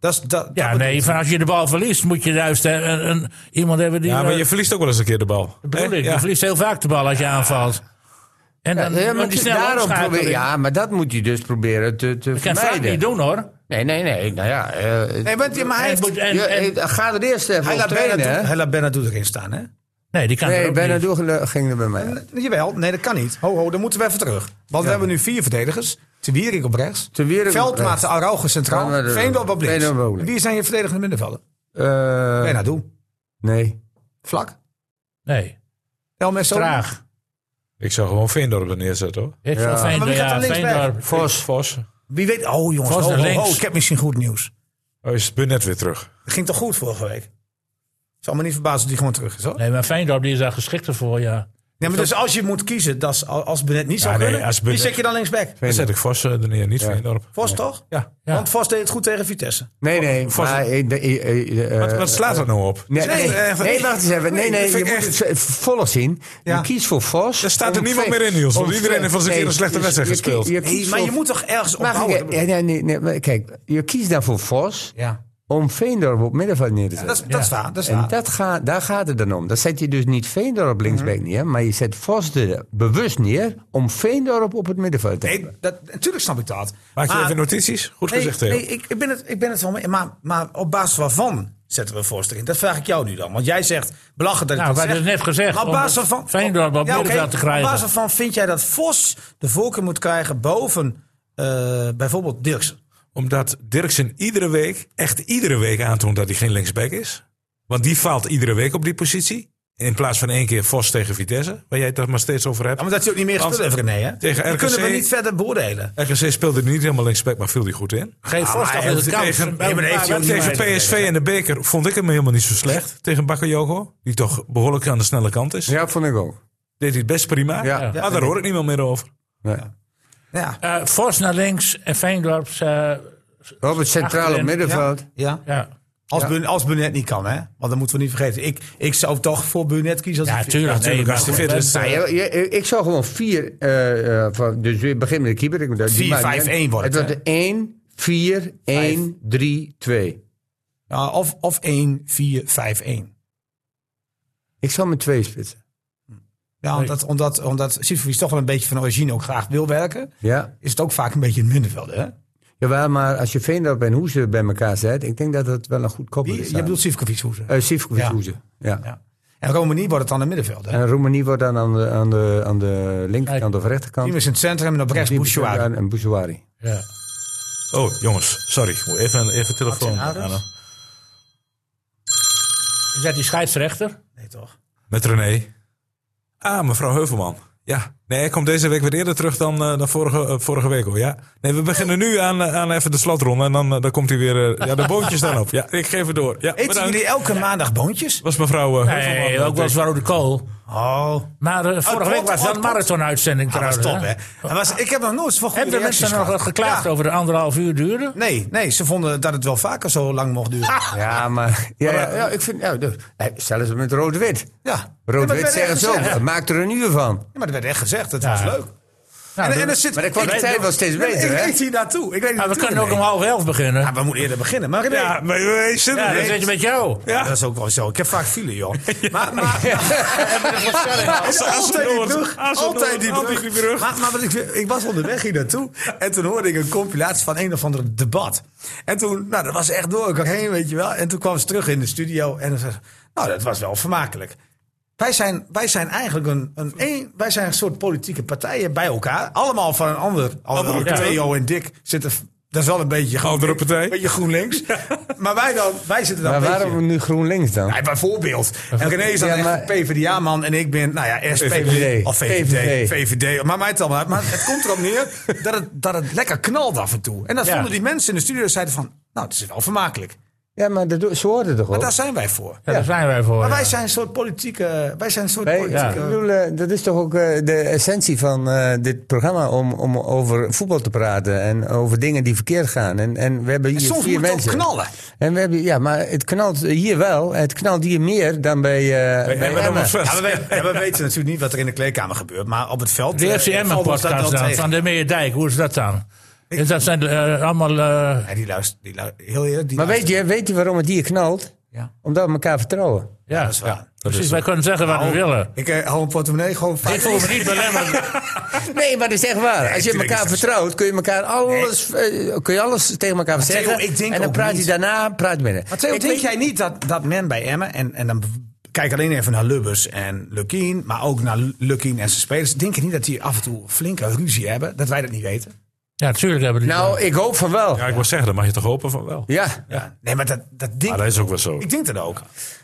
S5: Dat is, dat,
S1: ja,
S5: dat
S1: nee,
S5: bedoelt-
S1: van als je de bal verliest, moet je juist eh, een, een- iemand hebben die...
S2: Ja, maar
S1: eh,
S2: je verliest ook wel eens een keer de bal.
S1: bedoel
S2: Hè?
S1: ik, je
S2: Ja.
S1: verliest heel vaak de bal als je aanvalt. En dan
S3: Ja,
S1: maar
S3: Eh, maar
S1: die
S3: die-
S1: snelle
S3: daarom
S1: omschakeling.
S3: probeer- ja, maar dat moet hij dus proberen te, te
S1: Dat kan Frank
S3: vermijden.
S1: niet doen hoor.
S3: Nee, nee, nee. Nou ja, eh,
S5: Nee, want, maar hij,
S1: Hij
S5: heeft,
S1: moet- en-
S3: je-
S1: en-
S3: eh, ga er eerst even
S5: hij
S3: op
S5: laat
S3: trainen, hè?
S5: Benadou- hij laat Benadou erin staan, hè?
S1: nee, die kan er
S3: Nee,
S1: ook
S3: bijna
S1: niet.
S3: door gele- ging er bij mij.
S5: Jawel, nee, dat kan niet. Ho, ho, dan moeten we even terug. Want we hebben nu vier verdedigers. Te Wierik op rechts.
S3: Te Wierik op
S5: Veldmaat,
S3: rechts.
S5: de Araujo centraal.
S3: Van der-
S5: Veendorp op links.
S3: Veendorp op links.
S5: Wie zijn je verdedigende middenvelder?
S3: Eh,
S5: Benadou.
S3: Nee.
S5: nou Vlak.
S1: Nee,
S5: El Meso.
S1: traag.
S2: Ik zou gewoon Veendorp er neerzetten, hoor.
S1: Ik zou
S5: Maar
S1: Veendorp,
S5: wie gaat
S1: ja,
S5: er links
S1: Veendorp.
S2: Vos. Vos.
S5: Wie weet. Oh jongens,
S1: Vos
S5: ho,
S1: naar
S5: ho,
S1: links.
S5: ho, ik heb misschien goed nieuws.
S2: Oh, is Burnett weer terug?
S5: Het ging toch goed vorige week? Zal me niet verbazen dat hij gewoon terug is hoor. Nee,
S1: Nee, maar Veendorp die is daar geschikt voor, ja.
S5: maar dus als je moet kiezen, dat is, als Benet niet zou
S2: Ja, nee,
S5: kunnen,
S2: als
S5: wie
S2: Burnett-
S5: zet je dan linksback?
S2: Dan zet ik Vos eh, er neer, niet Veendorp.
S5: Vos toch?
S2: Ja.
S1: Ja.
S5: Want Vos deed het goed tegen Vitesse.
S3: Nee, nee.
S2: Vos-
S3: maar, eh, de- eh, eh, eh,
S2: Oh, Wat, wat slaat dat nou op?
S3: Nee, nee,
S5: Nee,
S3: nee, wacht eens even. Nee, nee,
S2: dat
S3: je
S2: vind ik
S3: moet het volg zien.
S5: Ja.
S3: Je kiest voor Vos.
S2: Er staat er
S3: om
S2: niemand
S3: Ve-
S2: meer in, Niels, want
S3: om
S2: iedereen
S3: Ve-
S2: heeft wel eens een keer
S3: nee,
S2: een slechte
S3: je-
S2: wedstrijd
S3: je-
S2: gespeeld.
S3: je kiest
S5: maar je
S3: voor-
S5: moet toch ergens op
S3: Mag ik-
S5: houden?
S3: ja, nee, nee, nee, maar Kijk, je kiest dan voor Vos
S5: Ja,
S3: om Veendorp op middenveld neer te
S5: dat is,
S3: zetten.
S5: dat is waar. Dat is
S3: En
S5: waar.
S3: dat ga, daar gaat het dan om. Dan zet je dus niet Veendorp linksback
S2: Mhm.
S3: neer, maar je zet Vos er bewust neer om Veendorp op het middenveld te hebben.
S5: nee, dat, natuurlijk snap ik dat.
S2: Maak je
S5: Maar-
S2: even notities? Goed
S5: Ah. nee,
S2: gezegd, Theo.
S5: nee, ik, ik ben het, ik ben het wel mee. Maar, maar op basis waarvan zetten we Vos erin? Dat vraag ik jou nu dan. Want jij zegt, belachelijk dat ik
S1: Nou,
S5: dat
S1: we hadden
S5: zeg.
S1: het net gezegd,
S5: Maar op
S1: om
S5: basis van...
S1: Veendorp op
S5: oké.
S1: middenveld te krijgen.
S5: Op basis van vind jij dat Vos de voorkeur moet krijgen boven eh, bijvoorbeeld Dirksen?
S2: Omdat Dirksen iedere week, echt iedere week aantoont dat hij geen linksback is. Want die faalt iedere week op die positie. In plaats van één keer Vos tegen Vitesse, waar jij het daar maar steeds over hebt.
S5: Ja, maar dat je ook niet meer gespeeld heeft, René. Hè?
S2: tegen
S5: Die kunnen we
S2: RKC
S5: niet verder beoordelen.
S2: RKC speelde niet helemaal linksback, maar viel die goed in.
S1: Geen Vos
S5: maar
S1: toch
S5: hij
S1: in de
S5: heeft-
S1: kans.
S2: tegen-
S1: Bij
S5: nee, maar
S1: een
S5: heeft
S1: paar
S5: hij ook niet
S1: wedstrijden.
S2: Tegen PSV en de beker vond ik hem helemaal niet zo slecht. Tegen Bakayoko, die toch behoorlijk aan de snelle kant is.
S3: Ja, vond ik ook.
S2: Deed hij het best prima.
S3: Ja.
S2: Maar daar hoor ik niemand meer over.
S3: Nee.
S5: Ja.
S1: Eh, Vos naar links en Veendorp. eh,
S3: Op het centrale
S1: Achterin,
S3: middenveld.
S5: Ja.
S1: ja,
S5: Als, Bun, als Brunet niet kan, hè? Want dat moeten we niet vergeten. Ik, ik zou toch voor Brunet kiezen. Als
S1: ja,
S5: ik-
S1: tuurlijk.
S2: natuurlijk,
S1: nee,
S2: als
S1: maar
S2: hij
S1: goed,
S2: fit is.
S1: dat-
S3: Ja, je- je- ik zou gewoon vier. eh, eh, van- dus weer begin met de keeper. Ik- die
S5: Vier,
S3: maakt niet
S5: vijf,
S3: uit.
S5: één wordt
S3: het.
S5: het,
S3: wordt er 1, 4, 1, 3, 2.
S5: Ja, of, of 1, 4, 5, 1.
S3: Ik zou met twee spitsen.
S5: Ja, omdat, omdat, omdat Sivkovic toch wel een beetje van origine ook graag wil werken,
S3: Ja.
S5: is het ook vaak een beetje een middenveld, hè?
S3: Jawel, maar als je Veendorp en Hoeze bij elkaar zet, ik denk dat dat wel een goed koppel
S5: Wie, Eh.
S3: is.
S5: je bedoelt Sivkovic hoezen.
S3: uh, Sivkovic
S5: Ja.
S3: Hoeze. Ja.
S5: Ja. En Romani wordt het dan een middenveld, hè?
S3: En Roemenië wordt dan aan de, aan de, aan de linkerkant of rechterkant. Dus
S5: Team is in het centrum en op rechts Bouchouari.
S3: En Bouchouari.
S1: ja.
S2: Oh, jongens, sorry. Moet Even, even telefoon.
S5: Adams?
S2: aan.
S1: Is dat die scheidsrechter?
S5: Nee, toch?
S2: Met René. Ah, mevrouw Heuvelman. Ja, Nee, ik kom deze week weer eerder terug dan, eh, dan vorige, eh, vorige week al, ja. Nee, we beginnen nu aan, eh, aan even de slotronde en dan, eh, dan komt hij weer... eh, ja, de boontjes dan op. Ja, ik geef het door. Ja,
S5: Eten
S2: bedankt.
S5: jullie elke maandag boontjes?
S2: Was mevrouw eh, Heuvelman,
S1: Nee,
S2: eh,
S1: ook wel eens rode kool.
S5: Oh,
S1: Maar eh, vorige
S5: klopt,
S1: week was wel
S5: oh,
S1: een
S5: klopt.
S1: marathon-uitzending
S5: dat was
S1: trouwens.
S5: top,
S1: hè?
S5: hè? Dat Was, ik heb nog nooit zo goede
S1: Hebben de
S5: reacties
S1: mensen nog
S5: gehad.
S1: wat geklaagd
S5: Ja. Nou,
S1: over de anderhalf uur duurde?
S5: Nee, nee, ze vonden dat het wel vaker zo lang mocht duren.
S3: Ja, maar. Ja, ja, ja, ik vind. Ja, dus, eh, zelfs met rood-wit.
S5: Ja. Ja, maar het
S3: Rood-wit
S5: werd
S3: zeggen
S5: echt
S3: ze ook.
S5: gezegd.
S3: Het maakt er een uur van.
S5: Ja, maar er werd echt gezegd, dat was
S1: Ja.
S5: leuk.
S1: Nou,
S5: en,
S1: dat-
S5: en er zit,
S3: Maar de kwaliteit was steeds
S5: Nee,
S3: beter,
S5: Ik
S3: hè?
S5: weet hier naartoe. Ik weet niet
S1: Maar we
S5: naartoe
S1: kunnen ook om
S5: ermee.
S1: half elf beginnen.
S5: Ja, we moeten eerder beginnen. Maar nee.
S2: Ja, maar je zit
S1: Ja,
S2: er
S1: dan
S2: niet.
S1: zit je met jou.
S5: Ja, Dat is ook wel zo. Ik heb vaak file, joh. Maar, maar, maar altijd die brug. Altijd die brug. Maar, maar wat ik, ik was onderweg hier naartoe. En toen hoorde ik een compilatie van een of ander debat. En toen, nou, dat was echt door. Ik heen, weet je wel. En toen kwam ze terug in de studio. En dan zei ze, nou, dat was wel vermakelijk. Wij zijn, wij zijn eigenlijk een, een, een, wij zijn een soort politieke partijen bij elkaar. Allemaal van een ander. Andere
S1: partij.
S5: Theo en Dick zitten... Dat is wel een beetje...
S2: Andere partij.
S5: Een beetje GroenLinks. Maar wij, dan, wij zitten dan
S3: Maar
S5: een beetje...
S3: waarom nu GroenLinks dan?
S5: Ja, bijvoorbeeld. En René is dan
S3: Ja,
S5: echt
S3: maar-
S5: een PvdA-man en ik ben, nou ja, SPVD.
S3: VVD.
S5: Of
S3: VVD.
S5: VVD. VVD. Maar mij het allemaal uit. Maar het komt erop neer dat het, dat het lekker knalt af en toe. En dat
S1: Ja.
S5: vonden die mensen in de studio zeiden van, nou, het is wel vermakelijk.
S3: Ja, maar dat, doen- ze hoorden toch
S5: Maar
S3: ook?
S5: daar zijn wij voor.
S1: Ja, daar zijn wij voor.
S5: Maar
S1: ja.
S5: wij zijn een soort politieke... Wij zijn een soort
S3: Nee,
S5: politieke...
S3: ik bedoel, eh, dat is toch ook eh, de essentie van eh, dit programma om, om over voetbal te praten en over dingen die verkeerd gaan. En, en we hebben hier
S5: En soms
S3: vier
S5: moet het ook
S3: mensen.
S5: knallen.
S3: En we hebben, ja, maar het knalt hier wel. Het knalt hier meer dan bij, eh bij,
S2: Emmen
S3: Emmen.
S2: of zo.
S5: Ja, maar wij- ja, we weten natuurlijk niet wat er in de kleedkamer gebeurt. Maar op het veld...
S1: De
S5: eh, valt ons dat wel
S1: FCM-podcast dan,
S5: tegen.
S1: van de Meerdijk, hoe is dat dan? Is dat zijn eh, allemaal... eh,
S5: Ja, die luistert... Die luistert heel eerlijk, die
S3: Maar weet
S5: luistert-
S3: je, weet je waarom het hier knalt?
S5: Ja.
S3: Omdat we elkaar vertrouwen.
S1: ja,
S5: dat is waar.
S1: ja,
S5: Dat is
S1: precies. wij kunnen zeggen wat we willen.
S5: Ik eh, hou een portemonnee gewoon vaak.
S1: Ik voel me niet belemmerd.
S3: Nee, maar dat is echt waar. Als je
S5: tuurlijk
S3: elkaar
S5: is dat
S3: vertrouwt, kun je, elkaar alles, eh, kun je alles tegen elkaar
S5: Theo,
S3: zeggen.
S5: ik denk
S3: en dan
S5: ook
S3: praat je
S5: niet.
S3: daarna praat je met
S5: Maar Theo, denk jij niet dat, dat men bij Emmen, en, en dan b- kijk alleen even naar Lubbers en Lukien, maar ook naar Lu- Lukien en zijn spelers, denk je niet dat die af en toe flinke ruzie hebben, dat wij dat niet weten?
S1: Ja, natuurlijk hebben die...
S3: Nou, ik hoop van wel.
S2: Ja, ik wil zeggen, dat mag je toch hopen van wel.
S3: ja.
S5: Ja. Nee, maar dat, dat denk
S2: Maar dat is ook wel zo.
S5: ik. denk dat ook.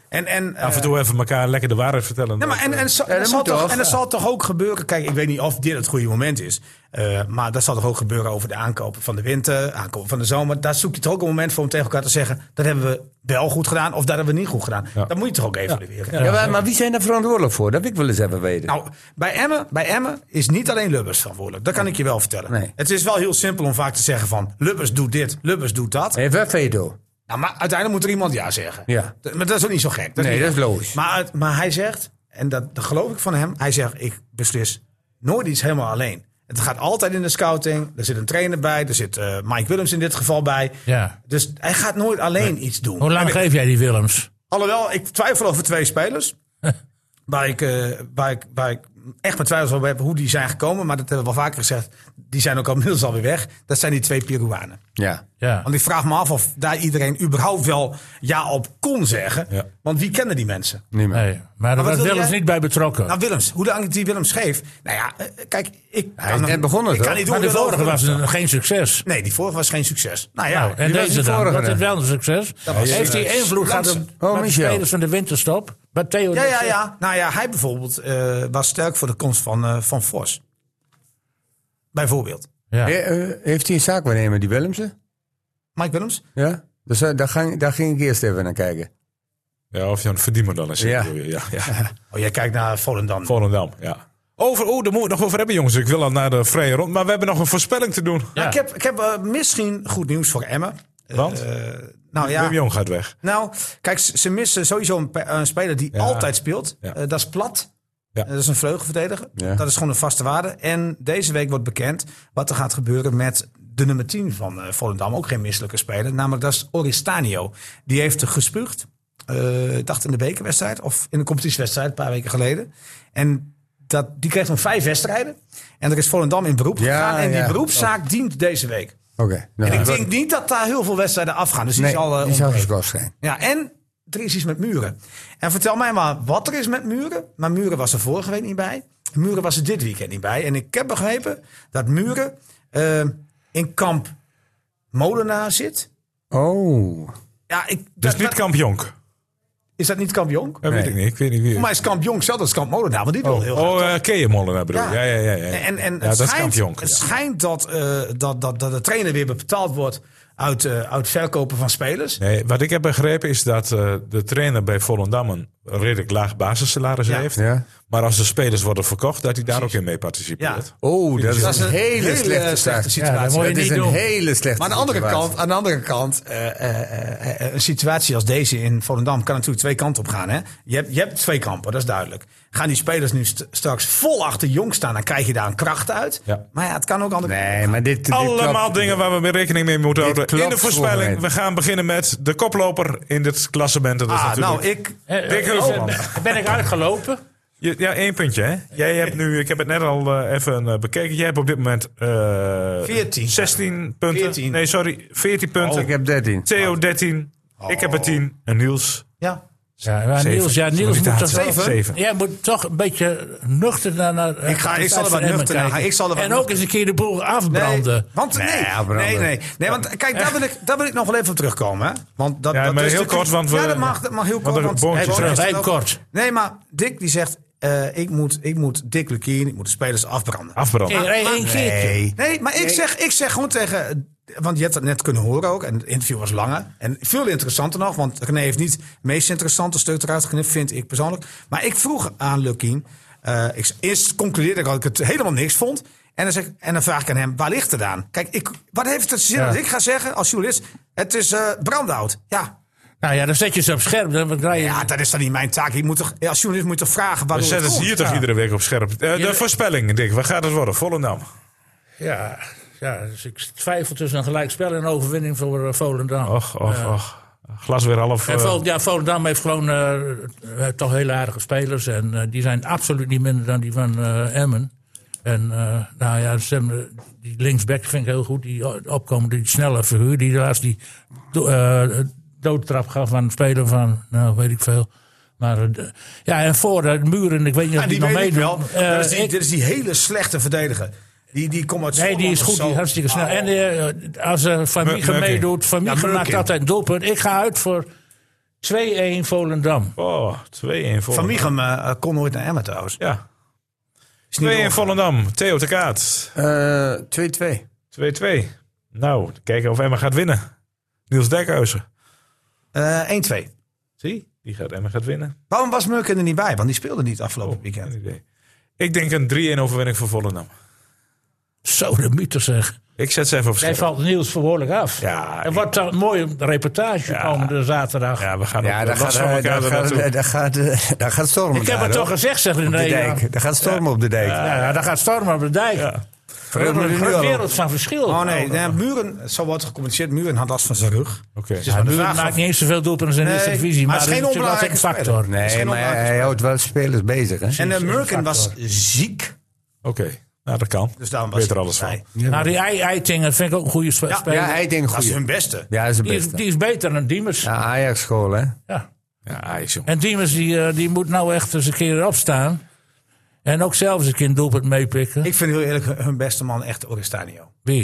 S5: En, en,
S2: Af en
S5: eh,
S2: toe even elkaar lekker de waarheid vertellen.
S5: Nee, maar en, en, zo- en
S3: Ja,
S5: dat
S3: dat
S5: zal
S3: moet
S5: toch,
S3: toch?
S5: en dat zal toch ook gebeuren. Kijk, ik weet niet of dit het goede moment is. eh, maar dat zal toch ook gebeuren over de aankopen van de winter, aankopen van de zomer. Daar zoek je toch ook een moment voor om tegen elkaar te zeggen: dat hebben we wel goed gedaan of dat hebben we niet goed gedaan. Dat moet je toch ook evalueren.
S3: Ja, maar, maar wie zijn daar verantwoordelijk voor? Dat wil ik wel eens even weten.
S5: Nou, bij Emmen, bij Emmen is niet alleen Lubbers verantwoordelijk. Dat kan ik je wel vertellen.
S3: Nee.
S5: Het is wel heel simpel om vaak te zeggen van... Lubbers doet dit, Lubbers doet dat.
S3: Heeft wel veto.
S5: Nou, maar uiteindelijk moet er iemand ja zeggen.
S3: Ja.
S5: D- Maar dat is ook niet zo gek.
S3: Nee,
S5: niet
S3: dat is
S5: gek.
S3: logisch.
S5: Maar, het- maar hij zegt, en dat, dat geloof ik van hem... Hij zegt, ik beslis nooit iets helemaal alleen. Het gaat altijd in de scouting. Er zit een trainer bij. Er zit eh, Mike Willems in dit geval bij.
S1: Ja.
S5: Dus hij gaat nooit alleen iets doen.
S1: Hoe lang
S5: En-
S1: geef jij die Willems?
S5: Alhoewel, ik twijfel over twee spelers. waar, ik, eh, waar, ik, waar ik echt mijn twijfels over heb hoe die zijn gekomen. Maar dat hebben we wel vaker gezegd. Die zijn ook al inmiddels alweer weg. Dat zijn die twee Peruanen.
S3: Ja.
S1: Ja.
S5: Want ik vraag me af of daar iedereen überhaupt wel ja op kon zeggen.
S2: Ja.
S5: Want wie kennen die mensen?
S3: Niet meer.
S1: Nee, maar daar
S5: wat
S1: was
S5: wil
S1: Willems
S5: jij?
S1: niet bij betrokken.
S5: Nou, Willems. Hoe lang ik die Willems geef? Nou ja, eh, kijk, ik kan
S3: is
S5: hem-
S3: net begonnen,
S5: Ik kan
S3: toch?
S5: niet
S1: maar de
S5: oordelen
S1: vorige
S5: over
S1: was
S5: Willems.
S1: een- geen succes.
S5: Nee, die vorige was geen succes. Nou ja,
S1: Nou, en
S3: wie was
S1: deze
S3: die
S1: dan?
S3: vorige
S1: Dat
S3: dan?
S1: is wel een succes.
S5: was,
S1: Heeft
S5: eh,
S1: hij invloed gehad
S5: Lansen.
S1: op
S3: Oh,
S1: op de
S3: Michel.
S1: spelers van de winterstop? Maar Theo
S5: ja,
S1: net
S5: ja,
S1: zegt-
S5: ja. Nou ja, hij bijvoorbeeld eh, was sterk voor de komst van, eh, van Vos. Bijvoorbeeld.
S1: Ja.
S3: He- eh, heeft hij een zaakwaarnemer, die Willemsen?
S5: Mike Willems?
S3: Ja. Dus eh, daar, ging, daar ging ik eerst even naar kijken.
S2: Ja, of je een verdiener dan is.
S3: Ja.
S2: Ja. Ja, ja.
S5: Oh, jij kijkt naar Volendam.
S2: Volendam, ja. Over, oh, daar moeten we het nog over hebben, jongens. Ik wil al naar de vrije rond. Maar we hebben nog een voorspelling te doen.
S5: Nou, ik heb, ik heb eh, misschien goed nieuws voor Emmen.
S2: Want?
S5: Eh, nou
S2: Wim
S5: ja,
S2: Jong gaat weg.
S5: nou, kijk, ze ze missen sowieso een, pe- een speler die
S2: Ja.
S5: altijd speelt.
S2: Ja.
S5: Eh, dat is plat.
S2: Ja.
S5: Eh, dat is een vleugelverdediger.
S3: Ja.
S5: Dat is gewoon een vaste waarde. En deze week wordt bekend wat er gaat gebeuren met de nummer 10 van eh, Volendam. Ook geen misselijke speler. Namelijk, dat is Oristanio. Die heeft gespuugd. Eh, ik dacht in de bekerwedstrijd of in de competitiewedstrijd een paar weken geleden. En dat, die kreeg nog vijf wedstrijden. En er is Volendam in beroep
S3: Ja,
S5: gegaan. En die
S3: ja. Oh.
S5: beroepszaak dient deze week.
S3: Oké. nou,
S5: En ik denk niet dat daar heel veel wedstrijden afgaan. Dus die
S3: nee,
S5: zal, eh,
S3: die zal
S5: ontbreken.
S3: geschorst zijn.
S5: Ja, en er is iets met muren. En vertel mij maar wat er is met muren. Maar muren was er vorige week niet bij. Muren was er dit weekend niet bij. En ik heb begrepen dat muren eh, in kamp Molenaar zit.
S3: Oh.
S5: Ja, ik,
S2: Dus
S5: dat-
S2: niet
S5: dat-
S2: kamp Jonk.
S5: Is dat niet Kamp Jong?
S2: Dat weet ik niet. Ik weet niet wie.
S5: Voor mij is Kamp Jong zelf als Kamp Molenaar, want die wil heel graag.
S2: Oh, eh Keeën Molenaar bedoel je. Ja, ja, ja. ja,
S5: En, en
S2: ja,
S5: het
S2: dat is
S5: schijnt,
S2: kampioen.
S5: het schijnt dat, eh, dat, dat, dat de trainer weer betaald wordt uit, eh, uit verkopen van spelers.
S2: Nee, wat ik heb begrepen is dat eh, de trainer bij Volendam een redelijk laag basissalaris heeft.
S11: Ja.
S2: Maar als de spelers worden verkocht, dat hij daar ook in mee participeert.
S5: Ja.
S11: Oh, dat is
S5: Dat is
S11: een
S5: een
S11: hele
S5: hele
S11: slechte situatie.
S5: slechte situatie.
S1: Ja, dat moet je
S11: Het is
S1: niet
S11: een
S1: doen.
S11: hele slechte
S5: Maar aan de andere
S11: situatie.
S5: kant, aan de andere kant eh, eh, eh, eh, een situatie als deze in Volendam kan natuurlijk twee kanten op gaan. Hè? Je, hebt, je hebt twee kampen, dat is duidelijk. Gaan die spelers nu st- straks vol achter jong staan, dan krijg je daar een kracht uit.
S2: Ja.
S5: Maar ja, het kan ook andere
S11: Nee, maar dit, dit
S2: Allemaal
S11: klopt.
S2: dingen waar we mee rekening mee moeten
S11: Dit
S2: houden. In de
S11: klopt voor
S2: voorspelling.
S11: mij.
S2: We gaan beginnen met de koploper in dit klassement. Dat is
S5: Ah,
S2: natuurlijk...
S5: nou, ik,
S1: Eh,
S2: Dick
S1: eh, is-
S2: Heuvelman.
S1: eh, ben ik uitgelopen?
S2: Je- Ja, één puntje, hè? Jij hebt nu, ik heb het net al eh, even eh, bekeken. Jij hebt op dit moment eh
S5: 14.
S2: 16 punten.
S5: 14.
S2: Nee, sorry, 14 punten.
S11: Oh, ik heb 13.
S2: Theo 13. Ik heb er 10. En Niels.
S5: ja,
S1: Ja, maar
S2: Zeven.
S1: Niels, ja, Niels moet toch
S2: Zeven.
S1: wel-
S2: Zeven.
S1: Jij moet toch een beetje nuchter naar... naar
S5: Ik ga- ik zal er wat
S1: naar
S5: nuchter naar
S1: kijken.
S5: gaan. Ik zal er wat
S1: En ook
S5: nuchter-
S1: eens een keer de boel afbranden.
S5: Nee, want nee,
S11: branden.
S5: nee, nee, nee, want kijk, daar wil ik, daar wil ik nog wel even op terugkomen. Hè? Want dat,
S2: Ja,
S5: dat
S2: maar
S5: is
S2: heel
S5: natuurlijk-
S2: kort, want we-
S5: ja, dat mag, dat mag heel
S2: er
S5: kort. Want
S2: boontje
S5: Hey,
S2: terug.
S5: Bonnie is
S1: Wij
S5: er ook-
S1: kort.
S5: Nee, maar Dick die zegt, eh, ik, moet, ik moet Dick Lukien, ik moet de spelers afbranden.
S2: Afbranden.
S1: Eén één keertje.
S5: Nee, nee maar ik, Zeg, ik zeg gewoon tegen. Want je hebt het net kunnen horen ook. En het interview was langer. En veel interessanter nog. Want René heeft niet het meest interessante stuk eruit geknipt, vind ik persoonlijk. Maar ik vroeg aan Lukien. eh, ik, eerst concludeerde ik dat ik het helemaal niks vond. En dan, zeg, ik- en dan vraag ik aan hem, waar ligt het aan? Kijk, ik, wat heeft het zin dat ik ga zeggen als journalist? Het is eh brandhout. Ja.
S1: Nou ja, dan zet je ze op scherp. Dan krijg je...
S5: ja, dat is dan niet mijn taak. Ik moet toch, als journalist moet je toch vragen
S2: We
S5: waarom het
S2: zetten ze
S5: komt?
S2: hier toch
S5: Ja.
S2: iedere week op scherp. Eh, de
S1: Ja.
S2: voorspelling, Dick. Waar gaat het worden? Volendam.
S1: Ja, ja, dus ik twijfel tussen een gelijkspel en een overwinning voor eh, Volendam.
S2: Och, och, och. Glas weer half.
S1: En
S2: eh,
S1: Vol- ja, Volendam heeft gewoon eh, eh, toch heel aardige spelers. En eh, die zijn absoluut niet minder dan die van eh, Emmen. En eh, nou ja, ze hebben, eh, die linksback vind ik heel goed. Die o- opkomende, die snelle figuur. Die laatst die do- eh, doodtrap gaf aan een speler van, nou weet ik veel. Maar eh, de- ja, en voor de muren, ik weet niet of
S5: Ja,
S1: die,
S5: Ah, die
S1: nog
S5: weet ik
S1: meedoet.
S5: wel.
S1: Eh,
S5: dat is die,
S1: ik-
S5: dit is die hele slechte verdediger. Die, die komt uit
S1: Nee, die is
S5: Schotland
S1: goed,
S5: of
S1: die is
S5: zo.
S1: hartstikke snel.
S5: Oh.
S1: En eh, als eh Van
S2: Me-
S1: Miegen
S2: Meuking.
S1: meedoet, Van
S5: Ja,
S1: Miegen maakt
S5: Meuking.
S1: altijd een doelpunt. Ik ga uit voor 2-1 Volendam.
S2: Oh, 2-1 Volendam.
S5: Van Michum eh, kon nooit naar Emmen trouwens.
S2: Ja.
S5: Is
S2: 2-1
S5: niet door.
S2: Volendam. Theo de Kaat.
S11: Eh, 2-2.
S2: 2-2. Nou, kijken of Emma gaat winnen. Niels Dijkhuizen.
S5: Eh, 1-2.
S2: Zie, die gaat Emma gaat winnen.
S5: Waarom was Meuken er niet bij? Want die speelde niet afgelopen weekend.
S2: Geen idee. Ik denk een 3-1 overwinning voor Volendam.
S1: Zo de mythe zeg.
S2: Ik zet ze even op
S1: Hij
S2: scherp.
S1: valt Niels verhoorlijk af.
S2: Ja,
S1: er wordt dan een mooie reportage komende zaterdag.
S2: Ja, we gaan
S11: Ja,
S2: op-
S11: daar
S2: los
S11: gaat,
S2: van
S11: eh,
S2: elkaar
S11: daar
S2: er
S11: gaat,
S2: naartoe.
S11: eh, daar gaat, eh, daar gaat stormen.
S1: ik heb het
S11: daar,
S1: toch
S11: hoor.
S1: gezegd, zegt René.
S11: Op de
S1: Ja,
S11: dijk. Daar gaat stormen op de dijk.
S1: Ja, ja, daar gaat stormen op de dijk.
S2: Ja.
S1: We hebben een groot wereld van verschil. Nou,
S5: Oh nee, nee, Muren, zo wordt gecommuniceerd. Muren had last van zijn rug.
S2: Oké.
S5: Dus
S1: Ja,
S5: maar de
S1: Muren
S5: vraag
S1: maakt
S5: of-
S1: niet eens zoveel doelpunten in de
S5: Nee,
S1: eerste divisie.
S5: maar
S1: Maar
S5: het
S1: dat is
S5: is geen
S1: natuurlijk altijd een
S5: onbelangrijke
S1: factor.
S11: Nee,
S5: Misschien
S11: maar
S5: onbelangrijke
S11: hij houdt wel spelers bezig. Hè?
S5: En eh, Meuken was ziek.
S2: Oké, nou dat kan.
S5: Dus daarom was
S2: Weet er
S5: hij
S2: alles
S5: niet
S2: van.
S5: bij.
S1: Maar die Ei- Eiting vind ik ook een goede spe-
S5: Ja,
S1: speler.
S11: Ja, hij denkt
S5: Dat is hun
S11: goed.
S5: beste.
S11: Ja, hij is de
S1: die, is,
S11: beste.
S1: die is beter dan Diemers.
S11: Ja, Ajax-school, hè?
S1: Ja.
S2: Ja, Ajax, jongen.
S1: En Diemers die, eh, die moet nou echt eens een keer opstaan. En ook zelf eens een keer een doelpunt meepikken.
S5: Ik vind heel eerlijk hun beste man echt Oristanio.
S1: Wie?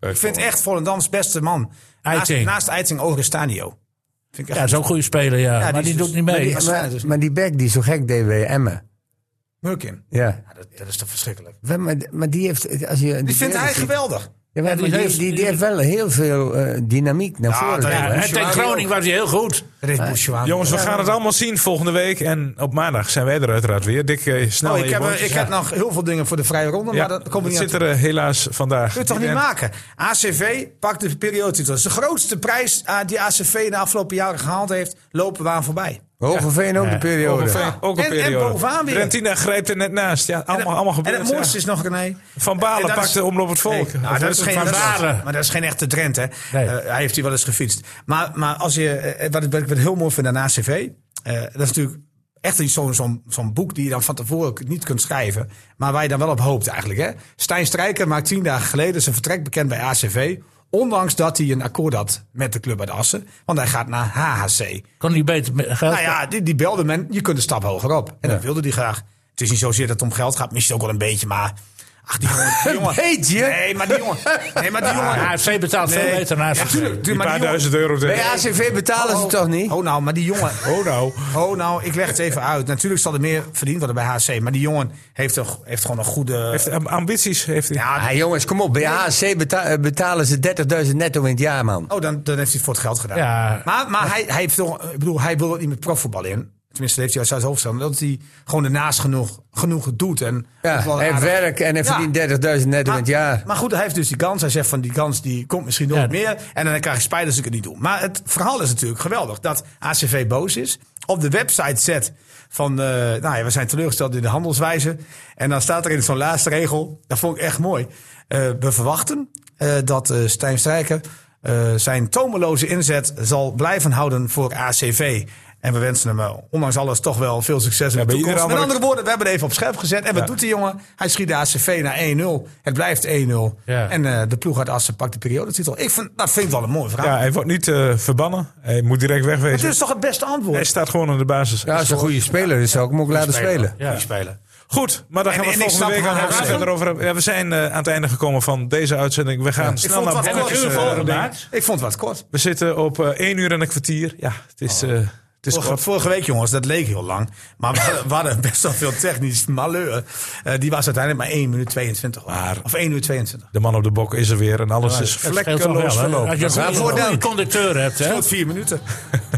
S5: Ik
S2: Oh.
S5: vind echt Volendams beste man. Naast,
S1: Eiting.
S5: naast Eiting Oristanio. Vind ik
S1: Ja,
S5: echt
S1: zo'n goede speler, ja.
S5: die
S1: maar die
S5: is dus-
S1: doet niet
S5: maar
S1: mee.
S5: die-
S11: Maar, maar die back die zo gek deed bij Emmen.
S5: Meuken.
S11: Ja.
S5: Ja, dat, dat is toch verschrikkelijk.
S11: Wel, Maar, maar die heeft... Als je, die,
S5: Die vindt
S11: beelden
S5: hij
S11: ziet-
S5: geweldig.
S11: Ja, maar
S1: Ja,
S11: die,
S1: die
S11: die,
S1: heeft-
S11: die heeft wel heel veel eh, dynamiek naar
S5: Ja,
S11: voren. toe,
S5: dat-
S1: Ja,
S11: hè?
S5: Bouchouari
S1: en tegen
S5: ook.
S1: Groningen was hij heel goed.
S5: Dat heeft Bouchouari.
S2: Jongens, we gaan het allemaal zien volgende week. En op maandag zijn wij er uiteraard weer. Dick, eh, snel
S5: Oh,
S2: aan
S5: ik
S2: je
S5: heb,
S2: bordjes.
S5: ik heb nog heel veel dingen voor de vrije ronde,
S2: Ja,
S5: maar dat komt er niet aan
S2: zit
S5: toe.
S2: er eh, helaas vandaag.
S5: Kun je toch niet
S2: En-
S5: maken? ACV pakt de periodetitel. Dat is de grootste prijs eh, die ACV in de afgelopen jaren gehaald heeft. Lopen we aan voorbij.
S11: Hogeveen ook de periode.
S2: Ongeveer, eh, ook een
S5: En- en
S2: periode.
S5: bovenaan weer.
S2: Trentina grijpt er net naast. Ja, allemaal,
S5: en,
S2: allemaal gebeurd.
S5: En het mooiste
S2: ja.
S5: is nog, René...
S2: Van Balen
S5: en dat
S2: pakt de omloop het volk.
S5: Nee, nou,
S2: Of
S5: dat
S2: is het
S5: is geen,
S2: Van
S5: dat is-
S2: Balen?
S5: maar dat is geen echte Drent, hè.
S1: Nee.
S5: Eh, hij heeft hier wel eens gefietst. Maar, maar als je, eh, wat, ik, wat ik wat heel mooi vind aan ACV... eh, dat is natuurlijk echt niet zo'n zo'n zo'n boek die je dan van tevoren k- niet kunt schrijven... maar waar je dan wel op hoopt eigenlijk, hè. Stijn Strijker maakt tien dagen geleden zijn vertrek bekend bij ACV... ondanks dat hij een akkoord had met de club uit Assen... want hij gaat naar HHC.
S1: Kon hij beter met geld?
S5: Nou ja, die, die belde men, je kunt een stap hoger op. En dat wilde hij graag. Het is niet zozeer dat het om geld gaat, misschien ook wel een beetje, maar Ach, die jongen. Die jongen. Nee, maar die jongen. Nee, maar die jongen.
S1: Ah, AFC betaalt veel beter naar
S5: Ja,
S1: zijn
S5: tuurlijk.
S2: Die
S5: maar
S2: paar
S5: jongen-
S2: duizend euro tegen.
S11: Bij ACV betalen ze toch niet?
S5: Oh nou, maar die jongen.
S2: Oh nou.
S5: Oh nou, ik leg het even uit. Natuurlijk zal er meer verdiend worden bij HC. Maar die jongen heeft, toch, heeft gewoon een goede...
S2: Heeft am- ambities heeft hij.
S5: ja,
S11: Ah, jongens, kom op. Bij AAC beta- eh, betalen ze 30.000 netto in het jaar, man.
S5: oh, dan, dan heeft hij het voor het geld gedaan.
S1: Ja.
S5: Maar, maar hij, hij, heeft toch, ik bedoel, hij wil ook niet met profvoetbal in. Tenminste, dat heeft hij uit zijn hoofd staan. Dat hij gewoon ernaast genoeg, genoeg doet. En
S11: Ja,
S5: ook wel een
S11: hij
S5: aardig-
S11: werkt en hij
S5: Ja.
S11: verdient 30.000 netto in
S5: Maar,
S11: het jaar.
S5: maar goed, hij heeft dus die kans. Hij zegt van die kans die komt misschien nooit
S1: Ja.
S5: meer. En dan krijg ik spijt als ik het niet doe. Maar het verhaal is natuurlijk geweldig dat ACV boos is. Op de website zet van, eh, nou ja, we zijn teleurgesteld in de handelswijze. En dan staat er in zo'n laatste regel, dat vond ik echt mooi. Eh, we verwachten eh, dat eh, Stijn Strijker eh, zijn tomeloze inzet zal blijven houden voor ACV. En we wensen hem eh, ondanks alles toch wel veel succes in de
S2: bij
S5: toekomst.
S2: iedere
S5: Met
S2: andere-
S5: andere andere woorden, we hebben het even op scherp gezet. En wat doet die jongen? Hij schiet de ACV naar 1-0. Het blijft 1-0.
S1: Ja.
S5: En eh, de ploeg uit Assen pakt de periodetitel. Ik vind, dat vind ik wel een mooi verhaal.
S2: Ja, hij wordt niet eh, verbannen. Hij moet direct
S5: Het
S2: wegwezen.
S5: is toch het beste antwoord?
S2: Hij staat gewoon aan de basis.
S11: Ja, als een goede speler is, zou ik hem ook laten spelen.
S1: Ja.
S5: Die spelen.
S2: Goed, maar daar
S5: En-
S2: gaan we
S5: en
S2: het
S5: ik
S2: volgende
S5: snap
S2: week aan
S5: haar
S2: nog
S5: raad.
S2: verder over hebben. Ja, we zijn eh, aan het einde gekomen van deze uitzending. We gaan snel
S5: vond
S2: naar
S5: het wat
S2: Bennetjes,
S5: kort.
S2: eh,
S5: Uur voor
S2: ding.
S5: Ik vond het wat kort.
S2: We zitten op eh 1 uur en een kwartier. Ja, het is,
S5: Oh.
S2: eh het is
S5: Vorige,
S2: kort.
S5: vorige week, jongens, dat leek heel lang. Maar we, we hadden best wel veel technisch malheur. Eh, die was uiteindelijk maar 1 minuut 22. hoor. of 1 uur 22.
S2: De man op de bok is er weer en alles is
S1: Dat scheelt toch
S2: vlekkeloos
S1: hè?
S2: verlopen.
S1: Als je een goede-
S5: voordeel.
S1: goede conducteur hebt, hè,
S5: Tot 4 minuten.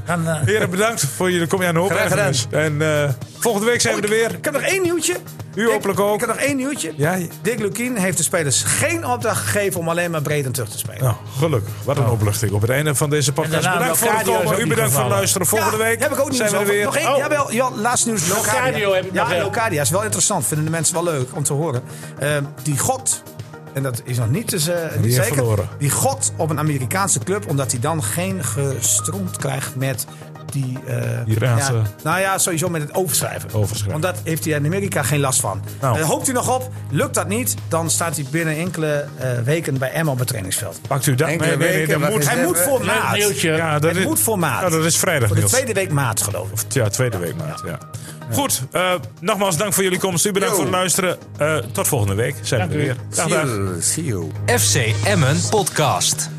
S1: dan... eh,
S2: Heren, bedankt voor jullie kom je aan de hoop.
S5: Graag gedaan.
S2: ergens. En eh, volgende week zijn we er weer.
S5: Ik heb nog één nieuwtje.
S2: U
S5: Ik-
S2: hopelijk ook.
S5: Ik heb nog één nieuwtje.
S2: Ja, je-
S5: Dick Lukien heeft de spelers geen opdracht gegeven om alleen maar breed en terug te spelen.
S2: nou, gelukkig. Wat een opluchting op het einde van deze
S1: En
S2: podcast.
S1: daarna
S2: Bedankt voor het
S1: Locadia is
S2: komen.
S1: ook
S2: U
S1: niet
S2: bedankt voor het
S1: gevallen.
S2: luisteren. Volgende
S5: Ja,
S2: week
S5: heb ik ook nieuws
S2: zijn we er
S5: over.
S2: weer.
S5: Nog één,
S1: Oh.
S5: jawel, ja, laatste nieuws. Locadia.
S1: Locadio heb ik nog
S5: Ja,
S1: wel.
S5: Locadia is wel interessant. Vinden de mensen wel leuk om te horen. Ehm, die god, en dat is nog niet, dus, eh, niet
S2: heeft
S5: zeker.
S2: verloren.
S5: Die god op een Amerikaanse club, omdat hij dan geen gestroomd krijgt met die... eh,
S2: Iraanse-
S5: ja, nou ja, sowieso met het overschrijven.
S2: Overschrijven.
S5: Want dat heeft hij in Amerika geen last van.
S2: Nou.
S5: Eh, hoopt u nog op, lukt dat niet, dan staat hij binnen enkele eh, weken bij Emma op het trainingsveld. Dus
S2: Pakt u dat mee?
S11: Enkele
S2: Nee, nee,
S11: weken,
S2: dat
S11: wat
S2: moet.
S11: is
S5: Hij
S11: Even-
S5: moet voor
S1: leuk
S5: maat.
S1: nieuwtje.
S2: Ja, dat
S5: Het moet voor maart.
S2: Ja, dat is vrijdag,
S5: Voor de
S2: Niels.
S5: tweede week maat, geloof ik.
S2: Ja, tweede week maart. Ja. Goed, eh, nogmaals dank voor jullie komst. U bedankt voor het luisteren. Eh, tot volgende week. Zijn we er weer. Dag,
S11: See
S2: dag.
S11: you, see you.
S4: FC Emmen Podcast.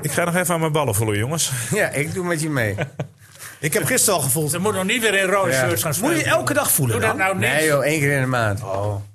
S2: Ik ga nog even aan mijn ballen voelen, jongens.
S11: Ja, ik doe met je mee.
S5: Ik heb gisteren al gevoeld.
S1: Ze moet nog niet weer in rode shirts gaan spelen.
S5: Moet je elke dag voelen
S1: Doe dat
S5: dan?
S1: nou niet.
S11: Nee joh, één keer in de maand.
S5: Oh.